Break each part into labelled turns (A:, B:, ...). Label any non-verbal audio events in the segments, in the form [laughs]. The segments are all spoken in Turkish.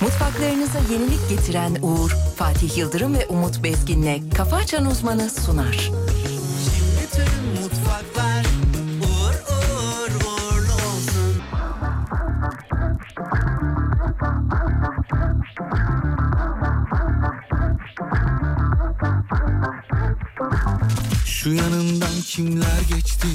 A: Mutfaklarınıza yenilik getiren Uğur, Fatih Yıldırım ve Umut Bezgin'le Kafa Açan Uzmanı sunar.
B: Bütün mutfaklar uğur uğur uğurlu olsun.
C: Şu yanından kimler geçti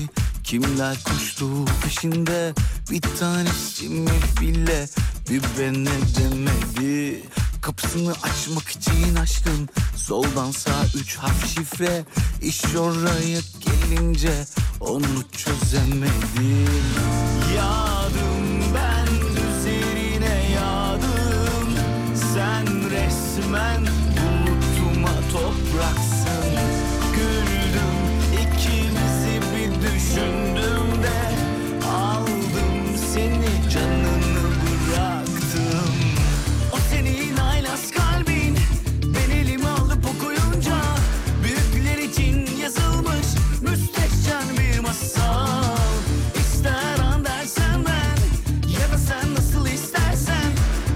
C: Kimler koştu peşinde Bir tanesi mi bile Bir ben ne demedi Kapısını açmak için aşkın Soldan sağ üç harf şifre İş oraya gelince Onu çözemedim Yağdım ben üzerine yağdım Sen resmen bulutuma topraksın Güldüm ikimizi bir düşündüm de Aldım seni canını bıraktım O senin haylaz kalbin Ben elimi alıp okuyunca Büyükler için yazılmış müstehcen bir masal İster an dersen ben Ya da sen nasıl istersen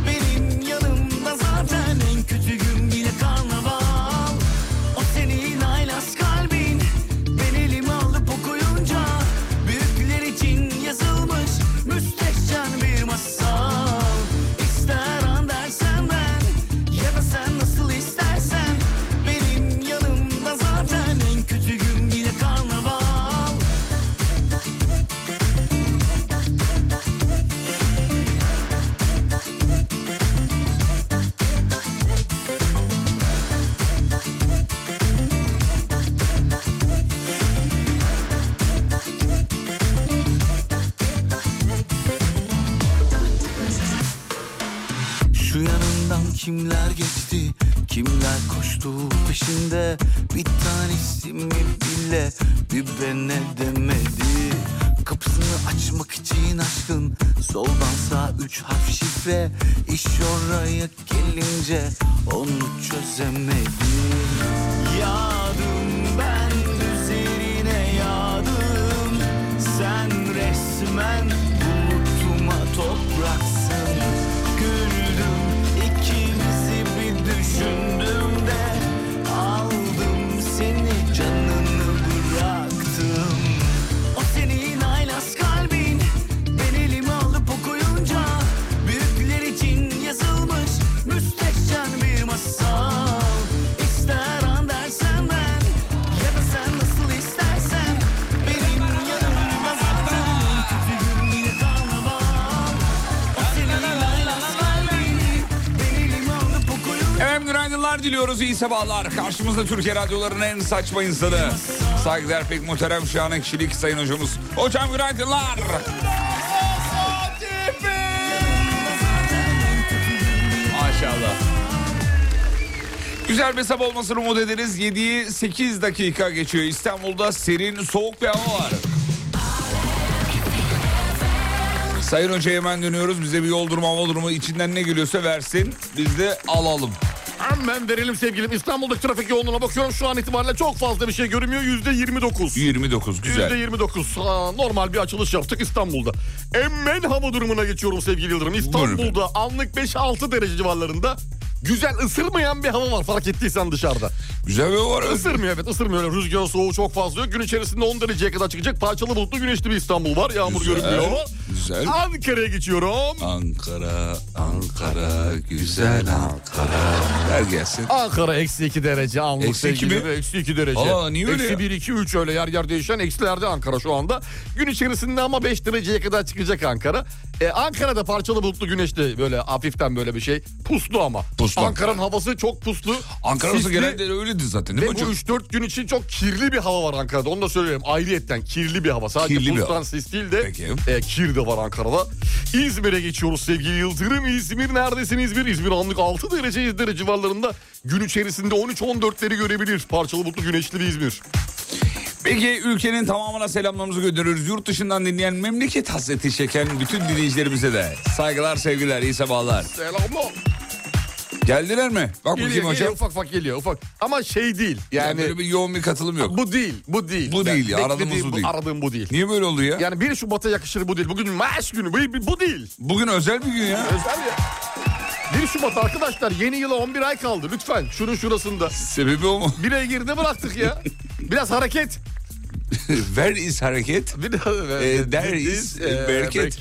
C: Benim yanımda zaten en kötü gün bile karnaval O senin haylaz kalbin Ben elimi alıp okuyunca Büyükler için yazılmış müstehcen bir masal İster an dersen ben Ya da sen nasıl istersen Benim yanımda zaten en kötü gün bile karnaval Şu yanından kimler geçti Kimler koştu peşinde Bir tanesi mi bile Bir ben ne demedi Kapısını açmak için aşkın Soldan sağ üç harf şifre İş oraya gelince Onu çözemedim Yağdım ben üzerine yağdım Sen resmen bulutuma topraksın Güldüm ikimizi bir düşündüm de Aldım seni canını bıraktım O senin haylaz kalbin Ben elimi alıp okuyunca Büyükler için yazılmış müstehcen bir masal İster an dersen ben Ya da sen nasıl istersen Benim yanımda zaten Kötü gün yine karnaval O senin haylaz kalbin Ben elimi alıp okuyunca
D: Efendim günaydınlar diliyoruz, iyi sabahlar. Karşımızda Türkiye radyolarının en saçma insanı. Saygıdeğer pek muhterem şahane kişilik sayın hocamız. Hocam günaydınlar. Maşallah. Güzel bir sabah olmasını umut ederiz. 7'yi 8 dakika geçiyor. İstanbul'da serin, soğuk bir hava var. Sayın Hoca hemen dönüyoruz. Bize bir yol durumu, hava durumu içinden ne geliyorsa versin. Biz de alalım.
E: Hemen verelim sevgilim. İstanbul'daki trafik yoğunluğuna bakıyorum. Şu an itibariyle çok fazla bir şey görünmüyor. Yüzde 29.
D: 29 güzel.
E: Yüzde 29. Aa, normal bir açılış yaptık İstanbul'da. Hemen hava durumuna geçiyorum sevgili Yıldırım. İstanbul'da anlık 5-6 derece civarlarında güzel ısırmayan bir hava var fark ettiysen dışarıda.
D: Güzel bir hava var.
E: Isırmıyor evet ısırmıyor. Öyle Rüzgar soğuğu çok fazla yok. Gün içerisinde 10 dereceye kadar çıkacak. Parçalı bulutlu güneşli bir İstanbul var. Yağmur
D: Güzel,
E: görünmüyor.
D: güzel.
E: Ankara'ya geçiyorum.
D: Ankara, Ankara, güzel Ankara. Ver gelsin.
E: Ankara eksi 2 derece anlık
D: Eksi iki
E: sevgili
D: mi?
E: Eksi 2 derece.
D: Aa, niye öyle ya?
E: Eksi 1, 2, 3 öyle yer yer değişen eksilerde Ankara şu anda. Gün içerisinde ama 5 dereceye kadar çıkacak Ankara. Ee, Ankara'da parçalı bulutlu güneşli böyle hafiften böyle bir şey. Puslu ama.
D: Puslu.
E: Ankara'nın havası çok puslu.
D: Ankara olsa
E: sisli
D: genelde öyledir zaten değil
E: Ve bu
D: mi hocam?
E: 3-4 gün için çok kirli bir hava var Ankara'da. Onu da söyleyeyim. Ayrıyetten kirli bir hava. Sadece
D: Kirli bir
E: pustan
D: hava.
E: sis değil de
D: Peki.
E: e, kir de var Ankara'da. İzmir'e geçiyoruz sevgili Yıldırım. İzmir neredesin İzmir? İzmir anlık 6 derece 7 derece civarlarında. Gün içerisinde 13-14'leri görebilir. Parçalı bulutlu güneşli bir İzmir.
D: Peki ülkenin tamamına selamlarımızı gönderiyoruz. Yurt dışından dinleyen memleket hasreti çeken bütün dinleyicilerimize de saygılar, sevgiler, iyi sabahlar.
E: Selamlar.
D: Geldiler mi? Bak
E: Geliyor,
D: bakayım
E: geliyor,
D: hocam.
E: ufak ufak geliyor ufak. Ama şey değil
D: Yani,
E: yani.
D: böyle bir yoğun bir katılım yok.
E: Bu değil, bu değil.
D: Bu değil ya, aradığımız
E: beklediğim,
D: bu değil.
E: Aradığım bu değil.
D: [laughs] Niye böyle oldu ya?
E: Yani 1 Şubat'a yakışır bu değil. Bugün maaş günü, bu, bu değil.
D: Bugün özel bir gün ya.
E: Özel ya. 1 1 Şubat arkadaşlar yeni yıla 11 ay kaldı lütfen şunun şurasında.
D: Sebebi o mu?
E: Bir ay girdi bıraktık ya. Biraz hareket.
D: [laughs] Ver is hareket.
E: Bir daha,
D: Ee, there is, e, bereket.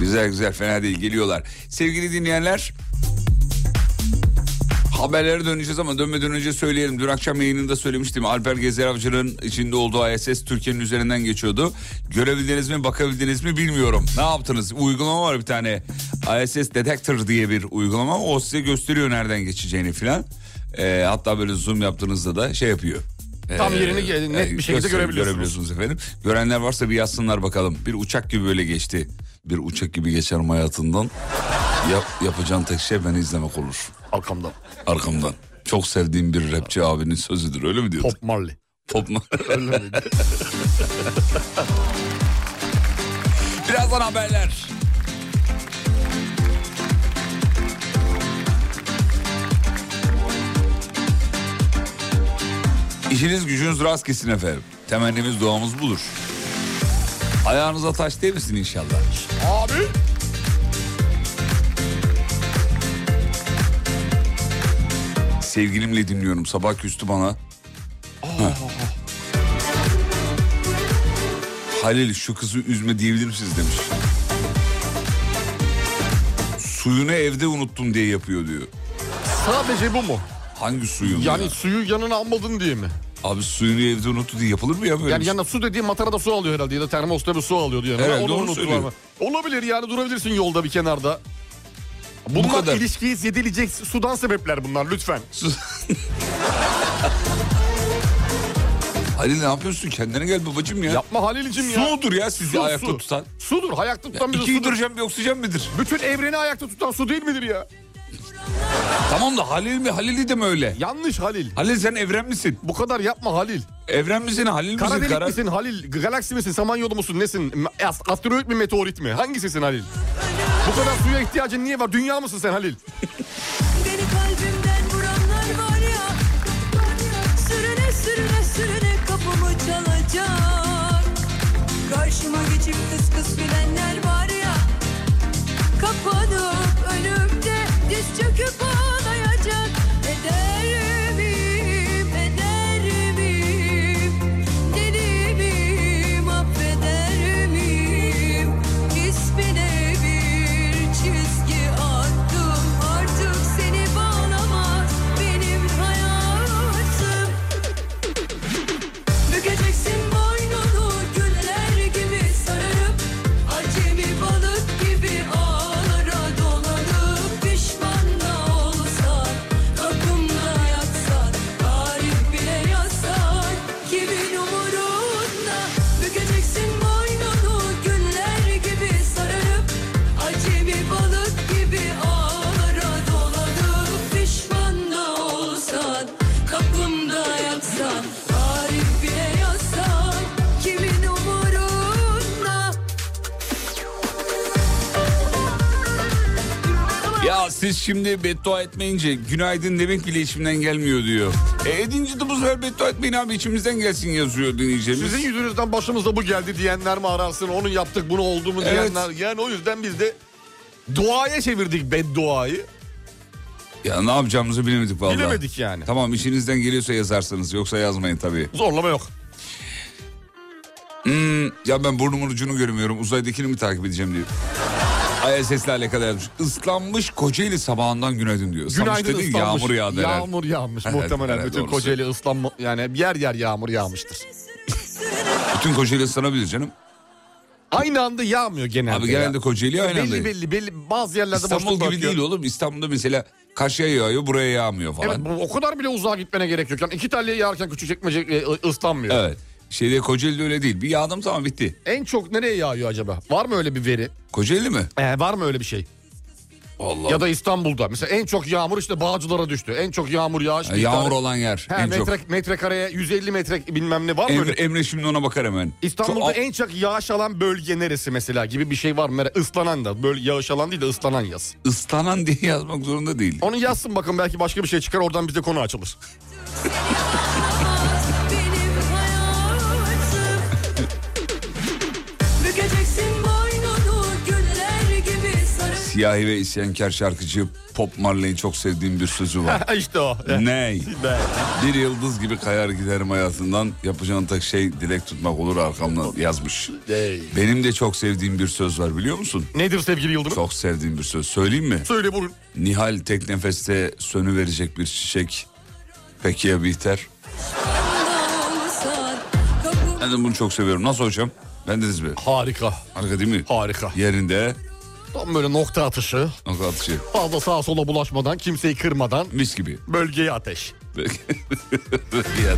D: Güzel güzel fena değil geliyorlar. Sevgili dinleyenler haberlere döneceğiz ama dönmeden önce söyleyelim. Dün akşam yayınında söylemiştim. Alper Gezer Avcı'nın içinde olduğu ISS Türkiye'nin üzerinden geçiyordu. Görebildiniz mi bakabildiniz mi bilmiyorum. Ne yaptınız? Uygulama var bir tane. ISS Detector diye bir uygulama. O size gösteriyor nereden geçeceğini filan. Ee, hatta böyle zoom yaptığınızda da şey yapıyor.
E: Tam
D: Ee,
E: yerini ge- net bir şekilde
D: gösteriyor,
E: görebiliyorsunuz.
D: efendim. Görenler varsa bir yazsınlar bakalım. Bir uçak gibi böyle geçti. Bir uçak gibi geçerim hayatından. Yap, yapacağın tek şey beni izlemek olur.
E: Arkamdan.
D: Arkamdan. Çok sevdiğim bir rapçi abinin sözüdür öyle mi diyorsun?
E: Pop Marley.
D: Pop. mu?
E: Öyle miydi?
D: [laughs] Birazdan haberler. İşiniz gücünüz rast gitsin efendim. Temennimiz duamız budur. Ayağınıza taş değmesin inşallah.
E: Abi.
D: Sevgilimle dinliyorum. Sabah küstü bana. Heh. Halil şu kızı üzme diyebilir misiniz demiş. Suyunu evde unuttum diye yapıyor diyor.
E: Sadece bu mu?
D: Hangi suyun?
E: Yani
D: ya?
E: suyu yanına almadın diye mi?
D: Abi suyunu evde unuttu diye yapılır mı ya böyle?
E: Yani
D: bir şey?
E: yanına su dediği matarada su alıyor herhalde ya da termosta bir su alıyordu yani.
D: Evet,
E: Onu
D: doğru
E: unuttular
D: söylüyor.
E: mı? Olabilir yani durabilirsin yolda bir kenarda.
D: Bu
E: Bunlar
D: kadar.
E: ilişkiyi zedeleyecek sudan sebepler bunlar lütfen.
D: Sus. [laughs] Halil ne yapıyorsun? Kendine gel babacığım ya.
E: Yapma Halil'cim ya.
D: Sudur ya sizi
E: Su,
D: ayakta
E: su.
D: tutan.
E: Sudur ayakta tutan bir
D: İki
E: sudur.
D: hidrojen bir oksijen midir?
E: Bütün evreni ayakta tutan su değil midir ya?
D: Tamam da Halil mi? Halil'i de mi öyle?
E: Yanlış Halil.
D: Halil sen evren misin?
E: Bu kadar yapma Halil.
D: Evren misin? Halil
E: Kara
D: misin?
E: delik misin Halil? Galaksi misin? Samanyolu musun? Nesin? As- Asteroid mi? Meteorit mi? Hangisisin Halil? Bu kadar suya ihtiyacın niye var? Dünya mısın sen Halil?
F: Beni kalbimden vuranlar var ya Sürüne sürüne sürüne kapımı çalacak Karşıma geçip kıs kıs gülenler var ya Kapanıp önümde diz çöküp ağlayacak Eder miyim, eder miyim Deli miyim, affeder miyim İsmine bir çizgi attım Artık seni bağlamaz benim hayatım Bükeceksin boynunu güller gibi sararıp Acemi balık gibi ağlara dolanıp Pişman da olsan kapımda yatsan Tarih bile yazsan kimin umurunda Bükeceksin boynunu güller gibi sararıp Acemi balık gibi ağlara dolanıp Pişman da olsan kapımda yatsan Tarih bile yazsan kimin umurunda
D: Ya siz şimdi beddua etmeyince günaydın demek bile içimden gelmiyor diyor. E edince de bu sefer beddua etmeyin abi içimizden gelsin yazıyor dinleyicimiz.
E: Sizin yüzünüzden başımıza bu geldi diyenler mi ararsın? Onu yaptık bunu oldu mu
D: Evet.
E: diyenler. Yani o yüzden biz de duaya çevirdik bedduayı.
D: Ya ne yapacağımızı bilemedik vallahi.
E: Bilemedik yani.
D: Tamam işinizden geliyorsa yazarsınız yoksa yazmayın tabii.
E: Zorlama yok.
D: Hmm, ya ben burnumun ucunu görmüyorum uzaydakini mi takip edeceğim diyor. ISS'le alakalı yazmış. Islanmış Kocaeli sabahından günaydın diyor. Islanmış
E: Günaydın
D: dediği
E: ıslanmış.
D: Yağmur yağdı herhalde.
E: Yağmur yağmış
D: Herhalde,
E: muhtemelen.
D: herhalde,
E: Bütün
D: doğrusu.
E: Kocaeli ıslanma yani yer yer yağmur yağmıştır.
D: Bütün Kocaeli ıslanabilir canım.
E: Aynı anda yağmıyor genelde.
D: Abi
E: ya.
D: genelde Kocaeli aynı anda.
E: Belli belli belli bazı yerlerde
D: İstanbul
E: boşluk
D: gibi
E: bırakıyor.
D: değil oğlum. İstanbul'da mesela karşıya yağıyor buraya yağmıyor falan.
E: Evet bu- o kadar bile uzağa gitmene gerek yok. Yani iki telliye yağarken küçükçekmece e, ıslanmıyor.
D: Evet. Şeyde Kocaeli'de öyle değil. Bir yağdım tamam bitti.
E: En çok nereye yağıyor acaba? Var mı öyle bir veri?
D: Kocaeli mi?
E: Ee, var mı öyle bir şey?
D: Allah.
E: Ya da İstanbul'da. Mesela en çok yağmur işte Bağcılar'a düştü. En çok yağmur yağış.
D: Ya E, yağmur
E: miktarı-
D: olan yer
E: He,
D: en çok.
E: metre, metrekareye 150 metre bilmem ne var mı
D: Emre,
E: öyle?
D: Emre şimdi ona bakar hemen.
E: İstanbul'da
D: Çok-
E: en çok yağış alan bölge neresi mesela gibi bir şey var mı? Merak- Islanan da böyle yağış alan değil de ıslanan yaz.
D: ıslanan diye yazmak zorunda değil.
E: Onu yazsın bakın belki başka bir şey çıkar oradan bize konu açılır. [laughs]
F: Benim hayatım Bükeceksin boynunu güller gibi
D: Siyahi ve isyankar şarkıcı Pop Marley'in çok sevdiğim bir sözü [laughs] var.
E: işte o.
D: Ney?
E: Ne?
D: Bir yıldız gibi kayar giderim hayatından. Yapacağın tek şey dilek tutmak olur arkamdan yazmış.
E: Ney?
D: Benim de çok sevdiğim bir söz var biliyor musun?
E: Nedir sevgili Yıldırım?
D: Çok sevdiğim bir söz. Söyleyeyim mi?
E: Söyle buyurun.
D: Nihal tek nefeste sönü verecek bir çiçek. Peki ya biter?
F: olsan kapı
D: Ben de bunu çok seviyorum. Nasıl hocam? Ben de mi?
E: Harika.
D: Harika değil mi?
E: Harika.
D: Yerinde.
E: Tam böyle nokta atışı.
D: Nokta atışı.
E: Fazla sağa sola bulaşmadan, kimseyi kırmadan
D: Mis gibi.
E: bölgeye ateş.
D: Ee, Ya,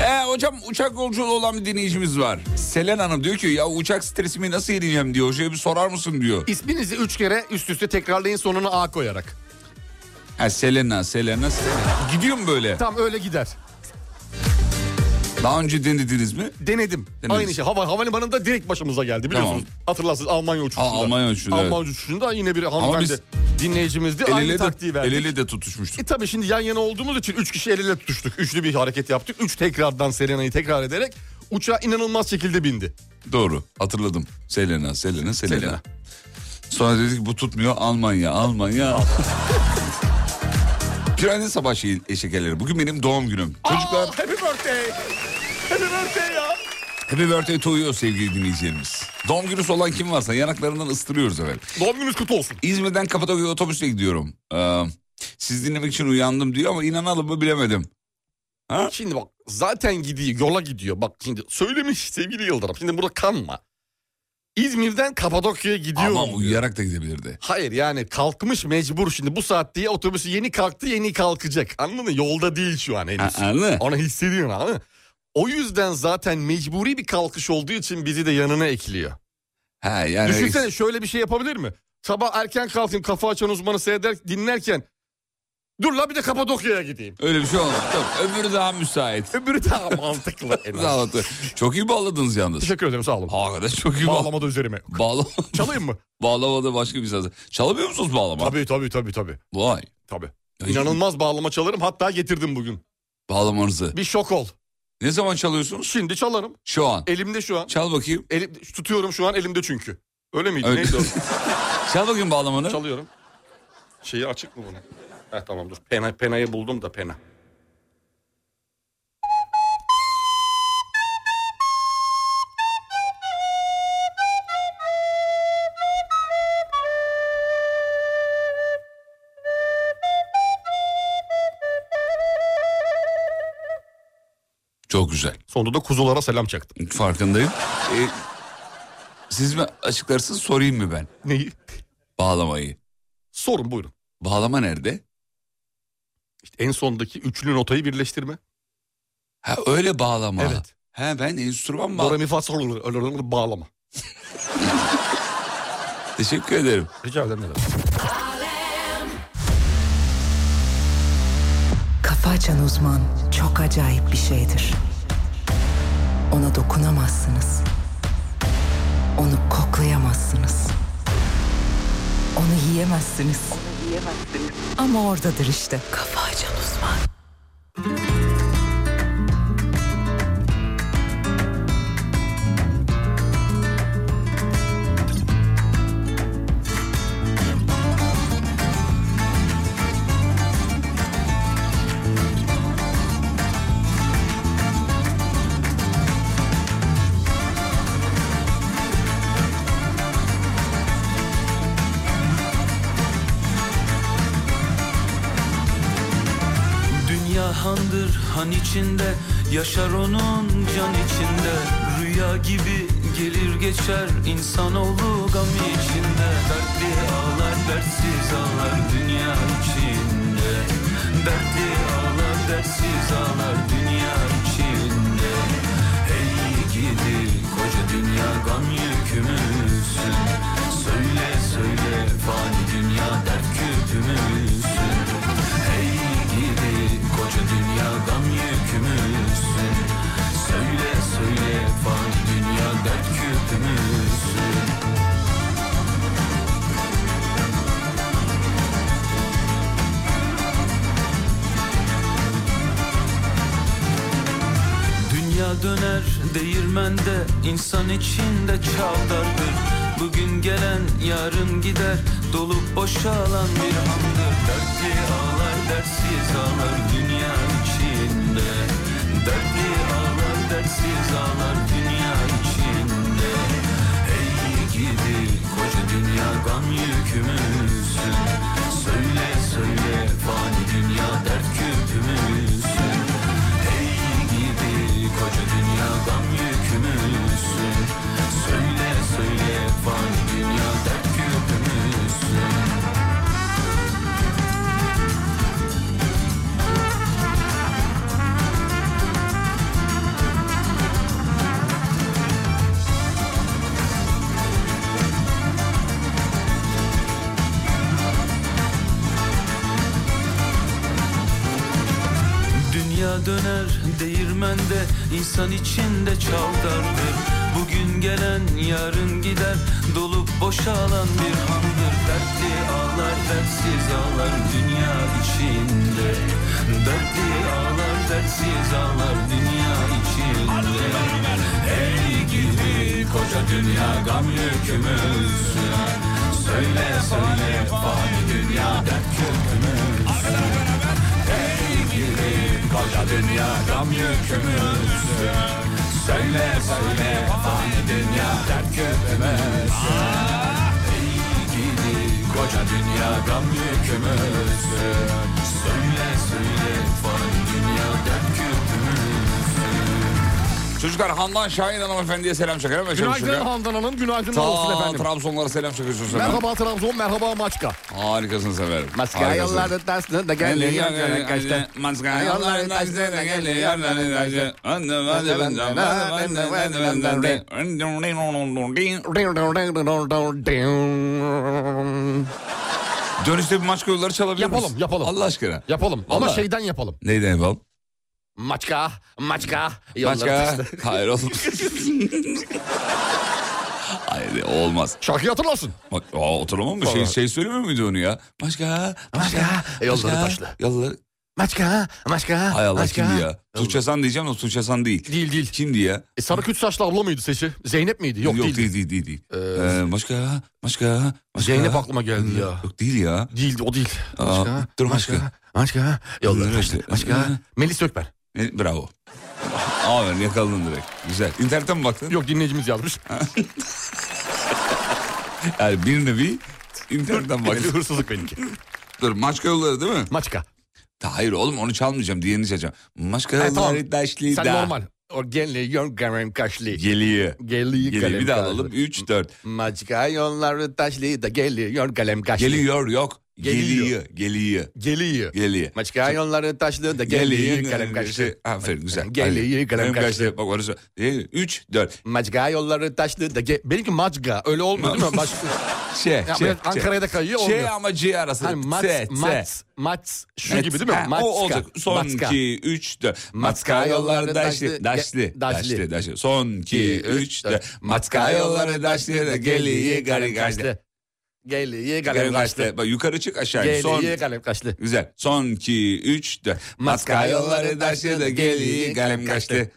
D: Ee, hocam uçak yolculuğu olan bir dinleyicimiz var. Selen Hanım diyor ki ya uçak stresimi nasıl yeneceğim diyor. Hocaya bir sorar mısın diyor.
E: İsminizi üç kere üst üste tekrarlayın sonuna A koyarak.
D: Ha Selena, Selena, Selena. Gidiyor mu böyle?
E: Tam öyle gider.
D: Daha önce denediniz mi?
E: Denedim.
D: Denediniz.
E: Aynı şey. Hava, havalimanında direkt başımıza geldi biliyorsunuz.
D: Tamam.
E: Hatırlarsınız Almanya uçuşunda.
D: Ha, Almanya uçuşunda,
E: Almanya uçuşunda yine bir
D: biz
E: hanımefendi dinleyicimizdi.
D: El
E: Aynı
D: ele,
E: taktiği
D: de,
E: verdik.
D: el ele de tutuşmuştu.
E: E tabii şimdi yan yana olduğumuz için üç kişi el ele tutuştuk. Üçlü bir hareket yaptık. Üç tekrardan Selena'yı tekrar ederek uçağa inanılmaz şekilde bindi.
D: Doğru hatırladım. Selena, Selena, Selena.
E: Selena.
D: Sonra dedik bu tutmuyor
E: [laughs]
D: Almanya, Almanya. Piranha Sabah şey, eşekerleri. Bugün benim doğum günüm. Çocuklar
E: Aa, happy birthday. Happy birthday ya.
D: happy birthday to you sevgili dinleyicilerimiz. Doğum günüsü olan kim varsa yanaklarından ıstırıyoruz efendim.
E: Doğum gününüz kutlu olsun.
D: İzmir'den Kapadokya'ya otobüsle gidiyorum. Ee, siz dinlemek için uyandım diyor ama inanalım mı bilemedim.
E: Şimdi bak zaten gidiyor yola gidiyor. Bak şimdi söylemiş sevgili Yıldırım. Şimdi burada kanma. İzmir'den Kapadokya'ya gidiyorum.
D: Ama uyuyarak da gidebilirdi.
E: Hayır yani kalkmış mecbur şimdi bu saat diye otobüsü yeni kalktı yeni kalkacak. Anladın mı? Yolda değil şu an henüz.
D: Ha, anladın mı?
E: Onu hissediyorsun anladın mı? O yüzden zaten mecburi bir kalkış olduğu için bizi de yanına ekliyor.
D: Ha yani
E: Düşünsene şöyle bir şey yapabilir mi? Sabah erken kalkayım kafa açan uzmanı seyreder dinlerken dur la bir de Kapadokya'ya gideyim.
D: öyle bir şey olmaz. Tamam, öbürü daha müsait.
E: Öbürü daha mantıklı. en az.
D: [laughs] Sağ olun. Çok iyi bağladınız yalnız.
E: Teşekkür ederim sağ olun.
D: Hakikaten çok iyi bağladınız.
E: Bağlama da üzerime.
D: [laughs] Bağla...
E: Çalayım mı?
D: Bağlamada başka bir saz. Çalamıyor musunuz bağlama?
E: tabii tabii tabii tabii.
D: Vay.
E: Tabii.
D: Ya hiç-
E: İnanılmaz bağlama çalarım hatta getirdim bugün.
D: Bağlamanızı.
E: Bir şok ol.
D: Ne zaman çalıyorsunuz?
E: Şimdi çalarım.
D: Şu an.
E: Elimde şu an.
D: Çal bakayım.
E: Elim, tutuyorum şu an elimde çünkü. Öyle miydi?
D: Öyle.
E: Neydi o?
D: Çal bakayım bağlamanı.
E: [laughs] Çalıyorum. Şeyi açık mı bunun? Heh, tamam dur. Pena, penayı buldum da pena.
D: Çok güzel.
E: Sonunda da kuzulara selam çaktım.
D: Farkındayım. Ee, siz mi açıklarsınız sorayım mı ben?
E: Neyi?
D: Bağlamayı.
E: Sorun buyurun.
D: Bağlama nerede?
E: İşte en sondaki üçlü notayı birleştirme.
D: Ha öyle bağlama.
E: Evet.
D: Ha ben enstrüman
E: Do, re,
D: bağ...
E: mi, fa, sol, la, la, la, la, bağlama.
D: Teşekkür ederim.
E: Rica ederim. ne demek.
A: Kafa açan uzman çok acayip bir şeydir. Ona dokunamazsınız. Onu koklayamazsınız. Onu yiyemezsiniz. Ama oradadır işte. Kafa açan uzman.
B: Dünya handır han içinde Yaşar onun can içinde Rüya gibi gelir geçer insanoğlu gam içinde Dertli ağlar dertsiz ağlar dünya içinde Dertli ağlar dertsiz ağlar dünya içinde Ey gidi koca dünya gam yükümüzsün Söyle söyle fani dünya dert küpümüzsün Ey gidi koca dünya gam yükümüzsün Söyle söyle fani dünya dert küpümüzsün döner değirmende insan içinde çavdardır Bugün gelen yarın gider dolup boşalan bir handır Dertli ağlar dertsiz ağlar dünya içinde Dertli ağlar dertsiz ağlar dünya içinde Ey gidi koca dünya gam yükümüzsün Söyle söyle fani dünya dert küpümüzsün Ey gibi koca dünya gam yükümüzsün Söyle söyle fani dünya dert küpümüzsün Dünya döner değirmende insan içinde çavdardır Bugün gelen yarın gider dolup boşalan bir handır Dertli ağlar dertsiz ağlar dünya içinde Dertli ağlar dertsiz ağlar dünya içinde Ey gibi koca dünya gam yükümüzsün Söyle söyle fani dünya dert kökümüzsün gibi Koca dünya gam yükümüz Söyle söyle fani dünya dert köpümüz Ey gidi koca dünya gam yükümüz Söyle söyle fani dünya dert köpümüz
D: Çocuklar Handan Şahin hanımefendiye selam çakar hemen çabuk
E: Günaydın
D: çakar.
E: Handan Hanım, günaydın olsun
D: Ta
E: efendim.
D: Trabzonlara selam çakıyorsun sen.
E: Merhaba Trabzon, merhaba Maçka.
D: Harikasınız efendim.
C: Maska
D: Harikasınız.
C: yollarda tersine de
D: Gel
C: geliyor yerlere kaçtı.
D: Maska yolların taşları da geliyor, yerlerin taşı. Annem, annem, annem, annem, annem, annem, annem.
E: Hmm.
D: Dönüşte bir maçka yolları çalabilir
E: Yapalım,
D: misin?
E: yapalım.
D: Allah aşkına.
E: Yapalım ama
D: Vallahi.
E: şeyden yapalım.
D: Neyden yapalım?
E: Maçka, maçka. yolları
D: Maçka. [laughs]
E: taştı.
D: Hayır oğlum. Hayır olmaz.
E: Şarkıyı hatırlarsın.
D: Bak aa, oturamam mı? Şey, şey söylemiyor muydu onu ya? Başka, başka,
E: E, Yolları
D: başka,
E: taşlı.
D: Yolları...
E: Maçka, maçka.
D: Hay Allah
E: maçka.
D: kimdi ya? Tuğçe San diyeceğim de Tuğçe San değil.
E: Değil değil.
D: Kimdi ya?
E: E, sarı küt saçlı abla mıydı sesi? Zeynep miydi? Yok,
D: Yok
E: değil.
D: değil değil değil. değil. Ee, başka başka başka.
E: Zeynep aklıma geldi ya.
D: Yok değil ya.
E: Değildi o değil.
D: Aa,
E: Maçka,
D: dur
E: maçka.
D: maçka.
E: Maçka, yolları
D: Yolları
E: taştı.
D: taştı.
E: Maçka, Melis Ökber.
D: E, bravo. Aferin yakaladın direkt. Güzel. İnternetten mi baktın?
E: Yok dinleyicimiz yazmış.
D: Yani bir nevi internetten
E: Bak [laughs]
D: baktın.
E: hırsızlık benimki.
D: Dur maçka yolları değil mi?
E: Maçka.
D: Ta, hayır oğlum onu çalmayacağım diğerini çalacağım. Maçka
E: Ha,
D: yolları
E: tamam.
D: taşlı
E: Sen
D: da.
E: normal. O geliyor kalem kaşlı.
D: Geliyor.
E: Geliyor
D: Geliyor.
E: kalem
D: Bir daha
E: kaşlı.
D: alalım. 3, 4.
E: Maçka yolları taşlı da geliyor kalem kaşlı.
D: Geliyor yok.
E: Geliyor.
D: Geliyor. Geliyor.
E: Geliyor.
D: Geliyor.
E: Maçka yolları taşlı da
D: Geliyor.
E: geliyor Şey- kalem kaşlı.
D: Aferin güzel.
E: Geliyor kalem kaşlı.
D: Bak orası. Ee, 3, 4.
E: Maçka yolları taşlı da ge- Benimki maçka öyle olmuyor [laughs] değil mi? Başka...
D: Şey.
E: Ya,
D: şey,
E: biraz Ankara'ya da kayıyor
D: Şey
E: olmuyor.
D: ama C arası.
E: Hani maç,
D: T, T.
E: maç, maç şu
D: Evet.
E: gibi değil mi?
D: Ha,
E: Maçka.
D: O olacak. Son
E: maçka.
D: 2, 3, 4. Matka
E: Matka
D: yolları
E: yolları
D: daşlı.
E: daşlı,
D: Daşlı.
E: ge- daşlı.
D: Daşlı. Daşlı. Son 2,
E: İki,
D: 3,
E: üç, dört.
D: 4. Matka yolları daşlı. da Geliyor garip kaçtı.
E: Geliyor
D: Garip
E: kalem
D: kaçtı.
E: kaşlı.
D: Bak yukarı çık aşağı. in. Son
E: Geliyor kalem kaşlı.
D: Güzel. Son 2, 3, 4. Matka yolları daşlı da geliyor kalem kaçtı.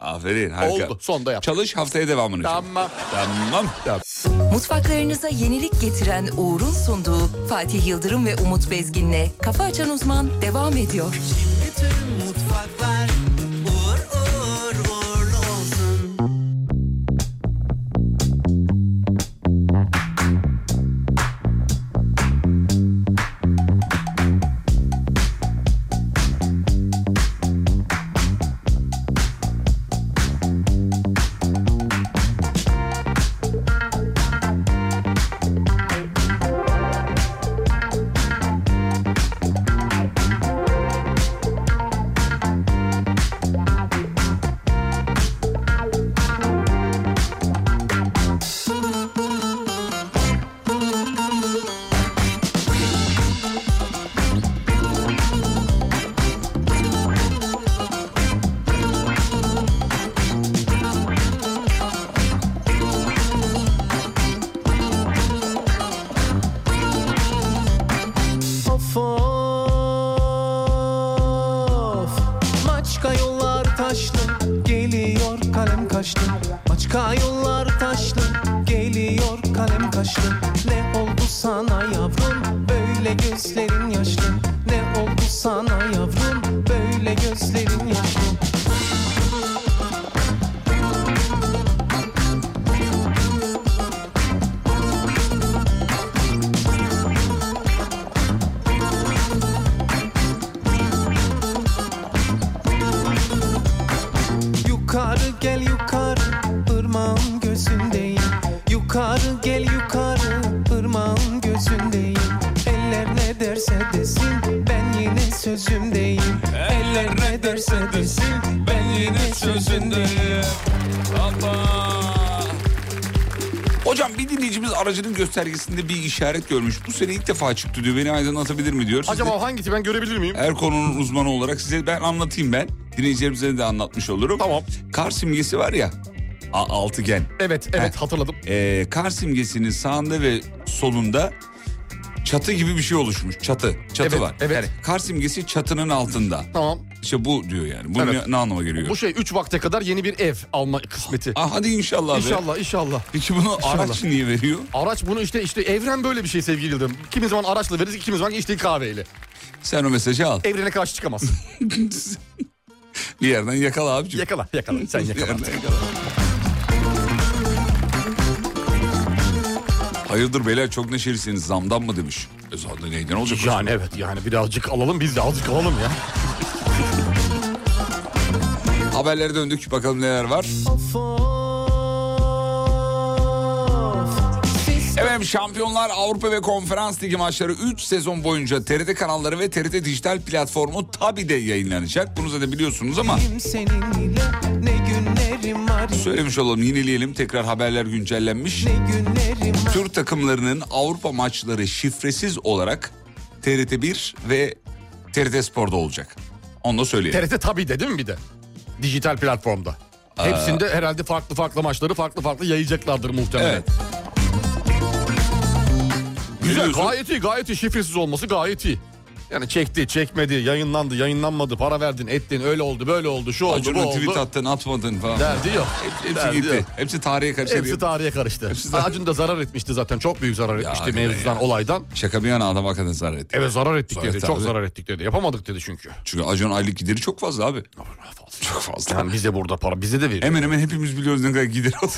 D: Aferin harika.
E: Oldu. Son da yap.
D: Çalış haftaya devamını. çal.
E: Tamam.
D: Tamam.
A: Mutfaklarınıza yenilik getiren Uğur'un sunduğu Fatih Yıldırım ve Umut Bezgin'le Kafa Açan Uzman devam ediyor.
G: kaçtım Başka yollar taşlı Geliyor kalem kaşlı Ne oldu sana yavrum Böyle gözlerin yaşlı Ne oldu sana yavrum Böyle gözlerin yaşlı Yukarı gel yukarı ırmağın gözündeyim Yukarı gel yukarı ırmağın gözündeyim Eller ne derse desin ben yine sözümdeyim Eller ne derse desin ben yine sözündeyim
D: Hocam bir dinleyicimiz aracının göstergesinde bir işaret görmüş. Bu sene ilk defa çıktı diyor. Beni aydınlatabilir mi diyor. Siz de-
E: Acaba hangisi ben görebilir miyim?
D: Her konunun uzmanı olarak size ben anlatayım ben. Dinleyicilerimize de anlatmış olurum.
E: Tamam.
D: Kar simgesi var ya. a- altıgen.
E: Evet evet hatırladım.
D: Ee, kar simgesinin sağında ve solunda çatı gibi bir şey oluşmuş. Çatı. Çatı
E: Evet,
D: var.
E: evet.
D: kar simgesi çatının altında.
E: Tamam.
D: İşte bu diyor yani. Bu
E: Evet.
D: ne, ne anlama geliyor?
E: Bu şey 3 vakte kadar yeni bir ev alma kısmeti.
D: Ah, hadi inşallah. be.
E: İnşallah inşallah.
D: Peki bunu araç niye veriyor?
E: Araç bunu işte işte evren böyle bir şey sevgili Yıldırım. Kimi zaman araçla veririz, kimi zaman içtiği kahveyle.
D: Sen o mesajı al.
E: Evrene karşı çıkamaz.
D: Bir yerden yakala abicim.
E: yakala, yakala. Sen
D: Bir
E: yakala.
D: yerden yakala. Hayırdır beyler çok neşelisiniz zamdan mı demiş. E zaten neyden olacak? hocam?
E: Yani evet yani birazcık alalım biz de azıcık alalım ya.
D: Haberlere döndük bakalım neler var.
G: Of of
D: Efendim Şampiyonlar Avrupa ve Konferans Ligi maçları 3 sezon boyunca TRT kanalları ve TRT dijital platformu Tabi'de yayınlanacak. Bunu zaten biliyorsunuz ama
G: Benim seninle ne günlerim var
D: söylemiş olalım yenileyelim tekrar haberler güncellenmiş.
G: Ne günlerim var
D: Türk takımlarının Avrupa maçları şifresiz olarak TRT1 ve TRT Spor'da olacak. Onu da söyleyelim.
E: TRT tabii de değil mi bir de? Dijital platformda.
D: Ee,
E: Hepsinde herhalde farklı farklı maçları farklı farklı yayacaklardır muhtemelen.
D: Evet.
E: Güzel
D: Biliyorsun.
E: gayet iyi gayet iyi şifresiz olması gayet iyi. Yani çekti çekmedi yayınlandı yayınlanmadı para verdin ettin öyle oldu böyle oldu şu oldu bu
D: Acun'un
E: oldu.
D: tweet attın atmadın falan.
E: Derdi yok.
D: Hep- Hepsi
E: Derdi
D: gitti.
E: yok.
D: Hepsi tarihe karıştı.
E: Hepsi tarihe karıştı.
D: zar-
E: Acun da zarar etmişti zaten. Çok büyük zarar etmişti
D: aynen
E: mevzudan,
D: ya.
E: olaydan.
D: Şaka bir yana adam hakikaten zarar etti.
E: Evet zarar ettik
D: Zarar
E: dedi.
D: etti
E: Çok
D: abi.
E: zarar ettik dedi. Yapamadık dedi çünkü.
D: Çünkü Acun'un aylık gideri çok fazla abi. Çok fazla.
E: Yani bize burada para bize de veriyor.
D: Hemen hemen hepimiz biliyoruz ne kadar gider olur. [laughs]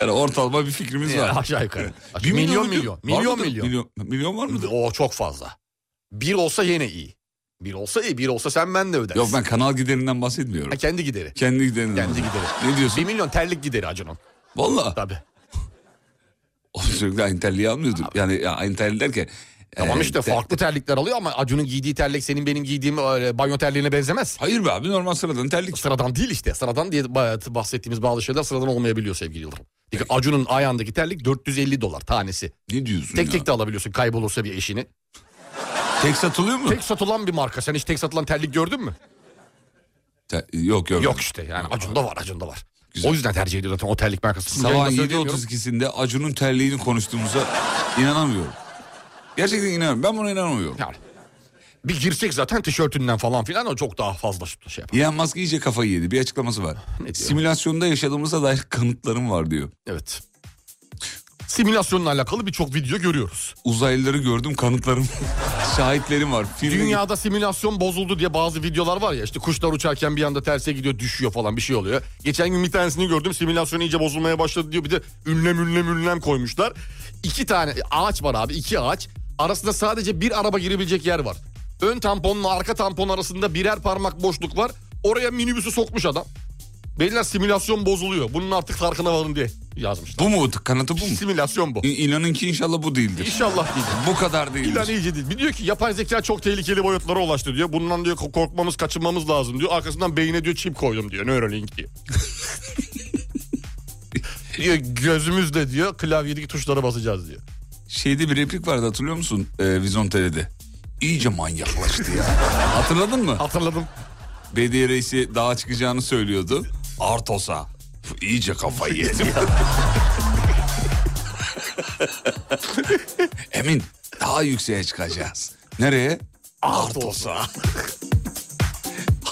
D: yani ortalama bir fikrimiz var.
E: Aşağı yukarı.
D: Bir
E: milyon
D: milyonu-
E: milyon.
D: Var
E: Milyon
D: mıdır?
E: milyon.
D: milyon. milyon var mıdır?
E: O çok fazla. Bir olsa yine iyi. Bir olsa iyi. Bir olsa sen ben de ödersin.
D: Yok ben kanal giderinden bahsetmiyorum.
E: Ha, kendi gideri.
D: Kendi giderinden.
E: Kendi gideri.
D: Ne diyorsun?
E: Bir milyon terlik gideri Acun'un.
D: Valla.
E: Tabii.
D: Oğlum sürekli Interli'yi almıyordur. Yani ya, Interli derken.
E: Tamam
D: e,
E: işte
D: de-
E: farklı terlikler alıyor ama Acun'un giydiği terlik senin benim giydiğim öyle banyo terliğine benzemez.
D: Hayır be abi normal sıradan terlik.
E: Sıradan değil işte. Sıradan diye ba- bahsettiğimiz bazı şeyler sıradan olmayabiliyor sevgili Yıldırım. Çünkü Acun'un ayağındaki terlik 450 dolar tanesi.
D: Ne diyorsun
E: Tek
D: ya?
E: tek de alabiliyorsun kaybolursa bir eşini.
D: Tek satılıyor mu?
E: Tek satılan bir marka. Sen hiç tek satılan terlik gördün mü?
D: Te- yok yok.
E: Yok işte yani Acun'da var Acun'da var.
D: Güzel.
E: O yüzden tercih ediyor zaten o terlik markası. Şimdi
D: Sabah
E: yayında söyleyemiyorum.
D: 7.32'sinde Acun'un terliğini konuştuğumuza inanamıyorum. Gerçekten inanamıyorum. Ben buna inanamıyorum.
E: Yani. Bir girsek zaten tişörtünden falan filan o çok daha fazla şey yapar.
D: Elon Musk iyice kafayı yedi. Bir açıklaması var.
E: [laughs] Ne diyor?
D: Simülasyonda yaşadığımıza dair kanıtlarım var diyor.
E: Evet. Simülasyonla alakalı birçok video görüyoruz.
D: Uzaylıları gördüm kanıtlarım. [laughs] Şahitlerim var. Filme git-
E: Dünyada simülasyon bozuldu diye bazı videolar var ya işte kuşlar uçarken bir anda terse gidiyor düşüyor falan bir şey oluyor. Geçen gün bir tanesini gördüm simülasyon iyice bozulmaya başladı diyor bir de ünlem ünlem ünlem koymuşlar. İki tane ağaç var abi iki ağaç arasında sadece bir araba girebilecek yer var. Ön tamponla arka tampon arasında birer parmak boşluk var oraya minibüsü sokmuş adam. Beyler simülasyon bozuluyor bunun artık farkına varın diye yazmışlar.
D: Bu mu? Kanıtı bu mu?
E: Simülasyon bu.
D: İ- İnanın ki inşallah bu değildir.
E: İnşallah değil.
D: Bu kadar değildir.
E: İlan iyice değil. Bir diyor ki yapay zeka çok tehlikeli boyutlara ulaştı diyor. Bundan diyor ko- korkmamız, kaçınmamız lazım diyor. Arkasından beyine diyor çip koydum diyor. Neuralink
D: [laughs]
E: diyor. diyor gözümüzde diyor klavyedeki tuşlara basacağız diyor.
D: Şeyde bir replik vardı hatırlıyor musun? Ee, Vizon TV'de. İyice manyaklaştı ya. [laughs] Hatırladın mı?
E: Hatırladım.
D: BD reisi dağa çıkacağını söylüyordu. Artos'a. Puh, İyice kafayı
E: [laughs]
D: yedim. Emin [laughs] daha yükseğe çıkacağız. Nereye? Artos'a.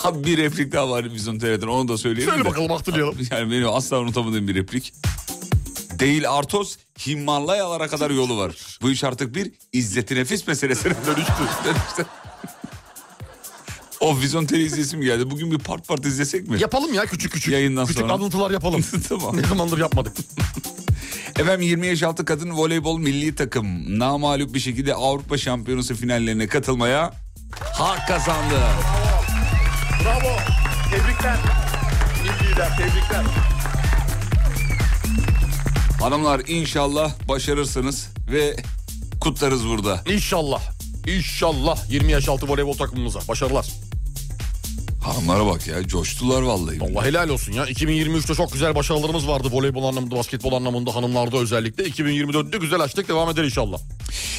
D: Abi bir replik daha var bizim TRT'den onu da söyleyeyim.
E: Söyle
D: de.
E: bakalım hatırlayalım.
D: [laughs] Yani benim asla unutamadığım bir replik. Değil Artos, Himalayalara kadar yolu var. Bu iş artık bir izzeti nefis meselesine dönüştü. [laughs] dönüştü. o Vizyon Tele izlesim geldi. Bugün bir part part izlesek mi?
E: Yapalım ya küçük küçük.
D: Yayından
E: küçük
D: sonra.
E: alıntılar yapalım.
D: [laughs] tamam.
E: ne zamandır yapmadık.
D: Efendim 20 yaş altı kadın voleybol milli takım namalup bir şekilde Avrupa Şampiyonası finallerine katılmaya hak kazandı.
E: Bravo. Tebrikler. Tebrikler. Tebrikler.
D: Hanımlar inşallah başarırsınız ve kutlarız burada.
E: İnşallah. İnşallah 20 yaş altı voleybol takımımıza. Başarılar.
D: Hanımlara bak ya coştular vallahi.
E: Allah helal olsun ya. 2023'te çok güzel başarılarımız vardı voleybol anlamında, basketbol anlamında, hanımlarda özellikle. 2024'te güzel açtık. Devam eder inşallah.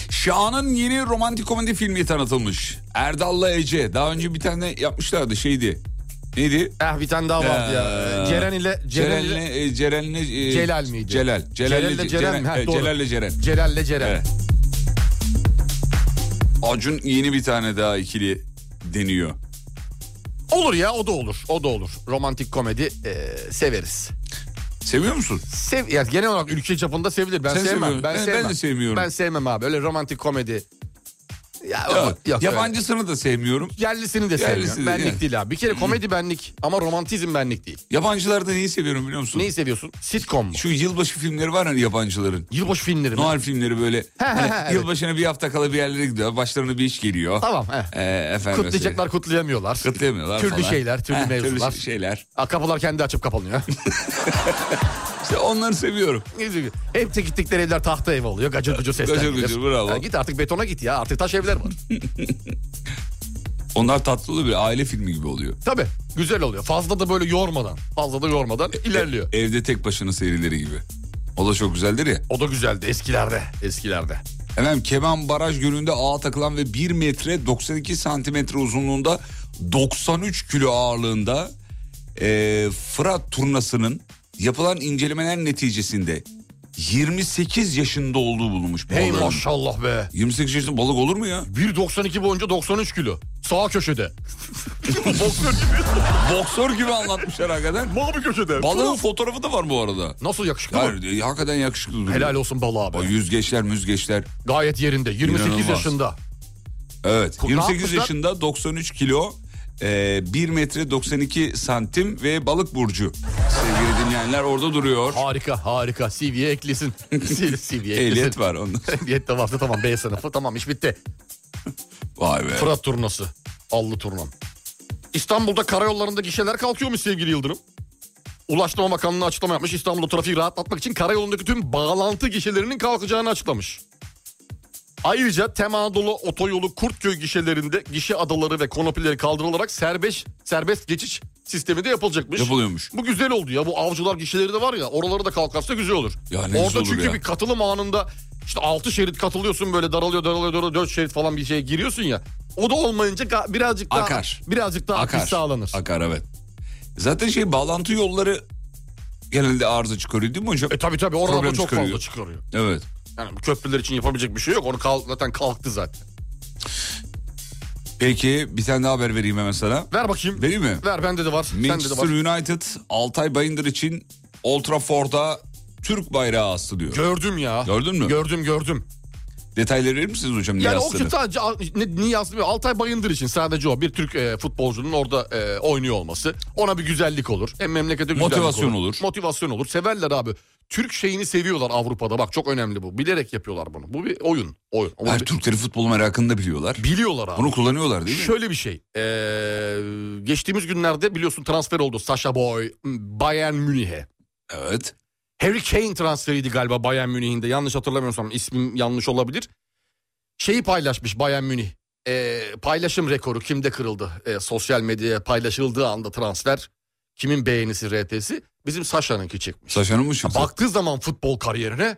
D: Şahan'ın yeni romantik komedi filmi tanıtılmış. Erdal'la Ece. Daha önce bir tane yapmışlardı şeydi. Neydi?
E: Eh bir tane daha vardı ya.
D: Ee,
E: Ceren ile Ceren ile
D: Ceren'le e, Ceren'le e,
E: Celal miydi?
D: Celal. Celal'le
E: Celal'le
D: Ce-
E: Ceren mi? Ha,
D: e,
E: doğru.
D: Celal'le Ceren.
E: Celal ile Ceren.
D: Evet. Acun yeni bir tane daha ikili deniyor.
E: Olur ya o da olur. O da olur. Romantik komedi e, severiz.
D: Seviyor musun?
E: Sev yani genel olarak ülke çapında sevilir. Ben
D: Sen
E: sevmem.
D: seviyorsun. Eh,
E: Ben,
D: Ben- ben de
E: sevmem.
D: sevmiyorum.
E: Ben sevmem abi. Öyle romantik komedi. Ya,
D: Yok.
E: yok, yok, öyle.
D: Yabancısını da sevmiyorum.
E: Yerlisini de
D: Yerlisi
E: sevmiyorum.
D: de, Hmm.
E: Benlik
D: yani.
E: değil abi. Bir kere komedi benlik ama romantizm benlik değil.
D: Yabancılarda neyi seviyorum biliyor musun?
E: Neyi seviyorsun? Sitcom mu?
D: Şu yılbaşı filmleri var hani yabancıların.
E: Yılbaşı filmleri mi?
D: Noel filmleri böyle. hani
E: evet.
D: Yılbaşına bir hafta kala bir yerlere gidiyor. Başlarına bir iş geliyor.
E: Tamam. He.
D: Ee, efendim
E: Kutlayacaklar kutlayamıyorlar.
D: mesela, Kutlayamıyorlar
E: Türlü
D: falan.
E: şeyler, türlü
D: Heh,
E: mevzular.
D: Türlü şey- şeyler.
E: Aa, Kapılar kendi açıp
D: [laughs]
E: kapanıyor.
D: İşte onları seviyorum.
E: Hep gittikleri evler tahta ev oluyor. Gacır gucur sesler
D: Gacır
E: gelir.
D: gucur, bravo.
E: Ya git artık betona git ya. Artık taş evler var.
D: Onlar tatlı oluyor. böyle Aile filmi gibi oluyor.
E: Tabii. Güzel oluyor. Fazla da böyle yormadan. Fazla da
D: E,
E: yormadan ilerliyor.
D: Evde tek başına serileri gibi. O da çok güzeldir ya.
E: O da güzeldi eskilerde. Eskilerde.
D: Efendim Keban Baraj Gölü'nde ağa takılan ve 1 metre 92 santimetre uzunluğunda 93 kilo ağırlığında e, Fırat turnasının yapılan incelemeler neticesinde 28 yaşında olduğu bulunmuş.
E: Hey
D: balığın.
E: maşallah be.
D: 28 yaşında balık olur mu ya?
E: 1.92 boyunca 93 kilo. Sağ
D: [laughs]
E: köşede. Boksör gibi.
D: Boksör gibi anlatmışlar hakikaten.
E: Mavi köşede.
D: Balığın fotoğrafı da var bu arada.
E: Nasıl yakışıklı mı?
D: Hayır, e, hakikaten yakışıklı duruyor.
E: Helal olsun balığa
D: O
E: abi.
D: yüzgeçler müzgeçler.
E: Gayet yerinde. 28
D: İnanılmaz.
E: yaşında.
D: Evet.
E: Ne
D: 28
E: yapmışlar?
D: yaşında 93 kilo. e, 1 metre 92 santim ve balık burcu. Sevgili dinleyenler orada duruyor.
E: Harika harika. CV'ye
D: [laughs]
E: eklesin. CV'ye eklesin.
D: Ehliyet var onun.
E: [laughs] Ehliyet de vardı tamam B sınıfı tamam iş bitti.
D: Vay be.
E: Fırat turnası. Allı turnam. İstanbul'da karayollarında gişeler kalkıyormuş sevgili Yıldırım. Ulaştırma Bakanlığı açıklama yapmış. İstanbul'da trafiği rahatlatmak için karayolundaki tüm bağlantı gişelerinin kalkacağını açıklamış. Ayrıca Tem Anadolu Otoyolu Kurtköy gişelerinde gişe adaları ve konopileri kaldırılarak serbest serbest geçiş sistemi de yapılacakmış.
D: Yapılıyormuş.
E: Bu güzel oldu ya. Bu avcılar gişeleri de var ya. Oraları da kalkarsa güzel olur.
D: Ya ne güzel
E: Orada
D: olur
E: çünkü
D: ya.
E: bir katılım anında işte 6 şerit katılıyorsun böyle daralıyor daralıyor daralıyor 4 şerit falan bir şeye giriyorsun ya. O da olmayınca ga- birazcık daha
D: Akar.
E: birazcık daha akış
D: Akar.
E: sağlanır.
D: Akar evet. Zaten şey bağlantı yolları genelde arıza çıkarıyor değil mi hocam?
E: E tabi tabi orada
D: Problem
E: da çok
D: çıkarıyor.
E: fazla çıkarıyor.
D: Evet.
E: Yani bu köprüler için yapabilecek bir şey yok. Onu kalk, zaten kalktı zaten.
D: Peki bir tane daha haber vereyim hemen sana.
E: Ver bakayım.
D: Vereyim mi?
E: Ver bende de var. Sende de
D: Manchester
E: var.
D: United Altay Bayındır için Old Trafford'a Türk bayrağı astı diyor.
E: Gördüm ya.
D: Gördün mü?
E: Gördüm gördüm.
D: Detayları verir misiniz hocam? ne
E: Yani o
D: astığını?
E: ki sadece Al- ne, niye aslında Altay Bayındır için sadece o bir Türk e, futbolcunun orada e, oynuyor olması ona bir güzellik olur. Hem memlekete güzellik
D: Motivasyon
E: olur.
D: olur.
E: Motivasyon olur. Severler abi. Türk şeyini seviyorlar Avrupa'da. Bak çok önemli bu. Bilerek yapıyorlar bunu. Bu bir oyun. Oyun. Bunu
D: Her
E: bi-
D: Türkleri futbol merakını da biliyorlar.
E: biliyorlar abi.
D: Bunu [laughs] kullanıyorlar değil mi?
E: Şöyle bir şey. e, geçtiğimiz günlerde biliyorsun transfer oldu Sasha Boy Bayern Münih'e.
D: Evet.
E: Harry Kane transferiydi galiba Bayern Münih'in de. Yanlış hatırlamıyorsam ismim yanlış olabilir. Şeyi paylaşmış Bayern Münih. Ee, paylaşım rekoru kimde kırıldı? Ee, sosyal medyaya paylaşıldığı anda transfer. Kimin beğenisi RT'si? Bizim Sasha'nınki çıkmış.
D: Saşan'ın mı çıktı?
E: Baktığı zaman futbol kariyerine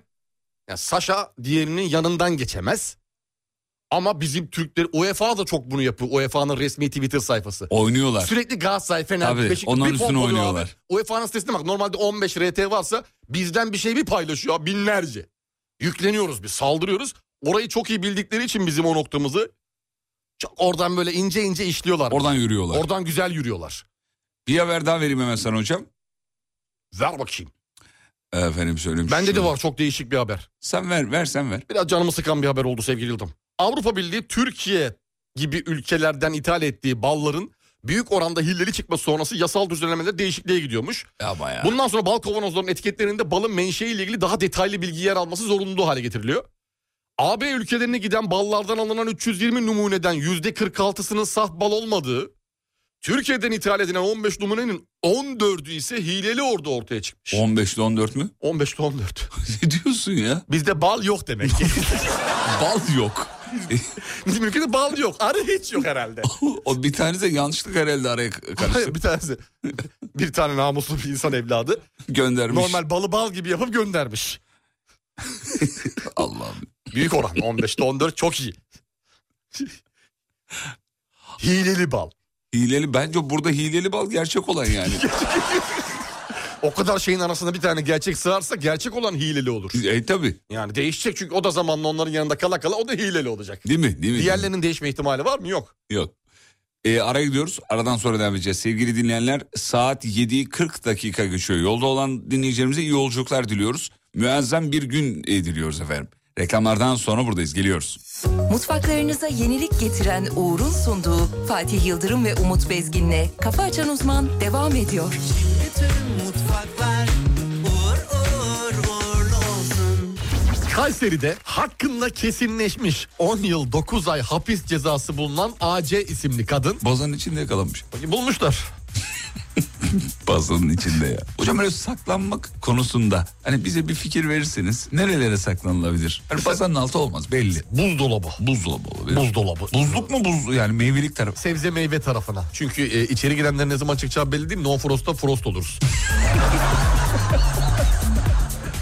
E: yani Sasha diğerinin yanından geçemez. Ama bizim Türkler UEFA da çok bunu yapıyor. UEFA'nın resmi Twitter sayfası.
D: Oynuyorlar.
E: Sürekli Galatasaray, Fener,
D: Tabii,
E: Beşiktaş.
D: onların
E: bir
D: üstüne
E: pompalıyor
D: oynuyorlar.
E: abi. UEFA'nın sitesine bak normalde 15 RT varsa bizden bir şey bir paylaşıyor abi, binlerce. Yükleniyoruz biz saldırıyoruz. Orayı çok iyi bildikleri için bizim o noktamızı Çok oradan böyle ince ince işliyorlar.
D: Oradan yürüyorlar.
E: Oradan güzel yürüyorlar.
D: Bir haber daha vereyim hemen sana hocam.
E: Ver bakayım.
D: Efendim söyleyeyim.
E: Bende de
D: Şöyle.
E: var çok değişik bir haber.
D: Sen ver, ver sen ver.
E: Biraz canımı sıkan bir haber oldu sevgili Yıldırım. Avrupa Birliği Türkiye gibi ülkelerden ithal ettiği balların büyük oranda hilleri çıkması sonrası yasal düzenlemeler değişikliğe gidiyormuş.
D: Ya bayağı.
E: Bundan sonra bal kavanozlarının etiketlerinde balın menşeiyle ilgili daha detaylı bilgi yer alması zorunlu hale getiriliyor. AB ülkelerine giden ballardan alınan 320 numuneden %46'sının saf bal olmadığı, Türkiye'den ithal edilen 15 numunenin 14'ü ise hileli orada ortaya çıkmış.
D: 15 ile 14 mü? [laughs]
E: 15 ile 14.
D: ne diyorsun ya?
E: [laughs] Bizde bal yok demek ki.
D: Bal yok.
E: [laughs] Bizim ülkede bal yok. Arı hiç yok herhalde.
D: [laughs] o bir tanesi de yanlışlık herhalde araya karıştı.
E: [laughs] Hayır, bir tanesi. Bir tane namuslu bir insan evladı.
D: Göndermiş.
E: Normal balı bal gibi yapıp göndermiş.
D: Allah'ım.
E: Büyük oran. 15'te 14 çok iyi. Hileli bal.
D: Hileli bence burada hileli bal gerçek
E: [laughs]
D: olan yani.
E: O kadar şeyin arasında bir tane gerçek sığarsa gerçek olan hileli olur.
D: e tabi.
E: Yani değişecek çünkü o da zamanla onların yanında kala kala o da hileli olacak.
D: Değil mi? Değil mi?
E: Diğerlerinin değişme ihtimali var mı? Yok.
D: Yok. E, araya gidiyoruz. Aradan sonra devam edeceğiz. Sevgili dinleyenler saat 7'yi 40 dakika geçiyor. Yolda olan dinleyicilerimize iyi yolculuklar diliyoruz. Müezzem bir gün e, diliyoruz efendim. Reklamlardan sonra buradayız. Geliyoruz.
A: Mutfaklarınıza yenilik getiren Uğur'un sunduğu Fatih Yıldırım ve Umut Bezgin'le Kafa Açan Uzman devam ediyor.
E: Kayseri'de hakkında kesinleşmiş 10 yıl 9 ay hapis cezası bulunan AC isimli kadın
D: Bazanın içinde yakalanmış.
E: bulmuşlar.
D: Bazanın içinde ya. Hocam böyle saklanmak konusunda hani bize bir fikir verirseniz nerelere saklanılabilir? Hani bazanın altı olmaz belli.
E: Buzdolabı.
D: Buzdolabı olabilir.
E: Buzdolabı.
D: Buzluk mu buzlu yani meyvelik tarafı.
E: Sebze meyve tarafına. Çünkü e, içeri girenlerin ne zaman çıkacağı belli değil. No frost'ta frost oluruz. [laughs]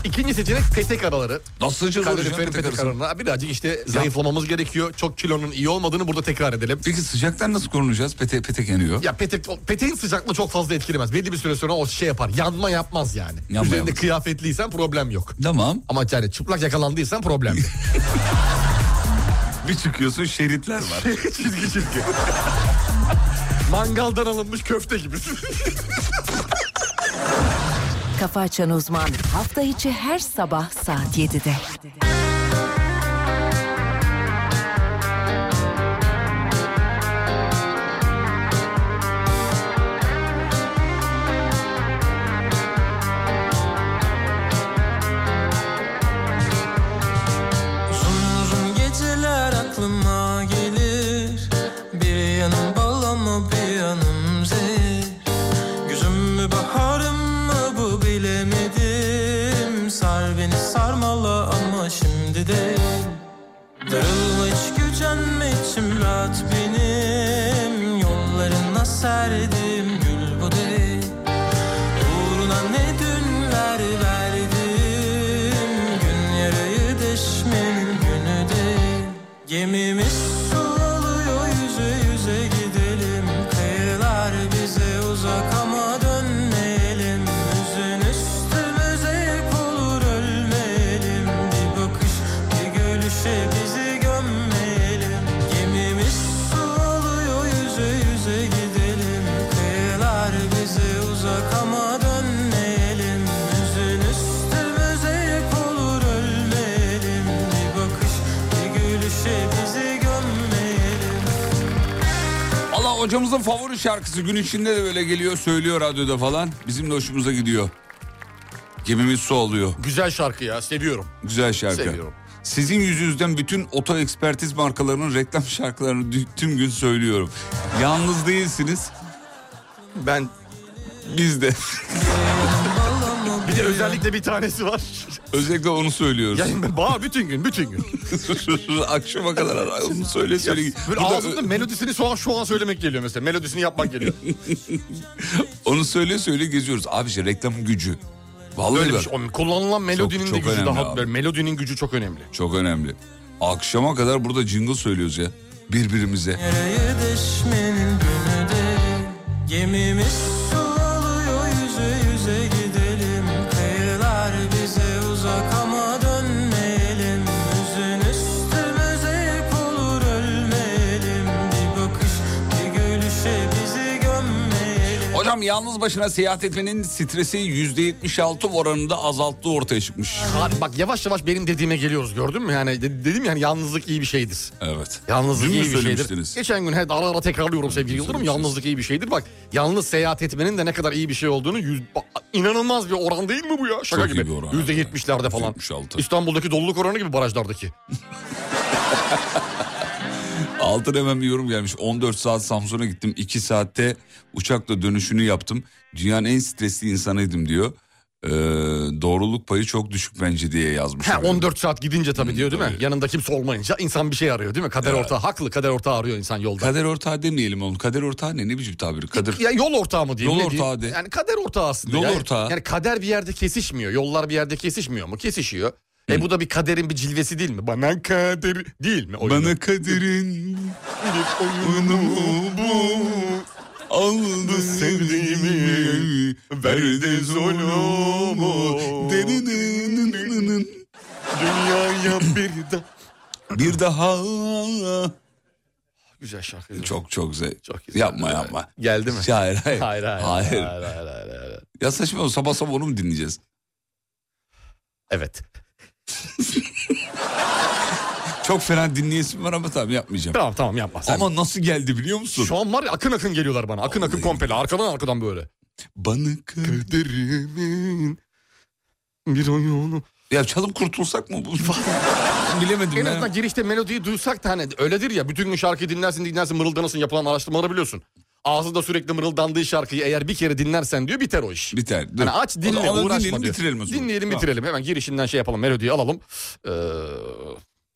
E: İkinci seçenek petek araları.
D: Nasıl sıcaz hocam?
E: Kaloriferin
D: Petek
E: petek
D: arası.
E: aralarına birazcık işte zayıflamamız gerekiyor. Çok kilonun iyi olmadığını burada tekrar edelim.
D: Peki sıcaktan nasıl korunacağız? Pete, petek yanıyor.
E: Ya petek, peteğin sıcaklığı çok fazla etkilemez. Belli bir süre sonra o şey yapar. Yanma yapmaz yani.
D: Yanma
E: Üzerinde
D: yapmaz.
E: kıyafetliysen problem yok.
D: Tamam.
E: Ama yani çıplak yakalandıysan problem. [laughs] yok.
D: Bir çıkıyorsun şeritler var.
E: çizgi çizgi. Mangaldan alınmış köfte gibisin.
A: Kafa Açan Uzman hafta içi her sabah saat 7'de.
H: Uzun uzun geceler aklıma gelir Bir yanım bal ama bir yanım zehir Güzüm mü baharım mı bu bilemedim Sar beni sarmala ama şimdi değil Darılma hiç gücenme içim rahat benim Yollarına serdim gül bu değil Uğruna ne dünler verdim Gün yarayı deşmenin günü değil Gemimiz su oluyor yüze yüze gidelim Kayalar bize uzak ama dönmeyelim Üzün üstümüze yük olur ölmeyelim Bir bakış bir gülüşe bizi gömmeyelim Gemimiz su oluyor yüze yüze gidelim Kayalar bize uzak ama dönmeyelim Üzün üstümüze yük olur ölmeyelim Bir bakış bir gülüşe bizi gömmeyelim
D: Allah hocamızın favori şarkısı gün içinde de böyle geliyor söylüyor radyoda falan. Bizim de hoşumuza gidiyor. Gemimiz su alıyor.
E: Güzel şarkı ya seviyorum.
D: Güzel şarkı.
E: Seviyorum.
D: Sizin yüzünüzden bütün oto ekspertiz markalarının reklam şarkılarını dü- tüm gün söylüyorum. Yalnız değilsiniz.
E: Ben
D: Biz de. [laughs]
E: bir de özellikle bir tanesi var.
D: Özellikle onu söylüyoruz.
E: Yani ben bağır bütün gün bütün gün.
D: [laughs] Akşama kadar ara- onu söyle söyle.
E: [laughs] Böyle
D: Burada-
E: ağzımda melodisini şu an, şu an söylemek geliyor mesela. Melodisini yapmak geliyor.
D: Onu söyle söyle geziyoruz. Abi işte reklam gücü. Vallahi
E: Böyle bir
D: bak,
E: şey. Onun Kullanılan melodinin
D: çok
E: de gücü
D: önemli
E: daha...
D: abi.
E: Melodinin gücü çok önemli.
D: çok önemli. Akşama kadar burada jingle söylüyoruz ya birbirimize.
H: Yarayı deşmenin günü değil Gemimiz su oluyor yüze yüze gidelim Kayalar bize uzak ama dönmeyelim Üzün üstümüze yük olur ölmeyelim
D: Hocam yalnız başına seyahat etmenin stresi %76 oranında azalttığı ortaya çıkmış.
E: [laughs] Abi bak yavaş yavaş benim dediğime geliyoruz gördün mü? Yani de- dedim yani yalnızlık iyi bir şeydir.
D: Evet.
E: Yalnızlık
D: Dün mü
E: iyi bir şeydir.
D: söylemiştiniz?
E: Geçen gün evet, ara ara tekrarlıyorum sevgili Yıldırım. Yalnızlık iyi bir şeydir. Bak yalnız seyahat etmenin de ne kadar iyi bir şey olduğunu yüz- ba- inanılmaz bir oran değil mi bu ya? Şaka
D: Çok iyi
E: gibi.
D: bir oran.
E: Yüzde yetmişlerde falan.
D: %76.
E: İstanbul'daki doluluk oranı gibi barajlardaki.
D: Altın hemen bir yorum gelmiş. 14 saat Samsun'a gittim. 2 saatte uçakla dönüşünü yaptım. Dünyanın en stresli insanıydım diyor. Ee, doğruluk payı çok düşük bence diye yazmış.
E: Ha,
D: efendim.
E: 14 saat gidince tabii diyor değil mi?
D: tabii.
E: Yanında kimse olmayınca insan bir şey arıyor değil mi? Kader ortağı haklı kader ortağı arıyor insan yolda.
D: Kader ortağı demeyelim oğlum. Kader ortağı ne? Ne biçim tabir? Kadir.
E: Ya yol ortağı mı diyeyim?
D: Yol
E: ne diyeyim?
D: ortağı de.
E: Yani kader ortağı aslında.
D: Yol
E: ya.
D: ortağı.
E: Yani kader bir yerde kesişmiyor. Yollar bir yerde kesişmiyor mu? Kesişiyor. E bu da bir kaderin bir cilvesi değil mi? Bana kader değil mi? Oyunu.
D: Bana kaderin
E: oyunu bu.
D: aldı sevdiğimi verdi zulümü. Derininin-
E: Dünyaya bir de.
D: Bir daha
E: Güzel şarkı. değil mi?
D: çok çok güzel.
E: Çok güzel.
D: yapma yapma.
E: Geldi mi?
D: Hayır hayır.
E: [laughs] Hayır hayır.
D: Hayır.
E: hayır, hayır, hayır, hayır.
D: Ya saçma o sabah sabah onu mu dinleyeceğiz?
E: Evet.
D: [laughs] Çok fena dinleyesim var ama tamam yapmayacağım.
E: Tamam tamam yapma sen.
D: Ama nasıl geldi biliyor musun?
E: Şu an var ya akın akın geliyorlar bana. Akın akın
D: Vallahi.
E: komple arkadan arkadan böyle.
D: Bana kır.
E: Kaderimin bir oyunu.
D: Ya çalıp
E: [laughs]
D: kurtulsak mı? Bilemedim
E: En
D: ya.
E: azından girişte melodiyi duysak da hani öyledir ya. Bütün gün şarkıyı dinlersin dinlersin mırıldanırsın yapılan araştırmaları biliyorsun. Ağzında sürekli mırıldandığı şarkıyı eğer bir kere dinlersen diyor biter o iş.
D: Biter. dur.
E: Hani aç
D: O
E: dinle
D: zaman onu
E: uğraşma
D: dinleyelim,
E: diyor.
D: bitirelim o zaman.
E: Dinleyelim
D: Tamam.
E: bitirelim. Hemen girişinden şey yapalım melodiyi alalım. Ee,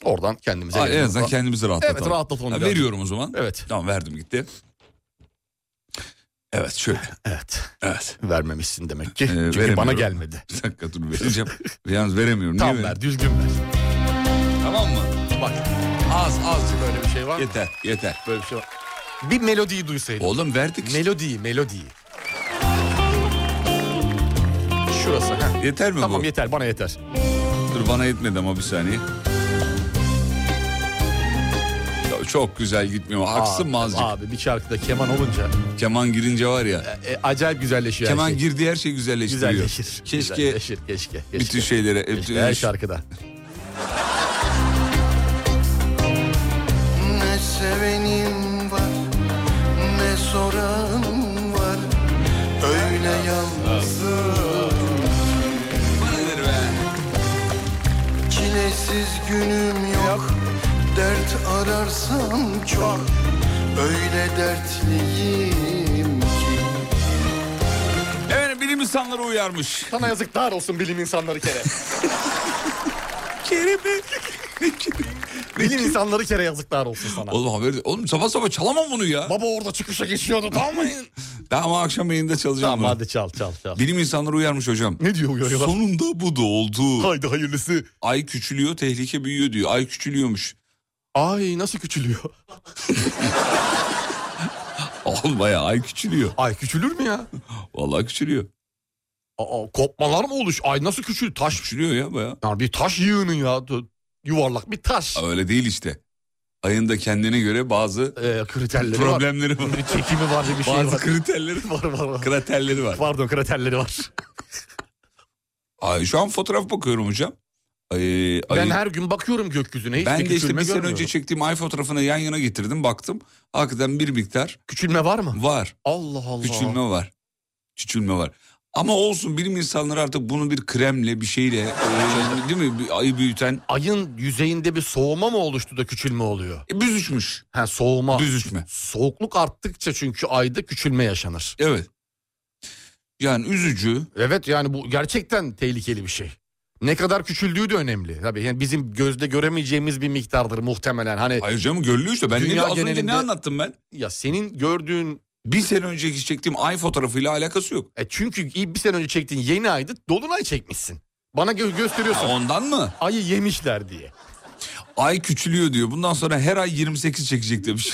E: oradan kendimize
D: Aa, en
E: gelelim.
D: azından kendimizi rahatlatalım.
E: Evet, rahatlatalım
D: Ha,
E: biraz.
D: veriyorum o zaman.
E: Evet.
D: Tamam verdim gitti. Evet şöyle.
E: Evet
D: Evet. [laughs]
E: vermemişsin demek
D: Ee,
E: ki. Çünkü
D: veremiyorum.
E: bana gelmedi.
D: Bir dakika dur vereceğim. Yalnız veremiyorum. Niye
E: Tam
D: veremiyorum?
E: ver düzgün ver.
D: Tamam mı?
E: Bak
D: Az azıcık.
E: böyle bir şey var mı?
D: Yeter yeter.
E: Böyle bir şey var. Bir melodiyi duysaydım.
D: Oğlum verdik işte.
E: Melodiyi melodiyi. Şurası. ha.
D: Yeter mi
E: Tamam
D: bu?
E: yeter bana yeter.
D: Dur bana yetmedi ama bir saniye. Ya Çok güzel gitmiyor. Haksın mı azıcık?
E: Abi bir şarkıda keman olunca
D: Keman girince var ya.
E: e, acayip güzelleşiyor her
D: keman
E: şey.
D: girdiği her şey güzelleştiriyor.
E: Güzelleşir.
D: Keşke
E: Güzelleşir, keşke. keşke.
D: bütün şeylere...
E: Keşke her şarkıda.
I: Ne sevenim var Ne soran var Öyle yalnızım Çilesiz günüm yok Dert ararsam çok Öyle dertliyim ki
D: Evet bilim insanları uyarmış.
E: Sana yazıklar olsun bilim insanları kere.
D: Kerim
E: bilim insanları kere yazıklar olsun sana.
D: Oğlum haberi... Oğlum sabah sabah çalamam bunu ya.
E: Baba orada [laughs] çıkışa geçiyordu tamam mı?
D: Ben ama akşam yayında çalacağım.
E: tamam
D: bunu.
E: hadi çal çal çal.
D: Bilim insanları uyarmış hocam.
E: Ne diyor uyarıyorlar?
D: Sonunda bu da oldu.
E: Haydi hayırlısı.
D: Ay küçülüyor tehlike büyüyor diyor. Ay küçülüyormuş.
E: Ay nasıl küçülüyor?
D: Oğlum bayağı ay küçülüyor.
E: Ay küçülür mü ya?
D: Vallahi küçülüyor.
E: Aa, kopmalar mı oluş? Ay nasıl küçül? Taş.
D: Küçülüyor ya bayağı.
E: Yani bir taş yığının ya. Yuvarlak bir taş.
D: Öyle değil işte. Ayın da kendine göre bazı
E: Ee, kriterleri var.
D: problemleri var.
E: Bir çekimi var bir [laughs] şey
D: Bazı
E: var. [laughs]
D: kriterleri
E: var var var. [laughs]
D: kraterleri var.
E: Pardon kraterleri var.
D: Ay, şu an fotoğraf bakıyorum hocam. Ay,
E: Ben
D: ayın-
E: her gün bakıyorum gökyüzüne. Hiç
D: ben de işte
E: küçülme
D: bir sene
E: görmüyorum.
D: önce çektiğim ay fotoğrafını yan yana getirdim baktım. Hakikaten bir miktar
E: Küçülme var mı?
D: var.
E: Allah Allah.
D: Küçülme var. Küçülme var. Ama olsun bilim insanları artık bunu bir kremle bir şeyle e, değil mi bir ayı büyüten
E: Ayın yüzeyinde bir soğuma mı oluştu da küçülme oluyor?
D: e, büzüşmüş.
E: Ha soğuma.
D: Büzüşme.
E: Soğukluk arttıkça çünkü ayda küçülme yaşanır.
D: Evet. Yani üzücü.
E: Evet yani bu gerçekten tehlikeli bir şey. Ne kadar küçüldüğü de önemli. Tabii yani bizim gözde göremeyeceğimiz bir miktardır muhtemelen. Hani
D: Hayır canım görülüyor işte. Ben ne-
E: Dünya
D: az önce ne
E: genelinde-
D: anlattım ben?
E: ya senin gördüğün
D: Bir sene önceki çektiğim ay fotoğrafıyla alakası yok.
E: e çünkü bir sene önce çektiğin yeni aydı dolunay çekmişsin. Bana gö-
D: Ha,
E: gösteriyorsun
D: Ondan mı?
E: ayı yemişler diye.
D: Ay küçülüyor diyor. Bundan sonra her ay 28 çekecek demiş.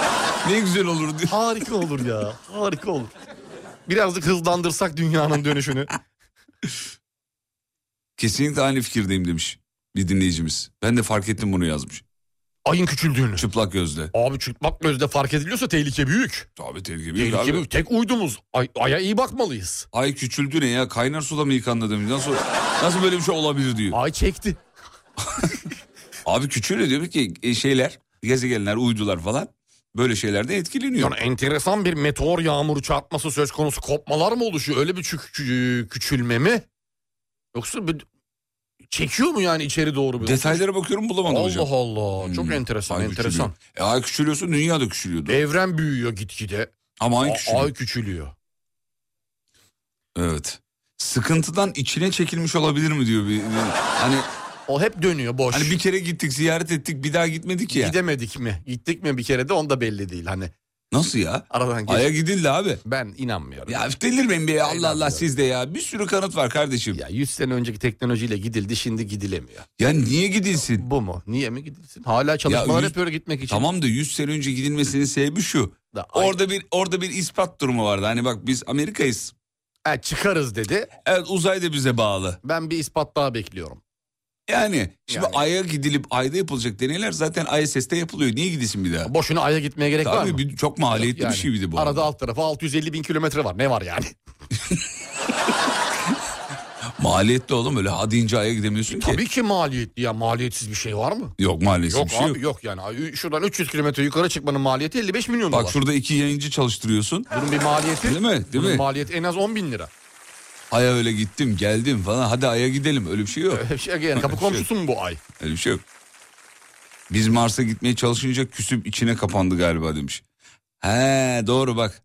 D: [laughs] ne güzel olur diyor.
E: Harika olur ya. Harika olur. Birazcık hızlandırsak dünyanın
D: [laughs]
E: dönüşünü.
D: Kesinlikle aynı fikirdeyim demiş bir dinleyicimiz. Ben de fark ettim bunu yazmış.
E: ayın küçüldüğünü.
D: Çıplak gözle.
E: Abi çıplak gözle fark ediliyorsa tehlike büyük.
D: Abi tehlike büyük
E: Tehlike
D: abi.
E: büyük. Tek uydumuz. Ay, aya iyi bakmalıyız.
D: Ay küçüldü ne ya? Kaynar suda mı yıkandı demiş. Nasıl, nasıl böyle bir şey olabilir diyor.
E: Ay çekti.
D: Abi küçülüyor diyor ki e, şeyler, gezegenler, uydular falan böyle şeylerde etkileniyor.
E: Yani enteresan bir meteor yağmuru çarpması söz konusu kopmalar mı oluşuyor? Öyle bir çük- kü- küçülme mi? Yoksa bir- çekiyor mu yani içeri doğru bir?
D: Detaylara bakıyorum bulamadım
E: e, Allah
D: hocam.
E: Allah. Çok
D: Hmm.
E: enteresan,
D: Ay
E: enteresan.
D: küçülüyor. E, ay küçülüyorsa dünya da küçülüyordu.
E: Evren büyüyor gitgide.
D: Ama ay
E: Ay,
D: küçülüyor.
E: ay küçülüyor.
D: Evet. Sıkıntıdan içine çekilmiş olabilir mi diyor bir. bir- Hani
E: O hep dönüyor boş.
D: hani bir kere gittik, ziyaret ettik, bir daha gitmedik ya.
E: Gidemedik mi? Gittik mi bir kere de onda belli değil. Hani
D: Nasıl ya?
E: aradan geç.
D: Aya gidildi abi.
E: Ben inanmıyorum. Ya,
D: Ya delirmeyin be Allah Allah
E: inanmıyorum.
D: sizde ya. Bir sürü kanıt var kardeşim. Ya,
E: 100 sene önceki teknolojiyle gidildi şimdi gidilemiyor.
D: niye gidilsin?
E: Bu mu? Niye mi gidilsin? Hala çalışmalar
D: yüz-
E: yapıyor gitmek için.
D: Tamam da 100 sene önce gidilmesinin sebebi şu.
E: Da, ay-
D: Orada bir orada bir ispat durumu vardı. Hani bak biz Amerika'yız.
E: Ha, çıkarız dedi.
D: Evet uzay da bize bağlı.
E: Ben bir ispat daha bekliyorum.
D: Yani şimdi
E: Yani.
D: Ay'a gidilip Ay'da yapılacak deneyler zaten ISS'te yapılıyor. Niye gidilsin bir daha?
E: Boşuna aya gitmeye gerek var
D: Tabii
E: mı?
D: bir- çok maliyetli
E: Yani
D: bir şeydi bu.
E: Arada alt tarafa 650 bin kilometre var. Ne var yani?
D: [laughs] Maliyetli oğlum öyle ha deyince Ay'a gidemiyorsun ki.
E: E, Tabii ki maliyetli ya. Maliyetsiz bir şey var mı?
D: Yok maalesef
E: Yok
D: bir şey
E: abi yok. yani. Ay, Şuradan 300 kilometre yukarı çıkmanın maliyeti 55 milyon
D: Bak
E: dolar.
D: şurada iki yayıncı çalıştırıyorsun.
E: Bunun bir maliyeti.
D: Değil mi? Değil
E: bunun
D: mi?
E: maliyeti en az 10 bin lira.
D: Ay'a öyle gittim geldim falan hadi Ay'a gidelim öyle bir şey yok.
E: Öyle bir şey yani kapı komşusu mu bu ay?
D: Öyle bir şey yok. Biz Mars'a gitmeye çalışınca küsüp içine kapandı galiba demiş. He doğru bak.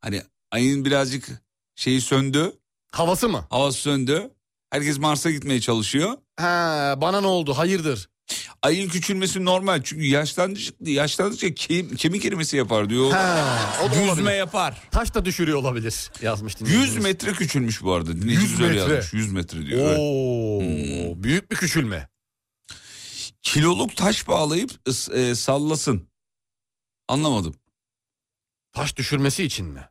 D: Hani ayın birazcık şeyi söndü.
E: Havası mı?
D: Havası söndü. Herkes Mars'a gitmeye çalışıyor.
E: Ha, bana ne oldu? Hayırdır?
D: Ayın küçülmesi normal. Çünkü yaşlandıkça, yaşlandıkça kem, kemik erimesi yapar diyor.
E: Ha, o da
D: Yüzme
E: olabilir.
D: yapar.
E: Taş da düşürüyor olabilir. Yazmış
D: 100
E: dinleyicimiz.
D: metre küçülmüş bu arada. Dinleyici
E: 100
D: güzel
E: metre.
D: yazmış. 100 metre diyor. Evet. Hmm.
E: Oo, büyük bir küçülme.
D: Kiloluk taş bağlayıp ıs- e, sallasın. Anlamadım.
E: Taş düşürmesi için mi?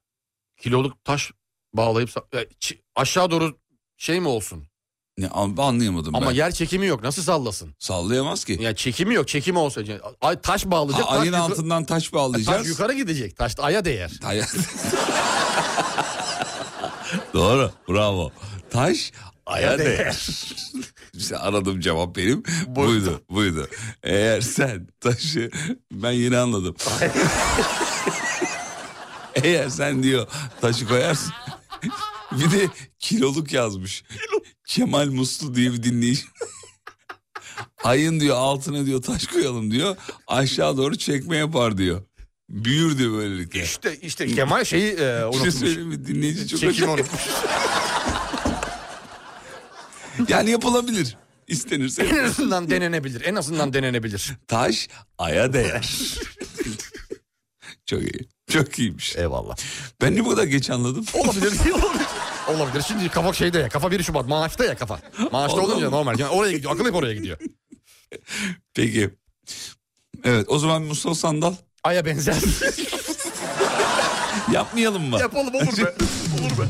E: Kiloluk taş bağlayıp sa- e, çi- aşağı doğru şey mi olsun?
D: Ne, an- anlayamadım
E: Ama
D: ben.
E: yer çekimi yok. Nasıl sallasın?
D: Sallayamaz ki.
E: Ya çekimi yok. Çekimi olsa ay taş
D: Ha,
E: bağlayacak. taş
D: ayın
E: yukarı-
D: altından taş bağlayacağız.
E: Taş yukarı gidecek. Taş da aya değer.
D: Tay- [laughs] Doğru. Bravo. Taş aya
E: Aya değer.
D: değer. [laughs] İşte aradığım cevap benim. Buydu. Buydu. Eğer sen taşı ben yeni anladım. [laughs] Eğer sen diyor taşı koyarsın. [laughs] bir de kiloluk yazmış. Kemal Muslu diye bir dinleyici. [laughs] Ayın diyor altına diyor taş koyalım diyor. Aşağı doğru çekme yapar diyor. Büyür diyor böylelikle.
E: İşte işte Kemal şeyi e,
D: Bir şey
E: unutmuş.
D: söyleyeyim mi? Dinleyici çok [laughs]
E: Çekimi unutmuş.
D: Yani yapılabilir. İstenirse.
E: en [laughs] azından denenebilir. En azından denenebilir.
D: Taş aya değer. çok iyi. Çok iyiymiş.
E: Eyvallah.
D: Ben niye bu kadar geç anladım?
E: Olabilir. değil,
D: [laughs]
E: olabilir. Olabilir. Şimdi kafa şeyde ya. Kafa 1 Şubat. Maaşta ya kafa. Maaşta
D: Oğlum.
E: olunca normal. Yani oraya gidiyor. Akıl hep oraya gidiyor.
D: Peki. Evet o zaman Mustafa Sandal
E: Aya benzer. [laughs]
D: yapmayalım mı?
E: Yapalım olur
D: [laughs]
E: be. Olur be.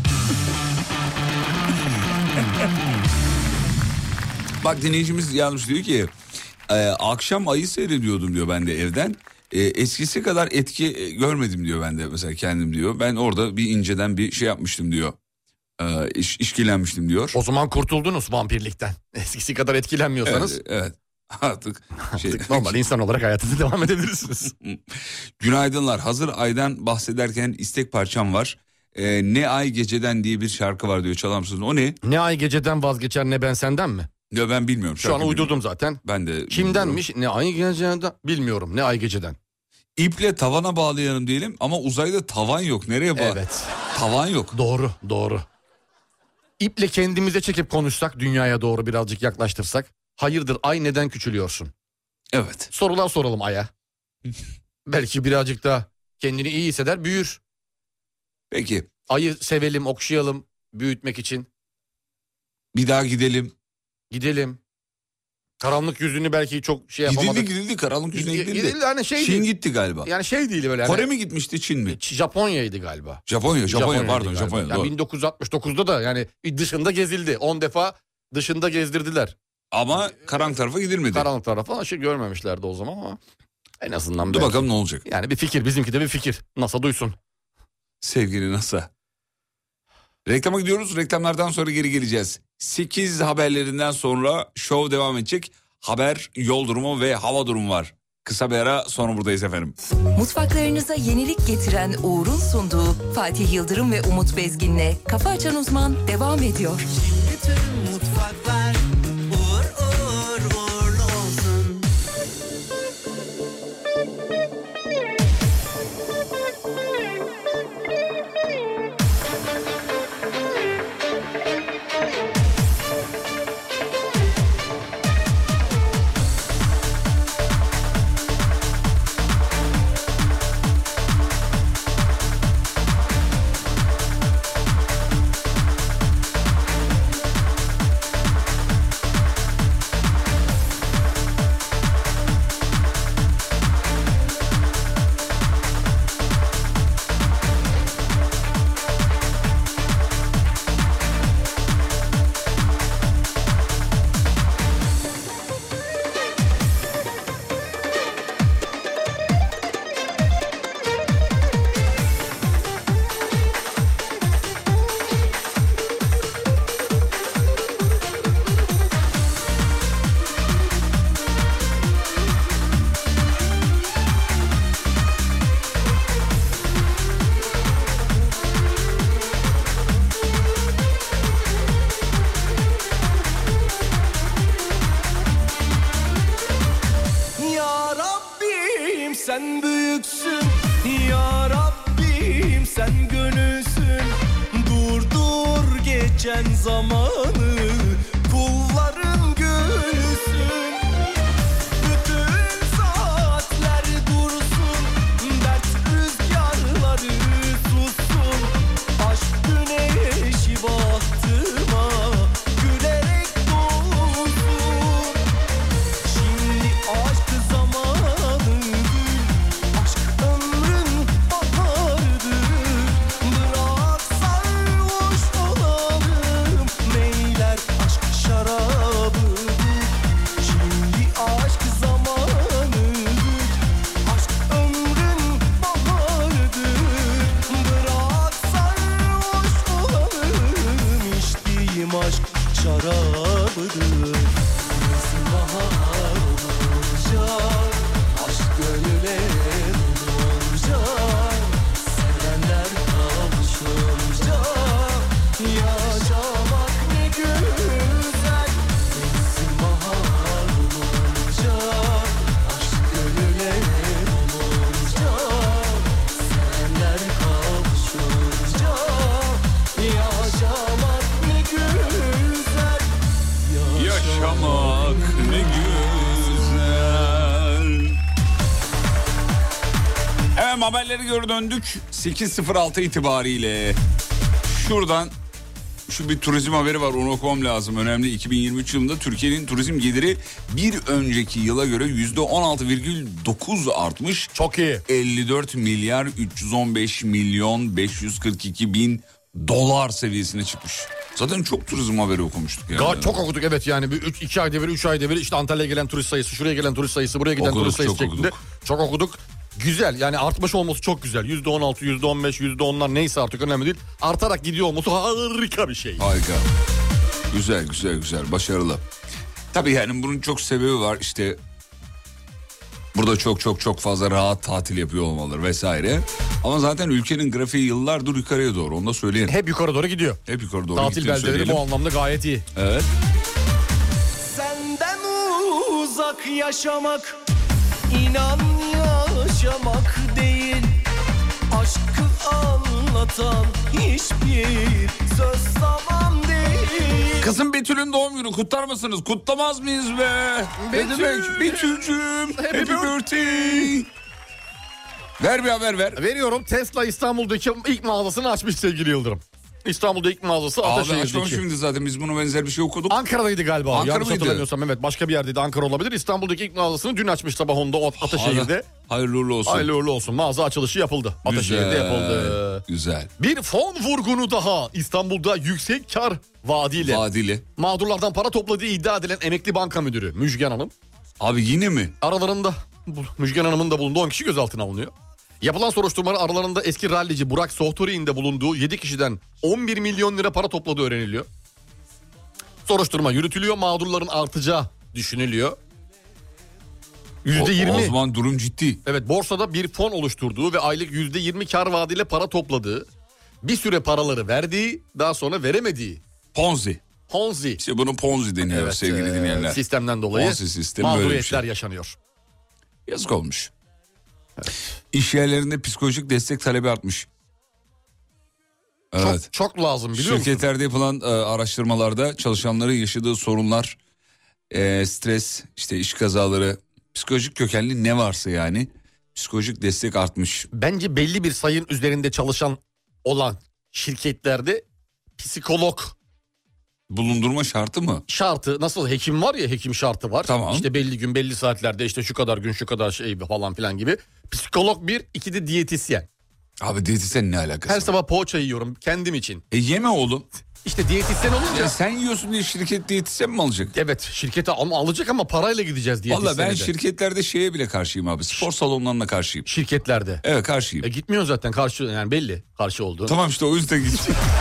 D: Bak dinleyicimiz yazmış diyor ki e, akşam ayı seyrediyordum diyor ben de evden. E, eskisi kadar etki e, görmedim diyor ben de mesela kendim diyor. Ben orada bir inceden bir şey yapmıştım diyor. E, iş, işkilenmiştim diyor.
E: O zaman kurtuldunuz vampirlikten. Eskisi kadar etkilenmiyorsanız
D: Evet, evet. [laughs] Artık şey,
E: artık normal insan olarak hayatınıza devam edebilirsiniz.
D: Günaydınlar. Hazır Ay'dan bahsederken istek parçam var. Ee, ne Ay Geceden diye bir şarkı var diyor çalar mısınız? O ne?
E: ne ay geceden vazgeçer ne ben senden mi?
D: Ya ben bilmiyorum.
E: Şu
D: şarkı
E: an uydurdum zaten.
D: bilmiyorum. Ben de bilmiyorum.
E: Kimdenmiş? Ne ay geceden? Bilmiyorum. Ne ay geceden?
D: İple tavana bağlayalım diyelim ama uzayda tavan yok. Nereye bağ?
E: Evet.
D: Tavan yok.
E: Doğru, doğru. İple kendimize çekip konuşsak, dünyaya doğru birazcık yaklaştırsak. Hayırdır ay neden küçülüyorsun?
D: Evet.
E: Sorular soralım aya. [laughs] Belki birazcık da kendini iyi hisseder, büyür.
D: Peki
E: Ayı sevelim, okşayalım büyütmek için.
D: bir daha gidelim.
E: Gidelim. Karanlık yüzünü belki çok şey
D: Gidildi
E: yapamadık.
D: gidildi karanlık yüzüne
E: Gidildi,
D: gidildi.
E: gidildi, hani şey
D: Çin
E: değil.
D: gitti galiba.
E: Yani şey değil böyle.
D: Kore
E: hani-
D: mi gitmişti Çin mi?
E: Japonya'ydı galiba.
D: Japonya Japonya,
E: Japonya'ydı
D: pardon
E: galiba.
D: Japonya.
E: Yani
D: doğru.
E: 1969'da da yani dışında gezildi. 10 defa dışında gezdirdiler.
D: Ama karanlık tarafa gidilmedi.
E: Karanlık taraf falan şey görmemişlerdi o zaman ama en azından
D: Dur
E: belki.
D: bakalım ne olacak.
E: Yani bir fikir bizimki de bir fikir. NASA duysun.
D: Sevgili NASA. Reklama gidiyoruz. Reklamlardan sonra geri geleceğiz. 8 haberlerinden sonra show devam edecek. Haber, yol durumu ve hava durumu var. Kısa bir ara sonra buradayız efendim.
A: Mutfaklarınıza yenilik getiren Uğur'un sunduğu Fatih Yıldırım ve Umut Bezgin'le Kafa Açan Uzman devam ediyor.
J: Bütün mutfaklar uğur uğur uğurlu olsun.
K: Ya Rabbim sen büyüksün Ya Rabbim sen gönülsün Durdur geçen zamanı Kulların gönülsün Bütün saatler dursun Dert rüzgarları sussun Aşk güneşi bahtıma Gülerek doğsun Şimdi aşk zamanı Aşk ömrün baharıdır Bırak sarhoş olalım Meyler aşk şarabıdır Şimdi aşk zamanı Aşk ömrün baharıdır Bırak sarhoş olalım İçtiğim aşk şarabıdır Nasıl bahar olacak Aşk gönüle dolacak Sevenler kavuşacak Yaşamak ne güzel Mevsim bahar olacak Aşk gönüle dolacak Sevenler kavuşacak Yaşamak ne güzel
D: Yaşamak ne güzel. Evet haberleri göre döndük. 8.06 itibariyle. Şuradan şu bir turizm haberi var onu okumam lazım. Önemli 2023 yılında Türkiye'nin turizm geliri bir önceki yıla göre %16,9 artmış.
E: Çok iyi.
D: 54 milyar 315 milyon 542 bin dolar seviyesine çıkmış. Zaten çok turizm haberi okumuştuk. Yani.
E: Ga- çok okuduk evet yani. Bir üç, iki ayda bir, üç ayda bir işte Antalya'ya gelen turist sayısı, şuraya gelen turist sayısı, buraya giden
D: Okuduk,
E: turist sayısı
D: çok
E: şeklinde.
D: okuduk.
E: Çok okuduk. Güzel yani artmış olması çok güzel. Yüzde on altı, yüzde on beş, yüzde onlar neyse artık önemli değil. Artarak gidiyor olması harika bir şey. [laughs]
D: Harika. Güzel güzel güzel başarılı. Tabii yani bunun çok sebebi var işte burada çok çok çok fazla rahat tatil yapıyor olmaları vesaire. Ama zaten ülkenin grafiği yıllardır yukarıya doğru onu da söyleyelim. Hep,
E: Hep yukarı doğru gidiyor.
D: yukarı doğru
E: Tatil
D: gittiğini
E: beldeleri
D: söyleyelim.
E: bu anlamda gayet iyi.
D: Evet.
K: Senden uzak yaşamak inan yaşamak değil Aşkı anlatan hiçbir söz tamam değil
D: Kızım Betül'ün doğum günü kutlar mısınız? Kutlamaz mıyız be? Ne
E: Betül.
D: demek? Betül'cüm happy, birthday. Ver bir haber ver.
E: Veriyorum Tesla İstanbul'daki ilk mağazasını açmış sevgili Yıldırım. İstanbul'da ilk mağazası
D: Abi açmamış
E: Ataşehir'deki.
D: şimdi zaten biz bunu benzer bir şey okuduk.
E: Ankara'daydı galiba.
D: Ankara
E: Yanlış
D: mıydı?
E: hatırlamıyorsam evet başka bir yerdeydi Ankara olabilir. İstanbul'daki ilk mağazasını dün açmış sabah onda o Ataşehir'de.
D: Hayırlı uğurlu olsun.
E: Hayırlı uğurlu olsun. Mağaza açılışı yapıldı. Ataşehir'de
D: Güzel,
E: yapıldı.
D: Güzel.
E: Bir fon vurgunu daha İstanbul'da yüksek kar vaadiyle.
D: Vadili.
E: Mağdurlardan para topladığı iddia edilen emekli banka müdürü Müjgan Hanım.
D: Abi yine mi?
E: Aralarında bu- Müjgan Hanım'ın da bulunduğu 10 kişi gözaltına alınıyor. Yapılan soruşturmalar aralarında eski rallici Burak Sohturi'nin de bulunduğu 7 kişiden 11 milyon lira para topladığı öğreniliyor. Soruşturma yürütülüyor mağdurların artacağı düşünülüyor. %20
D: O, o zaman durum ciddi.
E: Evet borsada bir fon oluşturduğu ve aylık %20 kar vaadiyle para topladığı, bir süre paraları verdiği, daha sonra veremediği
D: Ponzi.
E: Ponzi
D: İşte bunu Ponzi deniyor
E: Evet,
D: sevgili
E: e,
D: dinleyenler.
E: sistemden dolayı
D: Ponzi sistemi böyle bir
E: mağduriyetler
D: şey.
E: yaşanıyor.
D: Yazık olmuş. İş yerlerinde psikolojik destek talebi artmış. Evet.
E: Çok, çok lazım biliyor musun?
D: Şirketlerde yapılan e, araştırmalarda çalışanların yaşadığı sorunlar, e, stres, işte iş kazaları, psikolojik kökenli ne varsa yani psikolojik destek artmış.
E: Bence belli bir sayın üzerinde çalışan olan şirketlerde psikolog
D: Bulundurma şartı mı?
E: şartı nasıl hekim var ya hekim şartı var.
D: Tamam.
E: İşte belli gün belli saatlerde işte şu kadar gün şu kadar şey falan filan gibi. Psikolog bir, iki de diyetisyen.
D: Abi diyetisyen ne alakası?
E: Her
D: var?
E: sabah poğaça yiyorum kendim için.
D: E yeme oğlum.
E: İşte diyetisyen olunca
D: Ya sen yiyorsun diye şirket diyetisyen mi alacak?
E: Evet şirkete ama alacak ama parayla gideceğiz diye.
D: Valla ben
E: hissediyorum.
D: şirketlerde şeye bile karşıyım abi. Spor salonlarına karşıyım.
E: şirketlerde.
D: Evet karşıyım.
E: E gitmiyor zaten karşı yani belli karşı olduğu.
D: Tamam işte o yüzden gideceğim. [laughs]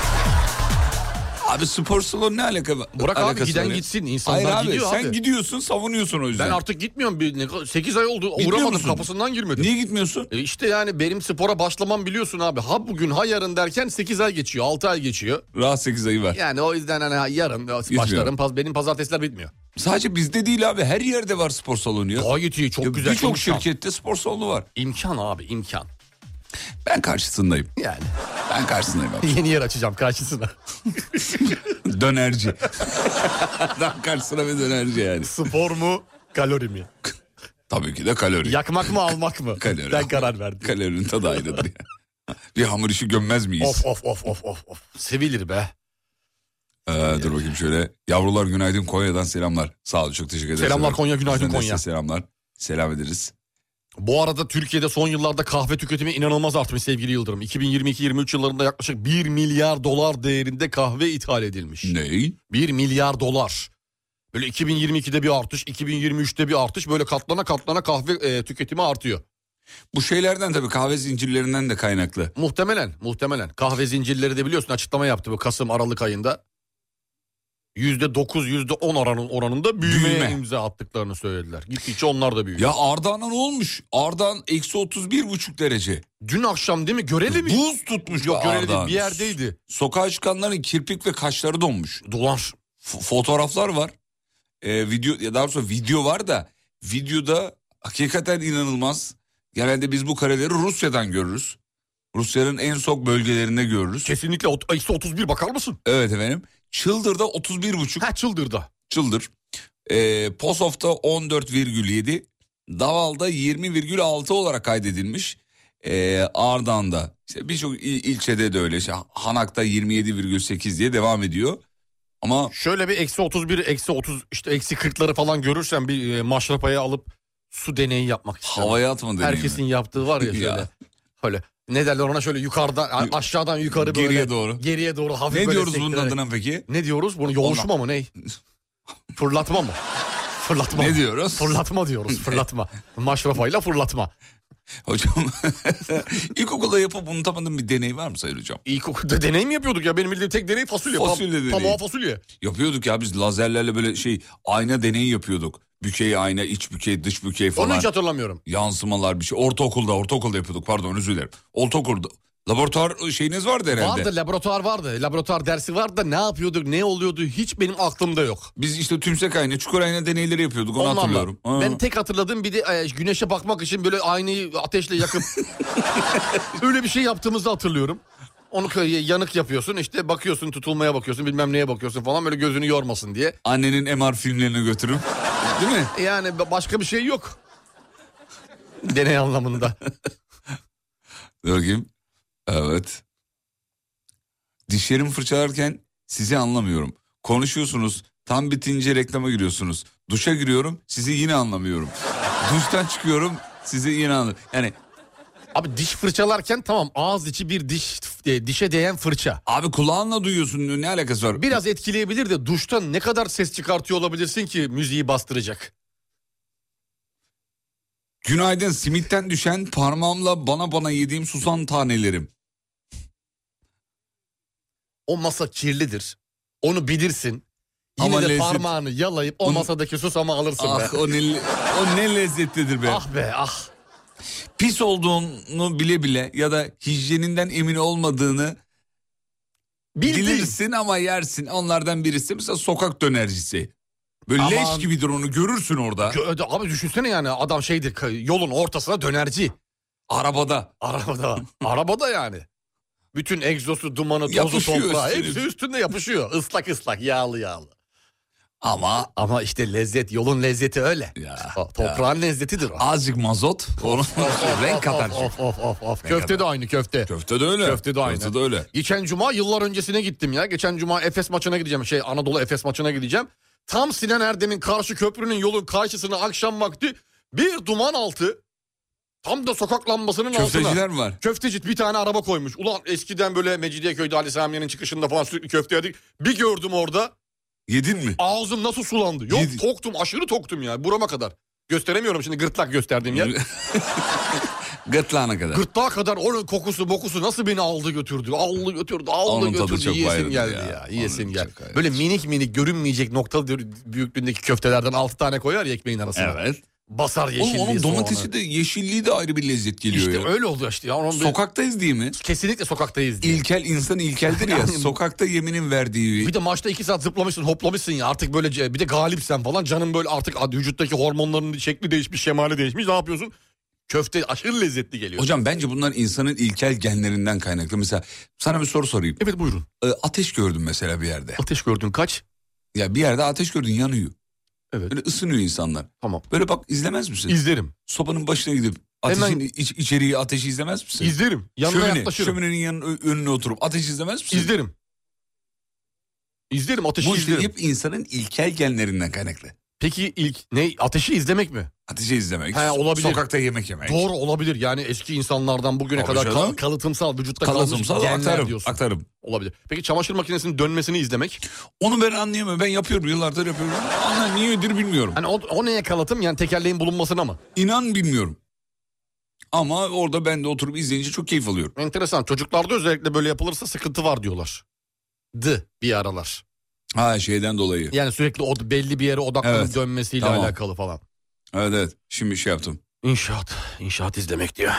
D: abi spor salonu ne alaka?
E: Bırak abi,
D: alakası
E: giden
D: var ya?
E: gitsin. İnsanlar
D: Hayır abi,
E: gidiyor
D: sen
E: abi.
D: gidiyorsun savunuyorsun o yüzden.
E: Ben artık gitmiyorum. Bir, 8 ay oldu.
D: Gitmiyor
E: Uğramadım
D: musun?
E: kapısından girmedim.
D: Niye gitmiyorsun?
E: E işte yani benim spora başlamam biliyorsun abi. Ha bugün ha yarın derken 8 ay geçiyor 6 ay geçiyor.
D: Rahat 8 ayı var.
E: Yani o yüzden hani yarın başlarım. Paz- benim pazartesiler bitmiyor.
D: Sadece bizde değil abi her yerde var spor salonu ya.
E: Gayet iyi çok
D: Ya
E: güzel.
D: Birçok
E: imkan.
D: şirkette spor salonu var.
E: İmkan abi imkan.
D: Ben karşısındayım.
E: Yani [laughs]
D: Ben karşısındayım abi.
E: yeni yer açacağım karşısına. [laughs]
D: dönerci. [laughs] Adam karşısına bir dönerci yani.
E: Spor mu kalori mi?
D: Tabii ki de kalori.
E: Yakmak mı almak mı?
D: [laughs] Kalori.
E: Ben karar verdim.
D: Kalorinin tadı ayrıdır ya.
E: [laughs]
D: bir hamur işi gömmez miyiz?
E: Of of of of of of. Sevilir be.
D: Ee, dur bakayım şöyle. Yavrular günaydın Konya'dan selamlar. Sağ olun çok teşekkür ederiz.
E: Selamlar Konya, günaydın
D: Sizden de
E: Konya.
D: size Selamlar. Selam ederiz.
E: Bu arada Türkiye'de son yıllarda kahve tüketimi inanılmaz artmış sevgili Yıldırım. 2022-23 yıllarında yaklaşık 1 milyar dolar değerinde kahve ithal edilmiş.
D: Ney?
E: 1 milyar dolar. Böyle 2022'de bir artış, 2023'te bir artış böyle katlana katlana kahve e, tüketimi artıyor.
D: Bu şeylerden tabii kahve zincirlerinden de kaynaklı.
E: Muhtemelen, muhtemelen. Kahve zincirleri de biliyorsun açıklama yaptı bu Kasım Aralık ayında. %9, %10 oranın, oranında büyümeye
D: Büyüme.
E: imza attıklarını söylediler. Gittikçe onlar da büyüyor.
D: Ya Ardahan'a ne olmuş? Ardahan eksi 31 buçuk derece.
E: Dün akşam değil mi? Göreli mi?
D: Buz tutmuş
E: Yok göreli değil,
D: Ardahan.
E: bir yerdeydi.
D: Sokağa çıkanların kirpik ve kaşları donmuş.
E: Dolar.
D: F- fotoğraflar var. Ee, video ya daha doğrusu video var da videoda hakikaten inanılmaz. Genelde biz bu kareleri Rusya'dan görürüz. Rusya'nın en soğuk bölgelerinde görürüz.
E: Kesinlikle ot- eksi 31 bakar mısın?
D: Evet efendim. Çıldır'da 31,5
E: Ha çıldırdı.
D: Çıldır. Ee, Posof'ta 14,7. Daval'da 20,6 olarak kaydedilmiş. Ee, Ardahan'da işte birçok il- ilçede de öyle. İşte Hanak'ta 27,8 diye devam ediyor. Ama
E: Şöyle bir eksi 31, eksi 30, işte eksi 40'ları falan görürsen bir e, maşrapaya alıp su deneyi yapmak isterim.
D: havaya atma deneyimi.
E: Herkesin yaptığı var ya şöyle.
D: Ya.
E: Öyle. Ne derler ona şöyle yukarıdan, a-
D: Yu-
E: aşağıdan yukarı böyle.
D: Geriye doğru.
E: Geriye doğru hafif
D: Ne
E: böyle
D: diyoruz bunun
E: sektirerek.
D: adına
E: [laughs]
D: peki?
E: Ne diyoruz? Bunu yoğuşma mı ne?
D: [laughs]
E: Fırlatma mı? Fırlatma.
D: Ne diyoruz?
E: Fırlatma diyoruz.
D: [laughs]
E: Fırlatma. Maşrapayla fırlatma.
D: Hocam [laughs] ilkokulda yapıp unutamadığım bir deney var mı Sayın Hocam?
E: İlkokulda deney mi yapıyorduk ya? Benim bildiğim tek deney fasulye. Pam-
D: Fasulye deneyi.
E: Pamuğa fasulye.
D: Yapıyorduk ya biz lazerlerle böyle şey ayna deneyi yapıyorduk. Bükey ayna, iç bükey, dış bükey
E: Onu
D: falan.
E: hiç hatırlamıyorum.
D: Yansımalar bir şey. Ortaokulda, ortaokulda yapıyorduk pardon özür dilerim. Ortaokulda. Laboratuvar ıı, şeyiniz vardı herhalde.
E: Vardı laboratuvar vardı. Laboratuvar dersi vardı da ne yapıyorduk ne oluyordu hiç benim aklımda yok.
D: Biz işte tümsek ayna, çukur ayna deneyleri yapıyorduk onu
E: Ondan
D: hatırlıyorum.
E: da-
D: Ha.
E: Ben tek hatırladığım bir de e, güneşe bakmak için böyle aynayı ateşle yakıp öyle bir şey yaptığımızı hatırlıyorum. Onu kö- yanık yapıyorsun işte bakıyorsun tutulmaya bakıyorsun bilmem neye bakıyorsun falan böyle gözünü yormasın diye. E,
D: Annenin MR filmlerini götürüp. [laughs] Değil mi?
E: Yani ba- başka bir şey yok. [laughs] Deney anlamında.
D: Dur bakayım. Evet. Dişlerimi fırçalarken sizi anlamıyorum. Konuşuyorsunuz. Tam bitince reklama giriyorsunuz. Duşa giriyorum. Sizi yine anlamıyorum. Duştan çıkıyorum. Sizi inanın. Yani
E: Abi diş fırçalarken tamam ağız içi bir diş e, dişe değen fırça.
D: Abi kulağınla duyuyorsun ne alakası var?
E: Biraz etkileyebilir de duşta ne kadar ses çıkartıyor olabilirsin ki müziği bastıracak.
D: Günaydın simitten düşen parmağımla bana bana yediğim susam tanelerim.
E: O masa kirlidir. Onu bilirsin. Yine
D: Ama
E: de
D: lezzet-
E: parmağını yalayıp o
D: Onu-
E: masadaki susamı alırsın
D: Ah
E: be.
D: o ne, o ne lezzetlidir be.
E: Ah be ah.
D: Pis olduğunu bile bile ya da hijyeninden emin olmadığını
E: Bildin.
D: bilirsin ama yersin. Onlardan birisi mesela sokak dönercisi. Böyle
E: Aman.
D: leş gibidir onu görürsün orada.
E: Gö- Abi düşünsene yani adam şeydir ka- yolun ortasına dönerci.
D: arabada.
E: Arabada. arabada yani. Bütün egzosu, dumanı, tozu,
D: Yapışıyor
E: toprağı
D: üstüne.
E: hepsi üstünde yapışıyor. Islak ıslak, yağlı yağlı.
D: Ama
E: Ama işte lezzet, yolun lezzeti öyle.
D: Ya,
E: O toprağın lezzetidir o.
D: azıcık mazot onun renk katar.
E: Of of of of. Köfte de aynı köfte.
D: Köfte de öyle.
E: Köfte de aynı.
D: Köfte de öyle.
E: Geçen cuma yıllar öncesine gittim ya. Geçen cuma Efes maçına gideceğim. Şey Anadolu Efes maçına gideceğim. Tam Sinan Erdem'in karşı köprünün yolun karşısına akşam vakti bir duman altı. Tam da sokak lambasının altına.
D: Köfteciler mi var?
E: Köfteci bir tane araba koymuş. Ulan eskiden böyle Mecidiyeköy'de Ali Samiye'nin çıkışında falan sürekli köfte yedik. Bir gördüm orada
D: Yedin mi?
E: ağzım nasıl sulandı. Yok
D: Yedi-
E: toktum aşırı toktum ya burama kadar. Gösteremiyorum şimdi gırtlak gösterdiğim yer.
D: Gırtlağına kadar.
E: Gırtlağa kadar onun kokusu bokusu nasıl beni aldı götürdü. Aldı götürdü aldı
D: Onun tadı
E: götürdü.
D: çok
E: Yiyesim
D: ayrıdır
E: geldi
D: ya.
E: ya.
D: Onun
E: Yiyesim
D: tadı
E: geldi.
D: çok şey. ayrıdır.
E: Böyle minik minik görünmeyecek noktalı büyüklüğündeki köftelerden 6 tane koyar ya ekmeğin arasına.
D: Evet.
E: Basar
D: Oğlum
E: yeşilliği
D: onun
E: soğanı.
D: domatesi de yeşilliği de ayrı bir lezzet geliyor
E: İşte
D: ya.
E: öyle oldu işte. Ya. Onun bir-
D: Sokaktayız değil mi?
E: Kesinlikle sokaktayız diye.
D: İlkel insan
E: [laughs]
D: ilkeldir ya. sokakta yeminin verdiği.
E: E Bir de maçta iki saat zıplamışsın hoplamışsın ya artık böyle ce- bir de galipsen falan canın böyle artık ad- vücuttaki hormonların şekli değişmiş şemali değişmiş ne yapıyorsun? Köfte aşırı lezzetli geliyor.
D: Hocam bence bunlar insanın ilkel genlerinden kaynaklı. Mesela sana bir soru sorayım.
E: Evet buyurun.
D: Ee, ateş gördüm mesela bir yerde.
E: Ateş gördün kaç?
D: Ya bir yerde ateş gördün yanıyor.
E: Evet.
D: Böyle ısınıyor insanlar.
E: Tamam.
D: Böyle bak izlemez misin?
E: İzlerim.
D: Sobanın başına gidip ateşin
E: Hemen-
D: iç- içeriği ateşi izlemez misin?
E: İzlerim. Yanına
D: Şömine,
E: yaklaşırım.
D: şöminenin yanın önüne oturup ateş izlemez misin?
E: İzlerim. İzlerim ateşi
D: Bu işte
E: izlerim.
D: hep insanın ilkel genlerinden kaynaklı.
E: Peki ilk ne ateşi izlemek mi?
D: Ateşi izlemek,
E: He, olabilir.
D: sokakta yemek yemek.
E: Doğru olabilir. Yani eski insanlardan bugüne
D: Tabii
E: kadar kal-
D: canım.
E: kalıtımsal vücutta
D: Kalasımsal
E: kalmış genler
D: aktarım,
E: diyorsun.
D: aktarım.
E: olabilir. Peki çamaşır makinesinin dönmesini izlemek?
D: Onu ben anlayamıyorum. Ben yapıyorum yıllardır yapıyorum. Ana niyedir bilmiyorum.
E: Hani o, o neye kalıtım? Yani tekerleğin bulunmasına mı?
D: İnan bilmiyorum. Ama orada ben de oturup izleyince çok keyif alıyorum.
E: Enteresan. Çocuklarda özellikle böyle yapılırsa sıkıntı var diyorlar. Dı bir aralar.
D: Ha şeyden dolayı.
E: Yani sürekli o belli bir yere odaklanıp
D: Evet.
E: dönmesiyle
D: Tamam.
E: alakalı falan.
D: Evet evet. Şimdi şey yaptım.
E: İnşaat. İnşaat izlemek diyor.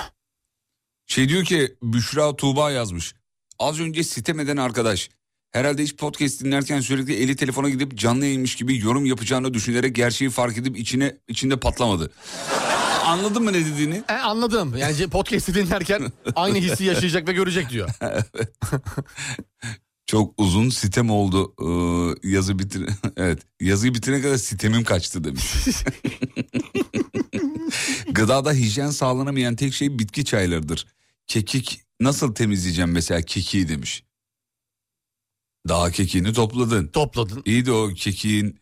D: Şey diyor ki Büşra Tuğba yazmış. Az önce sitem eden arkadaş. Herhalde hiç podcast dinlerken sürekli eli telefona gidip canlı yayınmış gibi yorum yapacağını düşünerek gerçeği fark edip içine içinde patlamadı. Anladın mı ne dediğini?
E: E, anladım. Yani podcast'i dinlerken aynı hissi yaşayacak ve görecek diyor.
D: Çok uzun sitem oldu. Ee, yazı bitir [laughs] evet. Yazıyı bitirene kadar sitemim
E: [laughs]
D: kaçtı demiş. Gıdada hijyen sağlanamayan tek şey bitki çaylarıdır. Kekik nasıl temizleyeceğim mesela kekiği demiş. Daha kekiğini topladın.
E: Topladın.
D: İyi de o kekiğin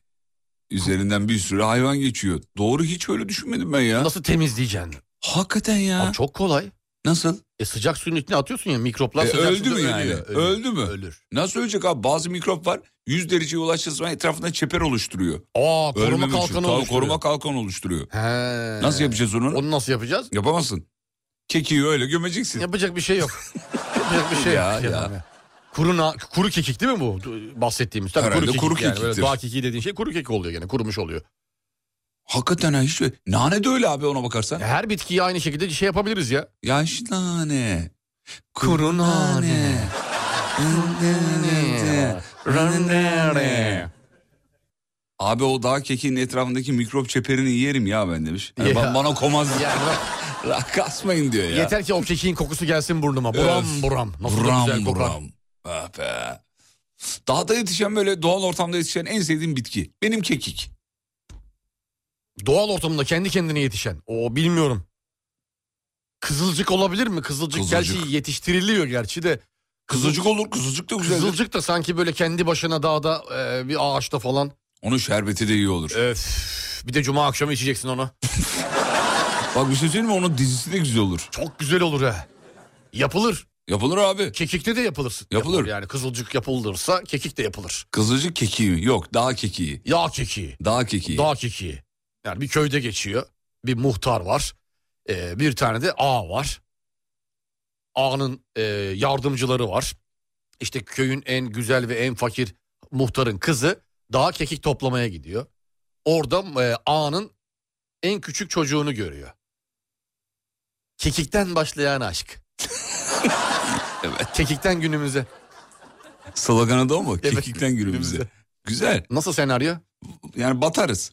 D: üzerinden bir sürü hayvan geçiyor. Doğru hiç öyle düşünmedim ben ya.
E: Nasıl temizleyeceksin?
D: Hakikaten ya.
E: Abi çok kolay.
D: Nasıl?
E: E sıcak suyun içine atıyorsun ya mikroplar
D: E,
E: sıcak
D: öldü
E: suda
D: mü yani?
E: ölüyor. Ölür.
D: Öldü mü?
E: Ölür.
D: Nasıl ölecek abi? Bazı mikrop var. 100 dereceye ulaştığı zaman etrafında çeper oluşturuyor.
E: Aa koruma
D: Ölmemek için.
E: kalkanı
D: Tabii,
E: oluşturuyor.
D: Koruma kalkanı oluşturuyor.
E: He.
D: Nasıl yapacağız onu?
E: Onu nasıl yapacağız?
D: Yapamazsın. Kekiği öyle gömeceksin.
E: Yapacak bir şey yok. Yapacak bir şey
D: Ya,
E: yok.
D: ya.
E: Yani. Kuru, na- kuru kekik değil mi bu Du- bahsettiğimiz? Tabii
D: Herhalde
E: kuru kekik,
D: kuru
E: yani. Böyle
D: kekiktir.
E: dağ kekiği dediğin şey kuru kekik oluyor gene kurumuş oluyor.
D: Hakikaten ha, hiç öyle. Nane de öyle abi ona bakarsan.
E: E, Her bitkiyi aynı şekilde şey yapabiliriz ya.
D: Ya işte nane.
E: Kuru nane. [laughs]
D: Abi o dağ kekiğinin etrafındaki mikrop çeperini yerim ya ben demiş. Yani
E: Ya.
D: ba- Bana komaz.
E: Ya,
D: [laughs]
E: bırak-
D: La kasmayın diyor ya.
E: Yeter ki o kekiğin kokusu gelsin burnuma. Buram
D: Öf.
E: buram. Nasıl da
D: buram
E: güzel kokar.
D: buram. Ah be. Dağda yetişen böyle doğal ortamda yetişen en sevdiğim bitki. Benim kekik.
E: Doğal ortamda kendi kendine yetişen. O bilmiyorum. Kızılcık olabilir mi? Kızılcık,
D: Kızılcık.
E: gerçi yetiştiriliyor gerçi de.
D: Kızılcık olur kızılcık da güzel.
E: Kızılcık da sanki böyle kendi başına dağda e, bir ağaçta falan.
D: Onun şerbeti de iyi olur.
E: Öf. Bir de cuma akşamı içeceksin onu.
D: Bak bir şey söyleyeyim mi? Onun dizisi de güzel olur.
E: Çok güzel olur ha. Yapılır.
D: Yapılır abi.
E: Kekikte de yapılır.
D: Yapılır.
E: Yani kızılcık yapılırsa kekik de yapılır.
D: Kızılcık kekiği mi? Yok dağ kekiği.
E: Yağ kekiği.
D: Dağ kekiği.
E: Dağ kekiği. Yani bir köyde geçiyor. Bir muhtar var. Ee, bir tane de ağa var. Ağanın e, yardımcıları var. İşte köyün en güzel ve en fakir muhtarın kızı dağ kekik toplamaya gidiyor. Orada e, ağanın en küçük çocuğunu görüyor. Kekikten başlayan aşk.
D: [laughs] Evet.
E: Kekikten günümüze.
D: Sloganı da o mu?
E: Evet.
D: Kekikten günümüze. Güzel.
E: Nasıl senaryo?
D: Yani batarız.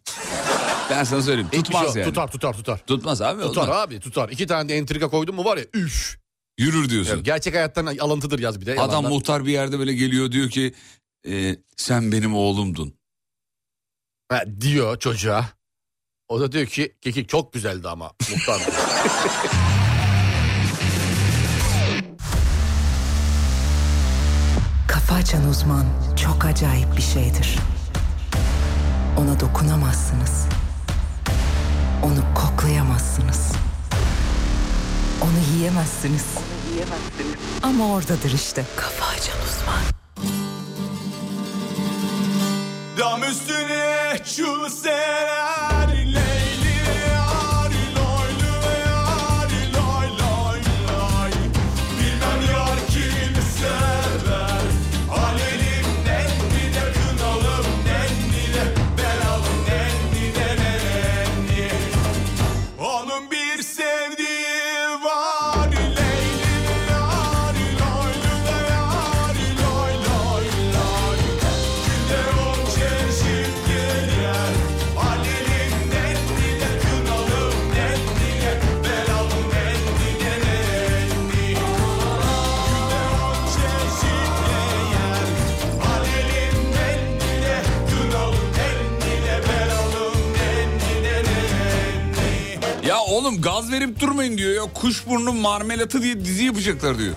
D: ben sana söyleyeyim. Tutmaz yani.
E: şey Tutar tutar tutar.
D: Tutmaz abi.
E: Tutar
D: olmaz.
E: abi tutar. İki tane de entrika koydun mu var ya üf.
D: Yürür diyorsun.
E: Gerçek hayattan alıntıdır yaz bir de.
D: Adam
E: yalandan.
D: muhtar bir yerde böyle geliyor diyor ki e, sen benim oğlumdun.
E: Ha, diyor çocuğa. O da diyor ki kekik çok güzeldi ama muhtar.
L: Kafa açan uzman çok acayip bir şeydir. Ona dokunamazsınız. Onu koklayamazsınız. Onu yiyemezsiniz. Ama oradadır işte. Kafa açan uzman.
K: Dam üstüne çüseler Leyli ari loylu ve ari loy loy loy Bilmem yar kim sever Alelim nennine kınalım nennine Belalım nennine nenni Onun bir sevdiği var Leyli ari loylu ve ari loy loy loy Günde on çeşit gelir Alelim nennine kınalım nennine Belalım nennine nenni Günde on çeşit gelir Alelim nennine kınalım nennine Belalım nennine nenni
D: Ya oğlum gaz verip durmayın diyor ya. Kuşburnu marmelatı diye dizi yapacaklar diyor.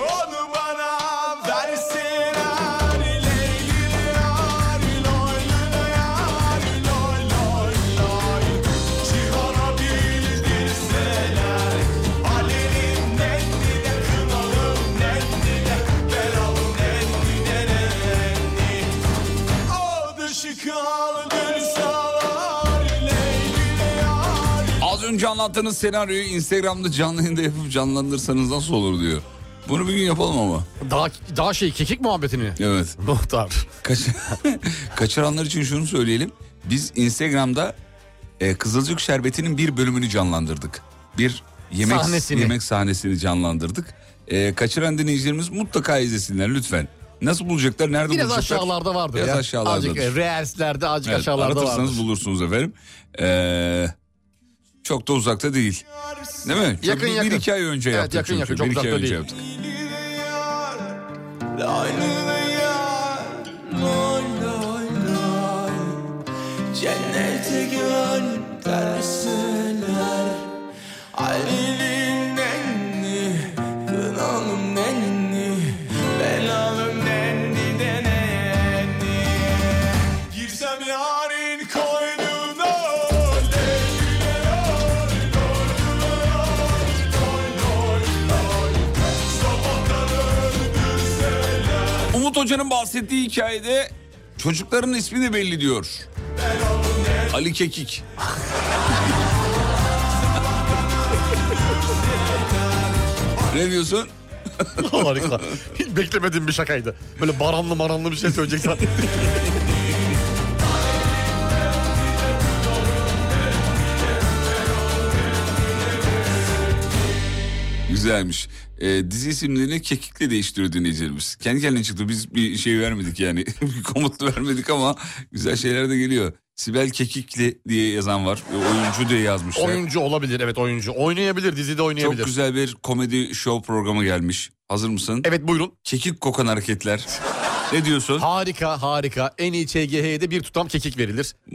K: Onu bana versin ari leyli ari loy loy ari loy loy loy Cihana bildirseler Alelim nendine kınalım nendine Belalım nendine nenni O dışı kaldırsalar leyli ari
D: Az önce anlattığınız senaryoyu Instagram'da canlı yayında yapıp canlandırsanız nasıl olur diyor. Bunu bir gün yapalım ama.
E: daha, daha şey kekik
D: [laughs]
E: muhabbetini.
D: Evet.
E: Muhtar.
D: Kaç- [laughs] Kaçıranlar için şunu söyleyelim. Biz Instagram'da e, Kızılcık Şerbeti'nin bir bölümünü canlandırdık. Bir yemek
E: Sahnesini.
D: yemek sahnesini canlandırdık. E, kaçıran dinleyicilerimiz mutlaka izlesinler lütfen. Nasıl bulacaklar? Nerede
E: Biraz
D: bulacaklar?
E: aşağılarda vardır.
D: Biraz
E: ya.
D: aşağılardadır.
E: Azıcık e, reelslerde azıcık
D: Evet,
E: aşağılarda
D: aratırsanız
E: vardır.
D: bulursunuz efendim. E, çok da uzakta değil. Değil mi? Çok
E: Yakın,
D: bir,
E: yakın.
D: Bir iki ay önce
E: Evet, yakın,
D: yaptık. çünkü.
E: yakın.
D: Bir
E: Çok
D: iki ay
E: uzakta
D: önce
E: değil.
D: yaptık.
K: Cennete gönderseler Ali'nin nenni Kınalım nenni Belalım nenni de nenni Girsem yarın koynuna Leylüle yar Loylüle yar Loy loy loy Sabahtan öldürseler
D: Umut Hoca'nın bahsettiği hikayede çocukların ismi de belli diyor. Ali Kekik. [laughs] ne diyorsun?
E: Harika. [laughs] Hiç beklemediğim bir şakaydı. Böyle baranlı maranlı bir şey söyleyecek zaten.
D: Güzelmiş. Ee, dizi isimlerini kekikle değiştiriyor dinleyicilerimiz. Kendi kendine çıktı. Biz bir şey vermedik yani. [laughs] bir komut vermedik ama güzel şeyler de geliyor. Sibel Kekikli diye yazan var. Ee, Oyuncu diye yazmışlar.
E: oyuncu olabilir evet oyuncu. Oynayabilir dizide oynayabilir.
D: Çok güzel bir komedi show programı gelmiş. Hazır mısın?
E: Evet buyurun.
D: Kekik kokan hareketler. ne diyorsun?
E: Harika harika. En iyi ÇGH'ye de bir tutam kekik verilir.
D: [laughs]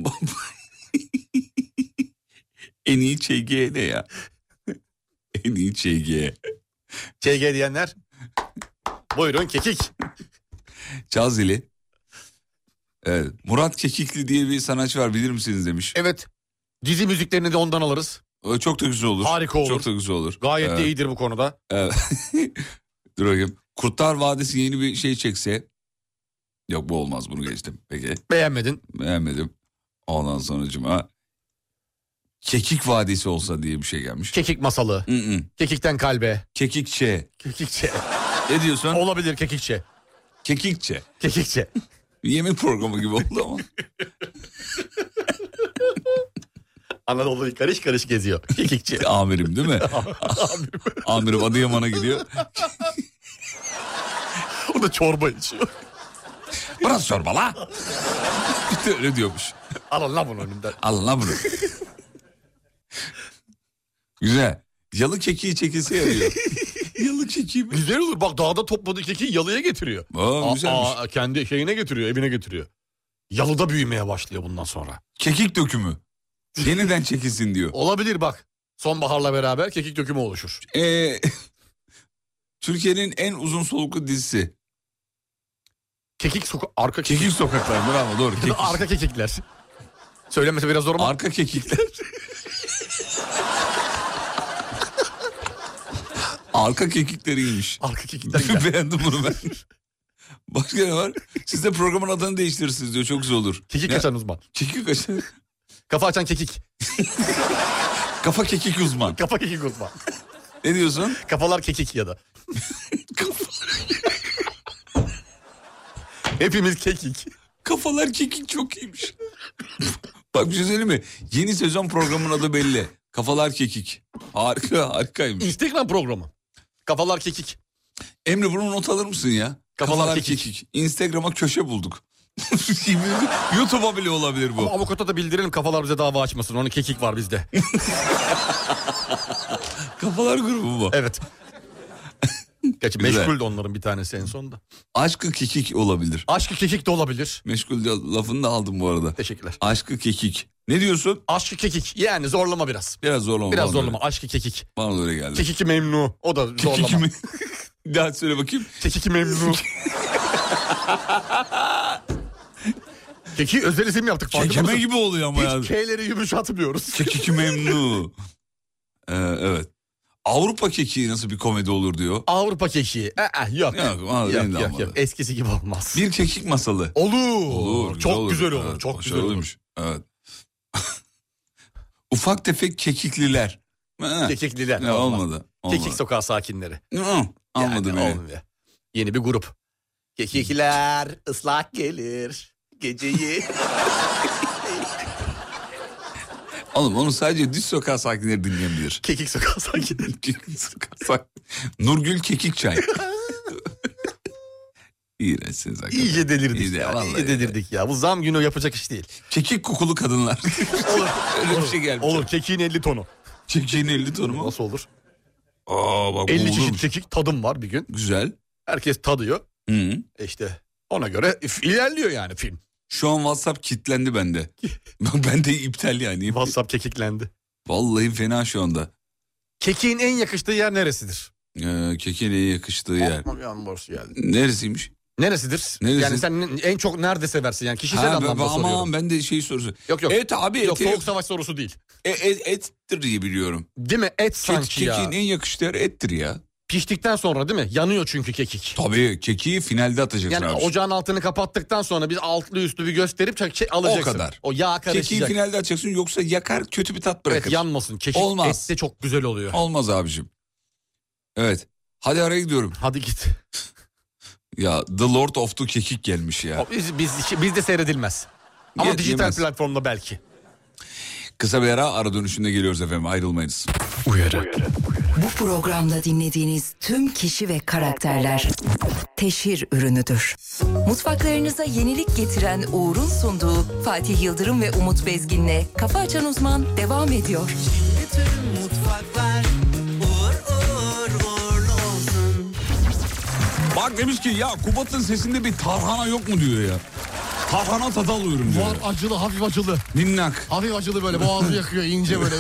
D: en iyi ÇG ne ya? en iyi ÇG.
E: ÇG diyenler. Buyurun kekik.
D: Caz dili. Evet, Murat Kekikli diye bir sanatçı var bilir misiniz demiş.
E: Evet. Dizi müziklerini de ondan alırız.
D: Çok da güzel olur.
E: Harika olur.
D: Çok da güzel olur.
E: Gayet de
D: Evet.
E: iyidir bu konuda.
D: Evet. Dur bakayım. Kurtlar Vadisi yeni bir şey çekse. Yok bu olmaz bunu geçtim. Peki.
E: Beğenmedin.
D: Beğenmedim. Ondan sonra cuma. Kekik Vadisi olsa diye bir şey gelmiş.
E: Kekik masalı.
D: Hı-hı.
E: Kekikten kalbe.
D: Kekikçe.
E: Kekikçe. [laughs]
D: Ne diyorsun?
E: Olabilir kekikçe.
D: Kekikçe.
E: Kekikçe.
D: Bir yemek programı gibi oldu ama.
E: Anadolu'yu karış karış geziyor. Kekikçe.
D: Amirim değil mi? [laughs] Amirim Adıyaman'a gidiyor.
E: o da çorba içiyor.
D: Burası çorba la. [laughs] Bir de öyle diyormuş.
E: Alın lan bunu önümden.
D: Alın lan bunu. Güzel. Yalı kekiği çekilse yarıyor. [laughs] Yalı kekiği mi?
E: Güzel olur. Bak dağda topladığı kekiği yalıya getiriyor.
D: Aa, güzelmiş.
E: Aa, kendi şeyine getiriyor, evine getiriyor. Yalıda büyümeye başlıyor bundan sonra.
D: Kekik dökümü. Yeniden çekilsin [laughs] diyor.
E: Olabilir bak. Sonbaharla beraber kekik dökümü oluşur.
D: Ee, [laughs] Türkiye'nin en uzun soluklu dizisi.
E: Kekik soka arka kekik.
D: Kekik Sokaklar bravo
E: [laughs]
D: doğru. Kekik.
E: Arka kekikler. Söylemesi biraz zor ama.
D: Arka kekikler. Arka kekikleriymiş.
E: arka kekikler.
D: [laughs]
E: güzel.
D: Beğendim bunu ben. Başka ne var? Siz de programın adını değiştirirsiniz diyor. Çok güzel olur.
E: kekik
D: Ne?
E: açan uzman.
D: Kekik açan.
E: Kafa açan kekik.
D: Kafa kekik uzman.
E: Kafa kekik uzman.
D: Ne diyorsun?
E: Kafalar kekik
D: [laughs]
E: ya da. Hepimiz kekik.
D: Kafalar kekik çok iyiymiş. Bak bir şey söyleyeyim mi? Yeni sezon programının adı belli. Kafalar kekik. Harika harikaymış.
E: Instagram programı. Kafalar kekik.
D: Emre bunu not alır mısın ya?
E: Kafalar kekik.
D: Instagram'a köşe bulduk. [laughs] YouTube'a bile olabilir bu.
E: Ama avukata da bildirelim kafalar bize dava açmasın. Onun kekik var bizde.
D: Kafalar grubu bu. [laughs]
E: Evet. Gerçi
D: Güzel.
E: meşgul de onların bir tanesi en sonunda.
D: Aşkı kekik olabilir.
E: Aşkı kekik de olabilir.
D: Meşgul de- lafını da aldım bu arada.
E: Teşekkürler.
D: Aşkı kekik. Ne diyorsun?
E: Aşkı kekik yani zorlama biraz.
D: Biraz zorlama.
E: Biraz
D: bana
E: zorlama
D: Öyle.
E: aşkı kekik.
D: Bana da öyle geldi.
E: Kekiki memnu. O da zorlama.
D: Kekik mi? [laughs] Bir Daha söyle bakayım.
E: Kekiki
D: [laughs]
E: memnu. Keki özel isim yaptık. farkında
D: Kekeme
E: mısın?
D: gibi oluyor ama ya.
E: Hiç K'leri yumuşatmıyoruz. [laughs]
D: Kekik memnu. Ee, evet. Avrupa kekiği nasıl bir komedi olur diyor.
E: Avrupa keki. Aa, yok.
D: Yok, vallahi
E: yok,
D: beni de
E: yok,
D: almadı.
E: yok. Eskisi gibi olmaz.
D: Bir kekik masalı.
E: Olur.
D: Olur,
E: Çok güzel olur.
D: Evet,
E: çok güzel olur.
D: olurmuş. Evet. [laughs] Ufak tefek kekikliler. Ha,
E: Kekikliler.
D: ne,
E: olmaz.
D: olmadı. olmadı.
E: Kekik sokağı sakinleri.
D: Hı, Almadı
E: Yani
D: beni.
E: olmuyor. Yeni bir grup. Kekikler ıslak
D: [laughs]
E: gelir geceyi.
D: Oğlum onu sadece düz sokağa sakinleri dinleyebilir. [laughs]
E: Kekik sokağı sakinleri.
D: Kekik sokağa sakin- Nurgül
E: [laughs]
D: kekik çay. İğrençsiniz hakikaten.
E: İyice delirdik.
D: İyi de,
E: ya.
D: vallahi
E: iyice
D: ya.
E: delirdik ya. Bu zam günü yapacak iş değil.
D: Kekik kokulu kadınlar.
E: [laughs] Olur.
D: Öyle bir
E: olur,
D: şey gelmiş.
E: Olur. Kekiğin 50 tonu.
D: Kekiğin 50 tonu mu?
E: Nasıl olur?
D: Aa bak bu
E: 50
D: olur mu?
E: çeşit kekik tadım var bir gün.
D: Güzel.
E: Herkes tadıyor.
D: Hı.
E: E İşte ona göre if- ilerliyor yani film.
D: Şu an WhatsApp kilitlendi bende. Bak bende iptal yani.
E: WhatsApp kekiklendi.
D: Vallahi fena şu anda.
E: Kekiğin en yakıştığı yer neresidir?
D: Ee, kekiğin en yakıştığı yer.
E: Yan borsu geldi.
D: Neresiymiş?
E: Neresidir?
D: Neresi?
E: Yani sen ne- en çok nerede seversin yani kişisel
D: Ha, ben-
E: anlamda
D: aman
E: soruyorum.
D: ben de şey sorusu.
E: Yok yok.
D: Et abi
E: Yok
D: et,
E: soğuk savaş sorusu değil.
D: et, et, ettir diye biliyorum.
E: Değil mi? Et
D: Kek,
E: sanki ya.
D: kekiğin en yakıştığı yer ettir ya.
E: Piştikten sonra değil mi? Yanıyor çünkü kekik.
D: Tabii kekiği finalde atacaksın
E: Yani
D: abi.
E: ocağın altını kapattıktan sonra biz altlı üstlü bir gösterip çek- şey alacaksın.
D: kadar.
E: O yağ
D: Kekiği
E: karışacak.
D: finalde atacaksın yoksa yakar kötü bir tat bırakır.
E: Evet yanmasın. Kekik
D: Olmaz.
E: etse çok güzel oluyor.
D: Olmaz abicim. Evet. Hadi araya gidiyorum.
E: Hadi git.
D: Ya The Lord of the Kekik gelmiş ya.
E: Biz, biz, biz de seyredilmez. Ama
D: Ye-
E: dijital
D: yemez.
E: platformda belki.
D: Kısa bir ara ara dönüşünde geliyoruz efendim ayrılmayınız.
A: Bu programda dinlediğiniz tüm kişi ve karakterler teşhir ürünüdür. Mutfaklarınıza yenilik getiren Uğur'un sunduğu Fatih Yıldırım ve Umut Bezgin'le Kafa Açan Uzman devam ediyor.
K: Bütün mutfaklar uğur uğur uğurlu olsun.
D: Bak demiş ki ya Kubat'ın sesinde bir tarhana yok mu diyor ya. Tarhana tadı alıyorum diyor.
E: acılı hafif acılı.
D: Minnak. [laughs]
E: Hafif acılı böyle boğazı yakıyor ince böyle.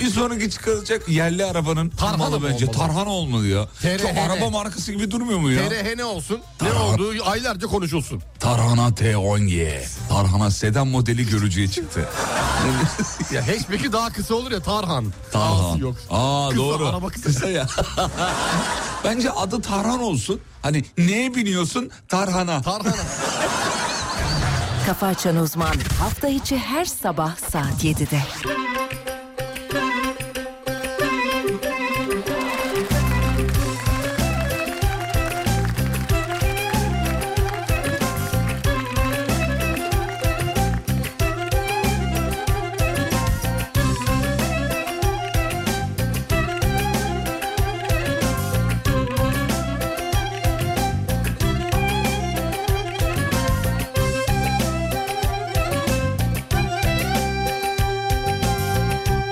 D: Bir sonraki çıkarılacak yerli arabanın tarhana malı bence. Tarhana olmalı ya. Çok araba markası gibi durmuyor mu ya?
E: TRH ne olsun? Ne olduğu aylarca konuşulsun.
D: Tarhana T10Y. Tarhana sedan modeli görücüye çıktı.
E: ya hatchback'i daha kısa olur ya Tarhan.
D: Tarhan.
E: Ağzı yok.
D: Aa
E: Kısa,
D: doğru.
E: araba
D: kısa. ya. [laughs] Bence adı Tarhan olsun. Hani neye biniyorsun? Tarhana.
E: Tarhana.
M: Kafa Açan Uzman hafta içi her sabah saat 7'de.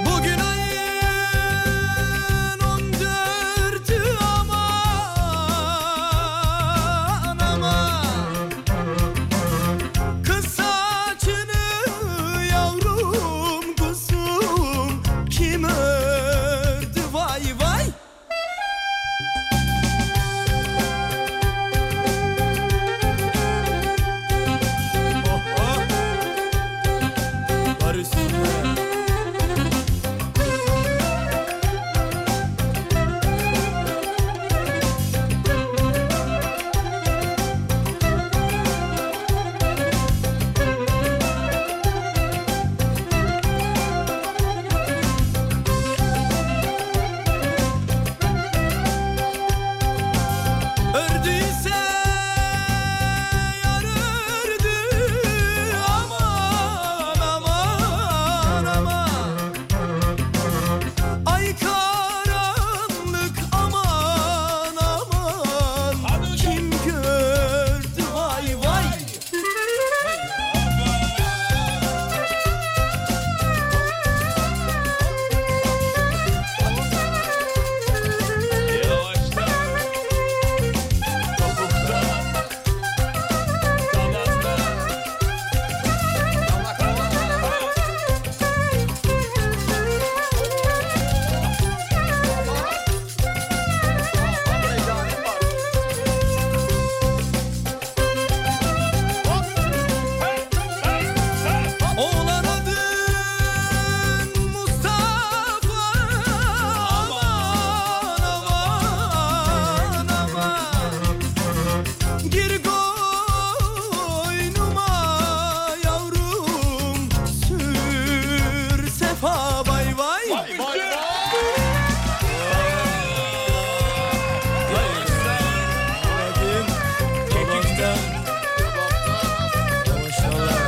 K: Bugün ayın on dördü aman aman Kız saçını yavrum kuzum kim ördü vay vay Oh oh Var üstüne Ördüyse yar ördü aman aman aman Ay karanlık aman aman Kim gördü vay vay Oğlan adın Mustafa Aman aman aman Gir koynuma yavrum Sür sefa bay bay Vay vay Kekikten Maşallah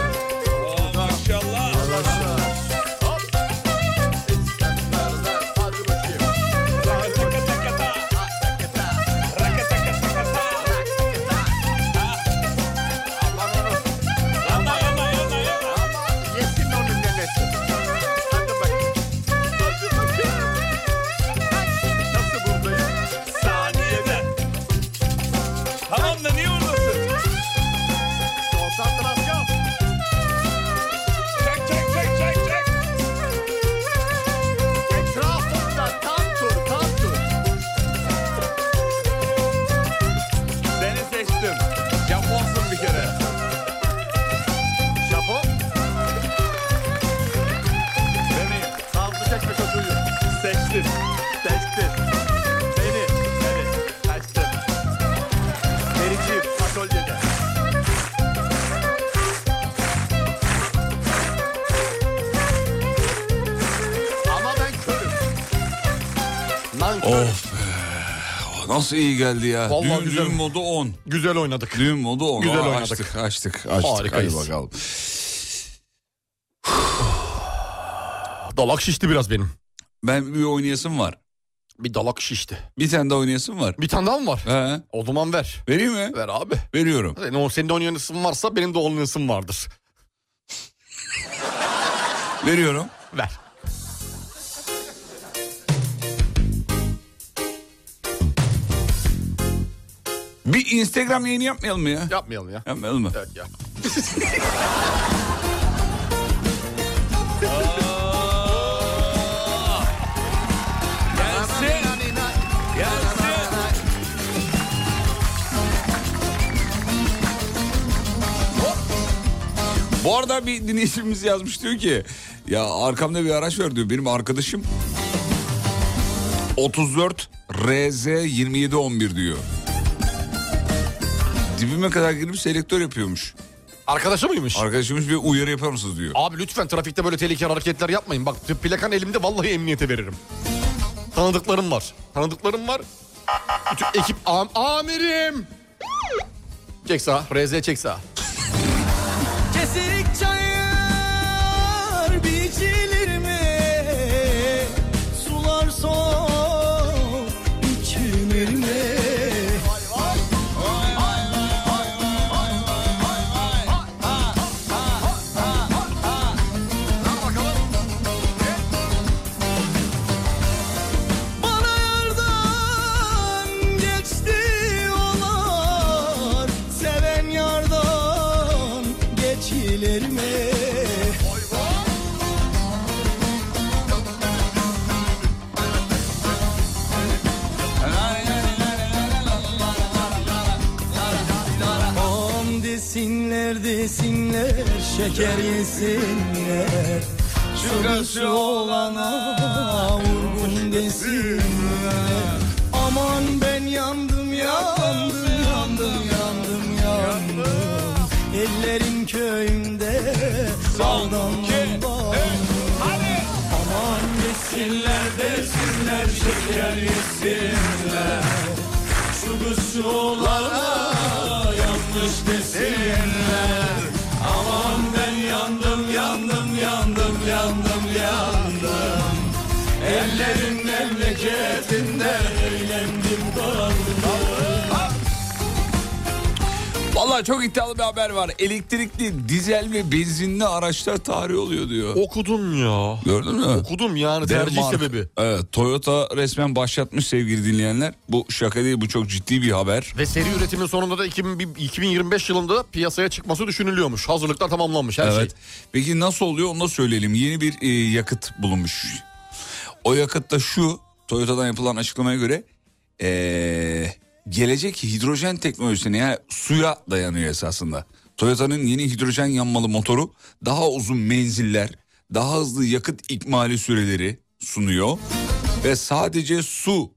K: Maşallah Maşallah
N: Saniyede. Tamam da niye oradasın? Konsantrasyon. Çek çek çek çek çek. Etrafında tam tur tam tur. Seni seçtim. Japonsun bir kere. Japon. Beni. Sağlıklı çekme çocuğu. Seçtim. Seçtim. Beni. Beni. Seçtim. Vericiyim. Atölyede. Ama ben körüm.
D: Of be. Oh, Nasıl iyi geldi ya.
E: Vallahi
D: düğün,
E: güzel.
D: düğün modu 10.
E: Güzel oynadık.
D: Düğün modu 10.
E: Güzel
D: Aa,
E: oynadık.
D: Açtık açtık açtık.
E: Harikayız.
D: Hadi bakalım.
E: Dalak şişti biraz benim.
D: Ben bir oynayasım var.
E: Bir dalak şişti.
D: Bir tane daha oynayasım var.
E: Bir tane daha mı var?
D: He.
E: O zaman ver.
D: Vereyim mi?
E: Ver abi.
D: Veriyorum.
E: Zaten o senin de oynayasın varsa benim de oynayasım vardır.
D: Veriyorum.
E: Ver.
D: Bir Instagram yayını yapmayalım mı ya?
E: Yapmayalım ya.
D: Yapmayalım mı?
E: Evet ya.
D: Bu arada bir dinleyicimiz yazmış diyor ki ya arkamda bir araç var diyor benim arkadaşım 34 RZ 2711 diyor. Dibime kadar girip selektör yapıyormuş.
E: Arkadaşı mıymış?
D: Arkadaşımız bir uyarı yapar mısınız diyor.
E: Abi lütfen trafikte böyle tehlikeli hareketler yapmayın. Bak plakan elimde vallahi emniyete veririm. Tanıdıklarım var. Tanıdıklarım var. Bütün ekip am amirim. Çek sağa. RZ çek sağa.
K: Keserik çayır biçilir mi? Sular soğuk içilir mi? Bana yardan geçti olar Seven yardan geçilir mi? On desinler desinler şeker yesinler Şurası olana vurgun desinler Aman ben yandım yandım yandım yandım yandım Ellerim köyümde saldan Hadi Aman desinler desinler şeker yesinler Şu kız olana yanlış desinler Aman ben yandım yandım yandım yandım yandım Ellerin memleketinde eğlendim dolandım
D: Vallahi çok iddialı bir haber var. Elektrikli, dizel ve benzinli araçlar tarih oluyor diyor.
E: Okudum ya.
D: Gördün mü?
E: Okudum yani tercih
D: Denmark.
E: sebebi.
D: Evet, Toyota resmen başlatmış sevgili dinleyenler. Bu şaka değil bu çok ciddi bir haber.
E: Ve seri üretimin sonunda da 2000 2025 yılında piyasaya çıkması düşünülüyormuş. Hazırlıklar tamamlanmış her
D: evet.
E: şey.
D: Peki nasıl oluyor onu da söyleyelim. Yeni bir e, yakıt bulunmuş. O yakıt da şu Toyota'dan yapılan açıklamaya göre e, gelecek hidrojen teknolojisine yani suya dayanıyor esasında. Toyota'nın yeni hidrojen yanmalı motoru daha uzun menziller, daha hızlı yakıt ikmali süreleri sunuyor ve sadece su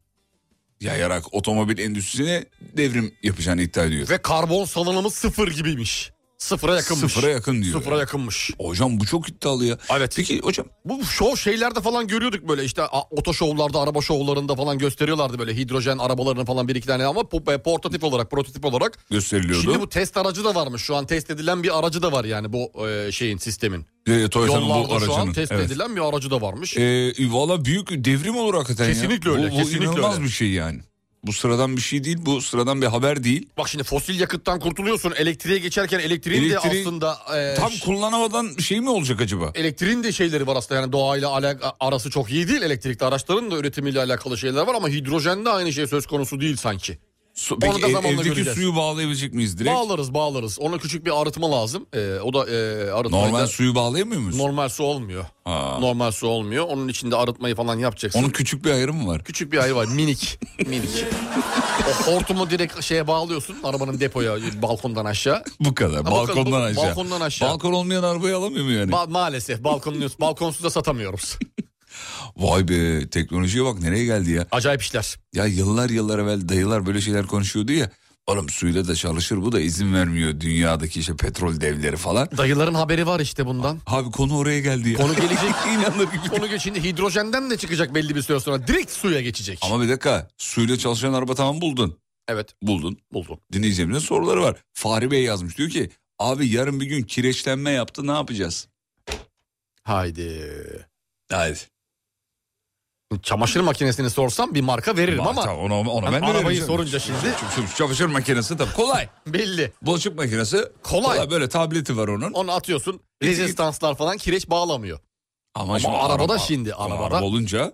D: yayarak otomobil endüstrisine devrim yapacağını iddia ediyor.
E: Ve karbon salınımı sıfır gibiymiş. Sıfıra yakınmış.
D: Sıfıra yakın diyor.
E: Sıfıra yakınmış.
D: Hocam bu çok iddialı ya.
E: Evet.
D: Peki hocam
E: Bu şov şeylerde falan görüyorduk böyle işte a- oto şovlarda, araba şovlarında falan gösteriyorlardı böyle hidrojen arabalarını falan bir iki tane ama po- e, portatif olarak, prototip olarak.
D: gösteriliyordu.
E: Şimdi bu test aracı da varmış. Şu an test edilen bir aracı da var yani bu e, şeyin, sistemin.
D: Ee, Toyota'nın bu
E: Yollarda şu an
D: aracının,
E: test
D: evet.
E: edilen bir aracı da varmış.
D: Ee, Valla büyük devrim olur hakikaten ya.
E: Kesinlikle öyle,
D: Bu, bu
E: kesinlikle
D: inanılmaz
E: öyle.
D: bir şey yani. Bu sıradan bir şey değil. Bu sıradan bir haber değil.
E: Bak şimdi fosil yakıttan kurtuluyorsun. Elektriğe geçerken elektriğin de
D: Elektriği
E: aslında... e,
D: Tam kullanamadan şey mi olacak acaba?
E: Elektriğin de şeyleri var aslında yani doğayla alak- arası çok iyi değil. Elektrikli araçların da üretimiyle alakalı şeyler var ama hidrojende aynı şey söz konusu değil sanki.
D: Su-
E: Onu
D: Peki
E: da
D: ev-
E: zamanla
D: evdeki
E: göreceğiz.
D: suyu bağlayabilecek miyiz direkt?
E: Bağlarız bağlarız. Ona küçük bir arıtma lazım. Ee, o da e, arıtmayı
D: Normal
E: da-
D: suyu bağlayamıyor muyuz?
E: normal su olmuyor.
D: Ha.
E: Normal su olmuyor. Onun içinde arıtmayı falan yapacaksın.
D: Onun küçük bir ayrımı var. [laughs]
E: Küçük bir ayı var minik minik. o hortumu direkt şeye bağlıyorsun arabanın depoya balkondan aşağı.
D: Bu kadar.
E: bu
D: balkondan
E: kadar, bu-
D: aşağı.
E: balkondan aşağı.
D: Balkon olmayan arabayı alamıyor mu yani?
E: Ba- maalesef balkonluyuz. Balkonsuz da satamıyoruz.
D: Vay be teknolojiye bak nereye geldi ya.
E: Acayip işler.
D: Ya yıllar yıllar evvel dayılar böyle şeyler konuşuyordu ya. Oğlum suyla da çalışır bu da izin vermiyor dünyadaki işte petrol devleri falan.
E: Dayıların haberi var işte bundan.
D: Abi konu oraya geldi ya.
E: Konu gelecek.
D: İnanılır gibi.
E: Konu geç- şimdi hidrojenden de çıkacak belli bir süre sonra. Direkt suya geçecek.
D: Ama bir dakika suyla çalışan araba tamam buldun.
E: Evet
D: Buldun.
E: buldum.
D: Dinleyicilerimizin soruları var. Fahri Bey yazmış diyor ki abi yarın bir gün kireçlenme yaptı ne yapacağız?
E: Haydi.
D: Hayır.
E: Çamaşır makinesini sorsam bir marka veririm ama
D: Onu, onu ben de
E: arabayı
D: vereceğim.
E: sorunca şimdi
D: Şu- şu Çamaşır makinesi tabii kolay.
E: belli.
D: Bulaşık makinesi
E: Kolay.
D: Böyle tableti var onun.
E: Onu atıyorsun. Rezistanslar falan kireç bağlamıyor. Ama
D: şimdi
E: arabada şimdi,
D: Ama
E: arabada-
D: araba olunca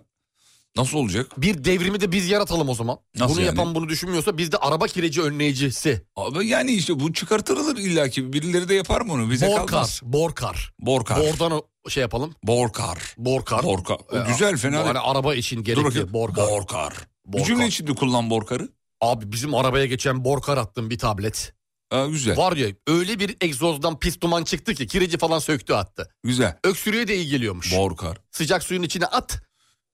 D: nasıl olacak?
E: Bir devrimi de biz yaratalım o zaman.
D: Nasıl
E: bunu
D: yani?
E: yapan bunu düşünmüyorsa biz de araba kireci önleyicisi.
D: Abi yani işte bu çıkartılır illaki birileri de yapar mı onu bize
E: Borkar.
D: kalmaz.
E: Borkar.
D: Borkar.
E: Bordan o şey yapalım.
D: Borkar.
E: Borkar.
D: Borkar. O
E: Ee,
D: güzel fena
E: bu
D: değil.
E: hani araba için
D: Dur bakayım.
E: gerekli. Borkar.
D: Borkar. Bir
E: Borkar.
D: cümle içinde kullan borkarı.
E: Abi bizim arabaya geçen borkar attım bir tablet.
D: Aa, güzel.
E: Var ya öyle bir egzozdan pis duman çıktı ki kireci falan söktü attı.
D: Güzel.
E: Öksürüğe de iyi geliyormuş.
D: Borkar.
E: Sıcak suyun içine at.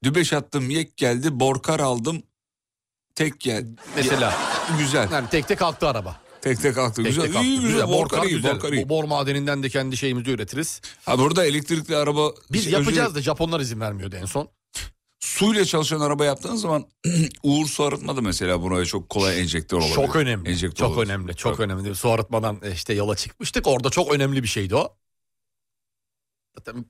D: Dübeş attım yek geldi borkar aldım tek geldi.
E: Mesela.
D: Güzel.
E: Yani tek tek kalktı araba.
D: Tek tek attı. Güzel.
E: Tek tek
D: iyi
E: kalktı.
D: güzel. Borkar, iyi.
E: güzel.
D: Borkar iyi.
E: Bu Bor madeninden de kendi şeyimizi üretiriz.
D: Ha, burada elektrikli araba...
E: Biz
D: şey,
E: yapacağız
D: özür-
E: da Japonlar izin vermiyordu en son.
D: Suyla çalışan araba yaptığın zaman [clears throat] Uğur su arıtmadı mesela buraya çok kolay enjektör olabilir.
E: Çok önemli.
D: Enjektör
E: çok
D: olabilir.
E: önemli. Çok önemli. Su arıtmadan e, işte yola çıkmıştık. Orada çok önemli bir şeydi o. Zaten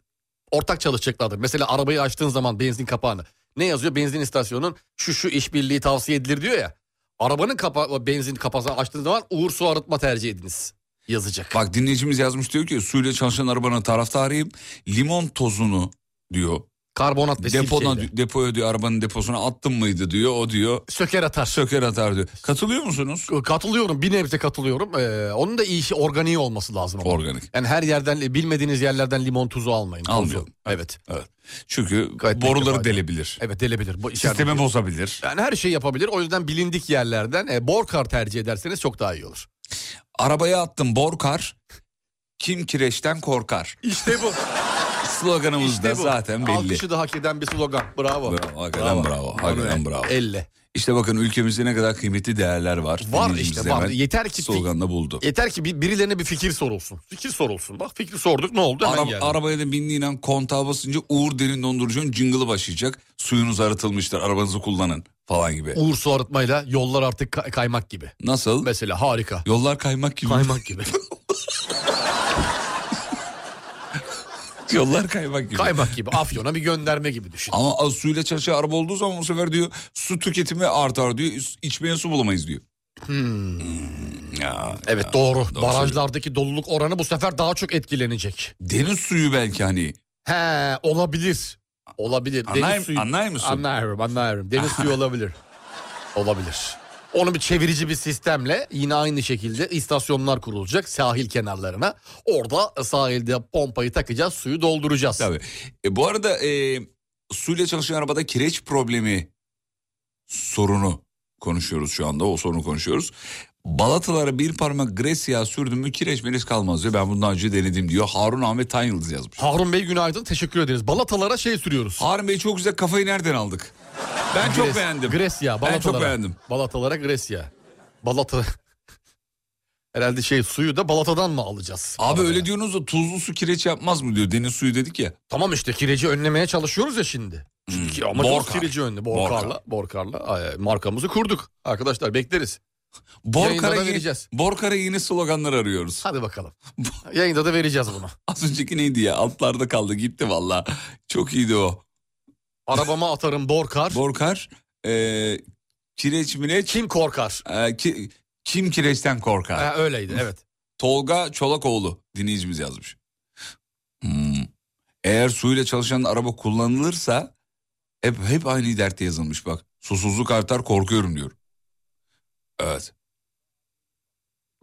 E: ortak çalışacaklardı. Mesela arabayı açtığın zaman benzin kapağını. Ne yazıyor? Benzin istasyonunun şu şu işbirliği tavsiye edilir diyor ya. Arabanın kapa benzin kapağını açtığın zaman Uğur su arıtma tercih ediniz. Yazacak.
D: Bak dinleyicimiz yazmış diyor ki suyla çalışan arabanın taraftarıyım. Limon tozunu diyor.
E: Karbonat ve
D: Depona,
E: silkeyle.
D: depoya diyor arabanın deposuna attın mıydı diyor. O diyor
E: Söker atar.
D: söker atar diyor. Katılıyor musunuz?
E: Katılıyorum bir nebze katılıyorum. Ee, onun da iyi işi organiği olması lazım. ama.
D: Organik.
E: Yani her yerden bilmediğiniz yerlerden limon tuzu almayın. Tuzu.
D: Almayalım.
E: Evet.
D: Evet. Çünkü
E: Gayet
D: boruları
E: mükemmel.
D: delebilir.
E: Evet delebilir. Bu içeride-
D: Sistemi bozabilir.
E: Yani her şey yapabilir. O yüzden bilindik yerlerden e, borkar tercih ederseniz çok daha iyi olur.
D: Arabaya attım borkar. Kim kireçten korkar.
E: İşte bu.
D: Sloganımız da zaten belli.
E: Alkışı da hak eden bir slogan. Bravo.
D: Bravo, hakikaten bravo, hakikaten bravo.
E: Elle.
D: İşte bakın ülkemizde ne kadar kıymetli değerler var.
E: Var
D: Dinleyicimiz
E: işte,
D: de
E: var.
D: hemen
E: Yeter ki-
D: Sloganla buldu.
E: Yeter ki bir, birilerine bir fikir sorulsun. Fikir sorulsun. Bak fikri sorduk ne oldu hemen
D: Ara-
E: geldi.
D: arabaya da bindiğin an kontağa basınca Uğur Derin Dondurucu'nun jingle'ı başlayacak. Suyunuz arıtılmıştır arabanızı kullanın falan gibi.
E: Uğur su arıtmayla yollar artık ka- kaymak gibi.
D: Nasıl?
E: Mesela harika.
D: Yollar kaymak gibi.
E: Kaymak [laughs] gibi.
D: [laughs] Yollar kaymak gibi.
E: kaymak gibi. Afyon'a bir gönderme gibi düşün.
D: Ama az suyla çalışan araba olduğu zaman bu sefer diyor su tüketimi artar diyor. İç- İçmeye su bulamayız diyor. Hmm, ya,
E: Evet
D: ya.
E: doğru.
D: doğru
E: Barajlardaki doluluk oranı bu sefer daha çok etkilenecek.
D: Deniz suyu belki hani.
E: He olabilir. Olabilir.
D: Anlar- anlar mısın?
E: Anlarım anlarım. Deniz
D: [laughs]
E: suyu olabilir. Olabilir. Onu bir çevirici bir sistemle yine aynı şekilde istasyonlar kurulacak sahil kenarlarına. Orada sahilde pompayı takacağız suyu dolduracağız.
D: Tabii. E, bu arada e, suyla çalışan arabada kireç problemi sorunu konuşuyoruz şu anda. O sorunu konuşuyoruz. Balatalara bir parmak gres yağı sürdüm mü kireç meriç kalmaz diyor. Ben bundan önce denedim diyor. Harun Ahmet Tanyıldız yazmış.
E: Harun Bey günaydın teşekkür ederiz. Balatalara şey sürüyoruz.
D: Harun Bey çok güzel kafayı nereden aldık? Ben çok
E: Gres-
D: beğendim.
E: Gresya.
D: Ben
E: Balatalara.
D: çok beğendim.
E: Balatalara Gresya. Balata. Herhalde şey suyu da balatadan mı alacağız?
D: Abi öyle diyorsunuz da tuzlu su kireç yapmaz mı diyor. Deniz suyu dedik ya.
E: Tamam işte kireci önlemeye çalışıyoruz ya şimdi. Çünkü Ama
D: Borkar.
E: Hmm. Borkar. kireci önlü. Borkarla, borkarla ay, markamızı kurduk. Arkadaşlar bekleriz.
D: Borkara,
E: Yayında da
D: yeni-
E: vereceğiz.
D: Borkara yeni sloganlar arıyoruz.
E: Hadi bakalım. [laughs] Yayında da vereceğiz bunu.
D: [laughs] Az önceki neydi ya? Altlarda kaldı gitti valla. Çok iyiydi o.
E: Arabama atarım Borkar.
D: Borkar e, kireç mireç
E: Kim E- korkar?
D: e, ki- kim kireçten korkar?
E: Ha, öyleydi evet.
D: Tolga Çolakoğlu dinleyicimiz yazmış. Hmm. Eğer suyla çalışan araba kullanılırsa hep hep aynı dertte yazılmış bak. Susuzluk artar korkuyorum diyor. Evet.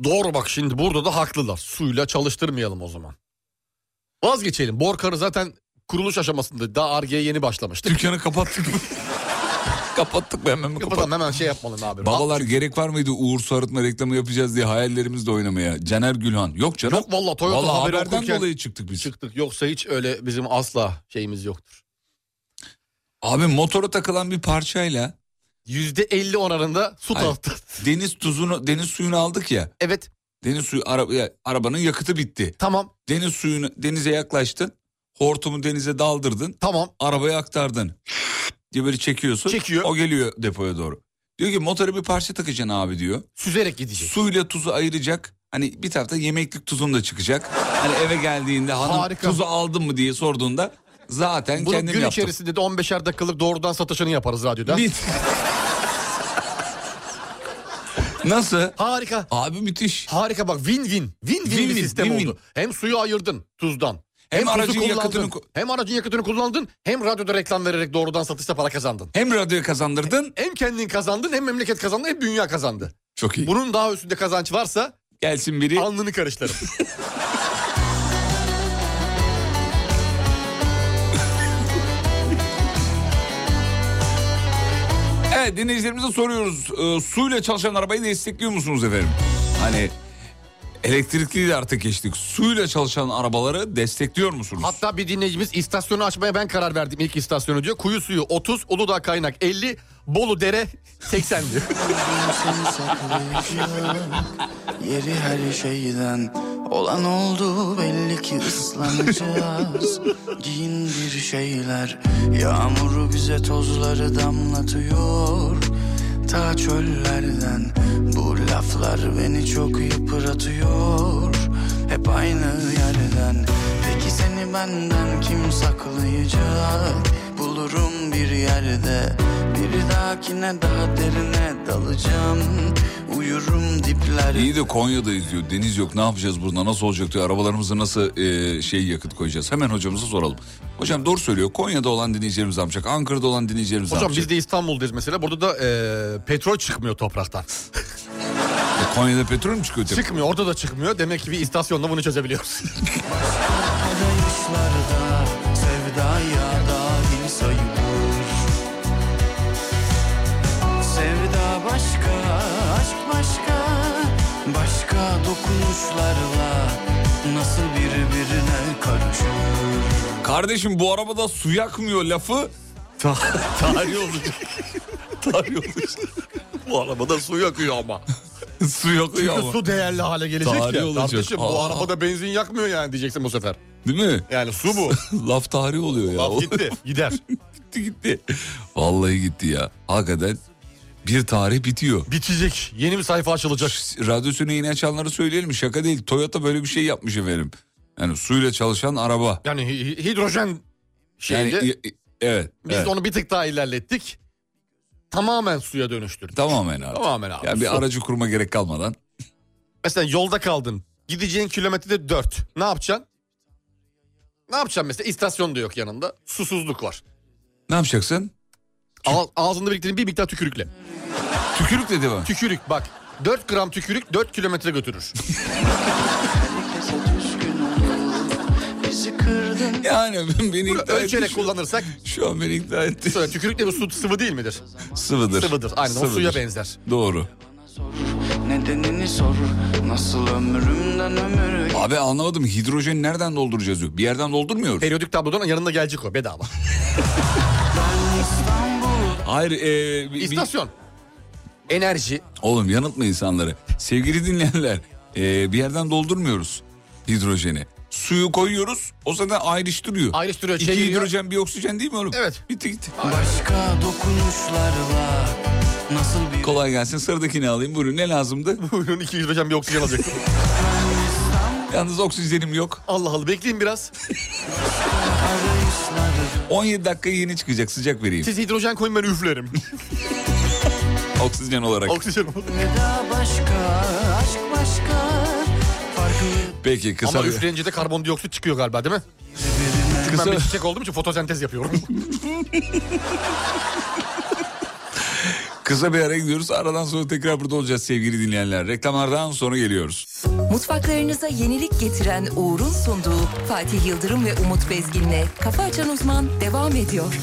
E: Doğru bak şimdi burada da haklılar. Suyla çalıştırmayalım o zaman. Vazgeçelim. Borkar'ı zaten kuruluş aşamasında daha Ar-Ge'ye yeni başlamıştık.
D: Dükkanı kapattık mı? [laughs] kapattık mı hemen mi kapattık?
E: Kapatalım hemen şey yapmalım abi.
D: Babalar gerek var mıydı Uğur Su Arıtma reklamı yapacağız diye hayallerimizle oynamaya? Caner Gülhan. Yok canım.
E: Yok valla Toyota
D: Valla
E: haberi
D: haberden
E: okurken
D: dolayı çıktık biz.
E: çıktık. Yoksa hiç öyle bizim asla şeyimiz yoktur.
D: Abi motora takılan bir parçayla
E: Yüzde elli oranında su
D: Hayır.
E: tahtı.
D: deniz tuzunu deniz suyunu aldık ya.
E: Evet
D: Deniz suyu ara- ya, arabanın yakıtı bitti.
E: tamam
D: Deniz suyunu denize yaklaştın. Hortumu denize daldırdın.
E: tamam.
D: Arabaya aktardın. diye böyle çekiyorsun.
E: Çekiyor.
D: O geliyor depoya doğru. Diyor ki motora bir parça takacaksın abi diyor.
E: Süzerek gidecek.
D: Suyla tuzu ayıracak. Hani bir tarafta yemeklik tuzun da çıkacak. Hani eve geldiğinde hanım
E: Harika.
D: tuzu aldın mı diye sorduğunda
E: Bunu
D: zaten
E: gün
D: kendim yaptım.
E: içerisinde de 15'er dakikalık doğrudan satışını yaparız radyoda.
D: Bit. Nasıl?
E: Harika.
D: Abi müthiş.
E: Harika bak win win. Win win,
D: Win-win,
E: bir sistem
D: win-win.
E: oldu. Hem suyu ayırdın tuzdan.
D: Hem
E: tuzu
D: aracın
E: kullandın,
D: yakıtını ku-
E: Hem aracın yakıtını kullandın. Hem radyoda reklam vererek doğrudan satışta para kazandın.
D: Hem radyo kazandırdın.
E: Hem kendin kazandın hem memleket kazandı hem dünya kazandı.
D: Çok iyi.
E: Bunun daha üstünde kazanç varsa
D: Gelsin biri.
E: alnını
D: [laughs]
E: karıştırırım.
D: Evet dinleyicilerimize soruyoruz. Ee, suyla çalışan arabayı destekliyor musunuz efendim? Hani Elektrikli de artık geçtik. Suyla çalışan arabaları destekliyor musunuz?
E: Hatta bir dinleyicimiz istasyonu açmaya ben karar verdim ilk istasyonu diyor. Kuyu suyu 30, Uludağ kaynak 50, Bolu dere 80
D: [laughs]
E: diyor.
O: Yeri her şeyden olan oldu belli ki ıslanacağız Giyin bir şeyler yağmuru bize tozları damlatıyor Ta çöllerden bu laflar beni çok yıpratıyor Hep aynı yerden peki seni benden kim saklayacak Bulurum bir yerde bir dahakine daha derine dalacağım Uyurum dipler
D: İyi de Konya'dayız diyor. Deniz yok ne yapacağız burada nasıl olacak diyor. Arabalarımızı nasıl e, şey yakıt koyacağız. Hemen hocamıza soralım. Hocam doğru söylüyor. Konya'da olan dinleyicilerimiz ne yapacak. Ankara'da olan dinleyicilerimiz ne
E: Hocam
D: yapacak.
E: biz de İstanbul'dayız mesela. Burada da e, petrol çıkmıyor topraktan.
D: E, Konya'da petrol mü çıkıyor? tabii?
E: Çıkmıyor orada da çıkmıyor. Demek ki bir istasyonla bunu çözebiliyoruz.
O: Kuşlarda sevdaya dahil sayılır Sevda başka, aşk başka Başka dokunuşlarla nasıl birbirine karışır
D: Kardeşim bu arabada su yakmıyor lafı. [laughs]
E: tarih olacak. tarih olacak. Bu arabada su yakıyor ama.
D: su yakıyor
E: Çünkü
D: ama.
E: su değerli hale gelecek
D: Tarih
E: ya.
D: olacak.
E: Kardeşim bu
D: Aa.
E: arabada benzin yakmıyor yani diyeceksin bu sefer.
D: Değil mi?
E: Yani su bu.
D: Laf tarih oluyor [laughs] ya.
E: Laf gitti. Gider.
D: gitti gitti. Vallahi gitti ya. Hakikaten bir tarih bitiyor.
E: Bitecek. Yeni bir sayfa açılacak.
D: Radyosunu yeni açanları söyleyelim. Şaka değil. Toyota böyle bir şey yapmış efendim. Yani suyla çalışan araba.
E: Yani hi- hi- hidrojen şeyde.
D: Yani, i- i- evet.
E: Biz
D: evet.
E: de onu bir tık daha ilerlettik. Tamamen suya dönüştürdük.
D: Tamamen abi.
E: Tamamen abi.
D: Ya bir
E: Su.
D: aracı kurma gerek kalmadan.
E: Mesela yolda kaldın. Gideceğin kilometrede 4. Ne yapacaksın? Ne yapacaksın mesela? İstasyon da yok yanında. Susuzluk var.
D: Ne yapacaksın?
E: Ağ- ağzında biriktirdiğin bir miktar tükürükle.
D: Tükürük dedi mi?
E: Tükürük bak. 4 gram tükürük 4 kilometre [laughs] götürür.
O: Bizi kırdın
D: Yani beni
E: Bunu
D: ikna
E: ölçerek [laughs]
D: etmiş.
E: kullanırsak
D: Şu an beni ikna etti.
E: Söyle, tükürük de bir su sıvı değil midir?
D: Sıvıdır.
E: Sıvıdır. Aynen o suya benzer.
D: Doğru.
O: Nedenini sor Nasıl ömrümden ömür
D: Abi anlamadım hidrojeni nereden dolduracağız diyor. Bir yerden doldurmuyoruz.
E: Periyodik tablodan yanında gelecek o [laughs] bedava.
D: Hayır. e, bir- bir-
E: İstasyon. Enerji.
D: Oğlum yanıltma insanları. Sevgili dinleyenler e, bir yerden doldurmuyoruz hidrojeni. Suyu koyuyoruz o zaten ayrıştırıyor.
E: Ayrıştırıyor,
D: İki
E: çeviriyor. [laughs]
D: hidrojen bir oksijen değil mi oğlum?
E: Evet.
D: Bitti gitti.
O: Başka dokunuşlarla nasıl bir
D: Kolay gelsin sıradakini alayım buyurun ne lazımdı?
E: Buyurun iki hidrojen bir oksijen [laughs] alacaksın.
D: Yalnız oksijenim yok.
E: Allah Allah bekleyin biraz.
D: 17 dakika yeni çıkacak sıcak vereyim.
E: Siz hidrojen koyun ben üflerim.
D: Oksijen
E: [laughs]
D: olarak.
E: oksijen olur.
O: Veda başka, aşk başka Farklı
D: Peki kısa
E: Ama
D: bir-
E: üfleyince de karbondioksit çıkıyor galiba değil mi? Çünkü ben bir çiçek olduğum için fotosentez [laughs] yapıyorum.
D: kısa bir ara gidiyoruz. Aradan sonra tekrar burada olacağız sevgili dinleyenler. Reklamlardan sonra geliyoruz.
A: Mutfaklarınıza yenilik getiren Uğur'un sunduğu Fatih Yıldırım ve Umut Bezgin'le Kafa Açan Uzman devam ediyor.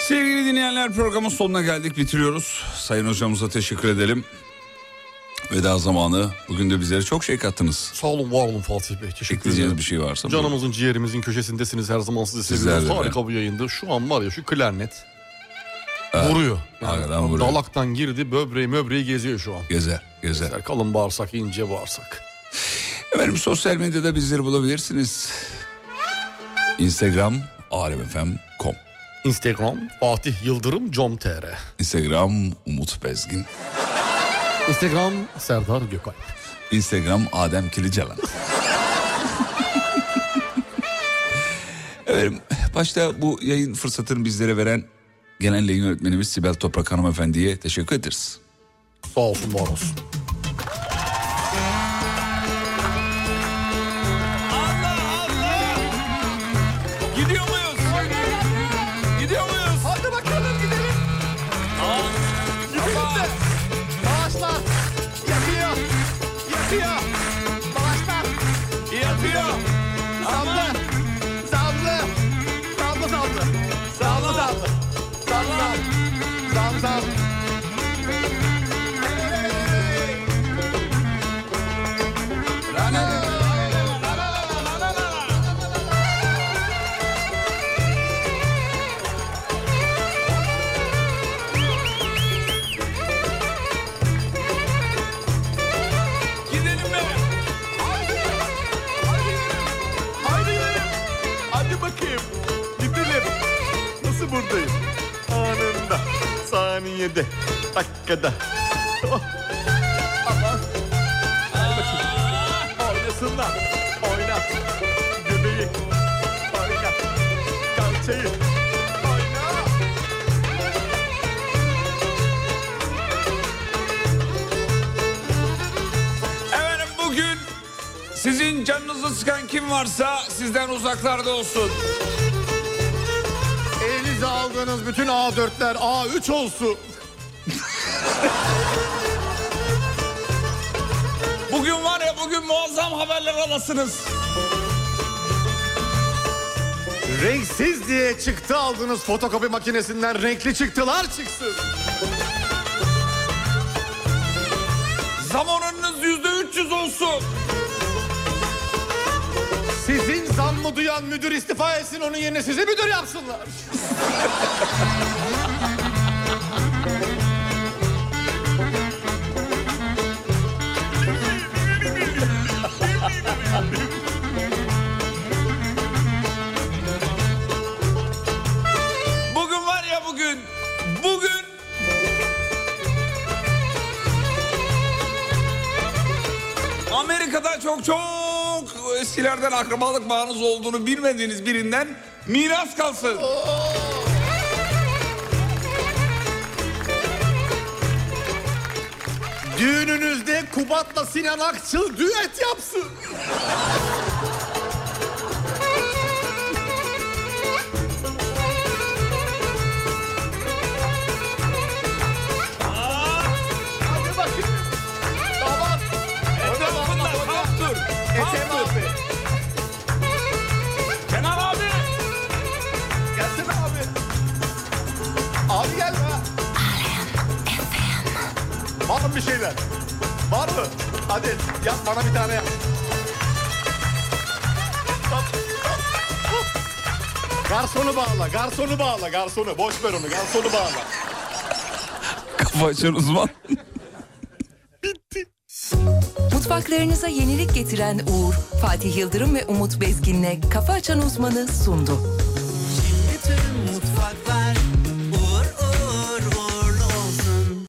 D: Sevgili dinleyenler programın sonuna geldik bitiriyoruz. Sayın hocamıza teşekkür edelim. Veda zamanı. Bugün de bizlere çok şey kattınız.
E: Sağ olun var olun Fatih Bey. Teşekkür
D: Ekleyeceğiniz
E: ederim.
D: bir şey varsa. buyurun.
E: Canımızın ciğerimizin köşesindesiniz her zaman sizi
D: Sizler
E: seviyoruz.
D: de.
E: Harika bir yayında. Şu an var ya şu klarnet vuruyor.
D: Hakikaten vuruyor.
E: Dalaktan girdi böbreği möbreği geziyor şu an.
D: Gezer, gezer.
E: Kalın bağırsak ince bağırsak.
D: Efendim sosyal medyada bizleri bulabilirsiniz. Instagram alemfm.com
E: Instagram Fatih Yıldırım com.tr
D: Instagram Umut Bezgin.
E: Instagram Serdar Gökay.
D: Instagram Adem Kilicalan. Efendim başta bu yayın fırsatını bizlere veren genel yayın yönetmenimiz Sibel Toprak hanımefendiye teşekkür ederiz.
E: Sağ olsun var olsun.
B: Gidiyor muyuz? Gidiyor muyuz? Hadi bakalım gidelim. Gidelim de. Bağışla. Yapıyor. Yapıyor. Bağışla. Yapıyor. Sablı. Sablı. Sablı sablı.
N: buradayım. Anında, saniyede, dakikada. Oh. Aman. Hadi bakayım. Oynasınlar. Oyna. Göbeği. Oyna. Kalçayı.
D: Efendim bugün sizin canınızı sıkan kim varsa sizden uzaklarda olsun.
E: Elinize aldığınız bütün A4'ler A3 olsun.
D: Bugün var ya bugün muazzam haberler alasınız.
E: Renksiz diye çıktı aldığınız fotokopi makinesinden renkli çıktılar çıksın.
D: Zam oranınız yüzde 300 olsun.
E: Sizin zammı duyan müdür istifa etsin onun yerine sizi müdür yapsınlar.
D: Bugün var ya bugün. Bugün. Amerika'da çok çok eskilerden akrabalık bağınız olduğunu bilmediğiniz birinden miras kalsın.
E: Düğününüzde Kubat'la Sinan Akçıl düet yapsın.
N: Hadi bakayım. Damat. Etrafında kaptır. Ethem abi. Kenan abi. Gelsene abi. Abi gel be.
E: Var mı bir şeyler? Var mı? Hadi yap bana bir tane yap. Garsonu bağla, garsonu bağla, garsonu. Boş ver onu, garsonu bağla.
D: Kafa açan uzman.
A: Mutfaklarınıza yenilik getiren Uğur, Fatih Yıldırım ve Umut Bezgin'le Kafa Açan Uzman'ı sundu.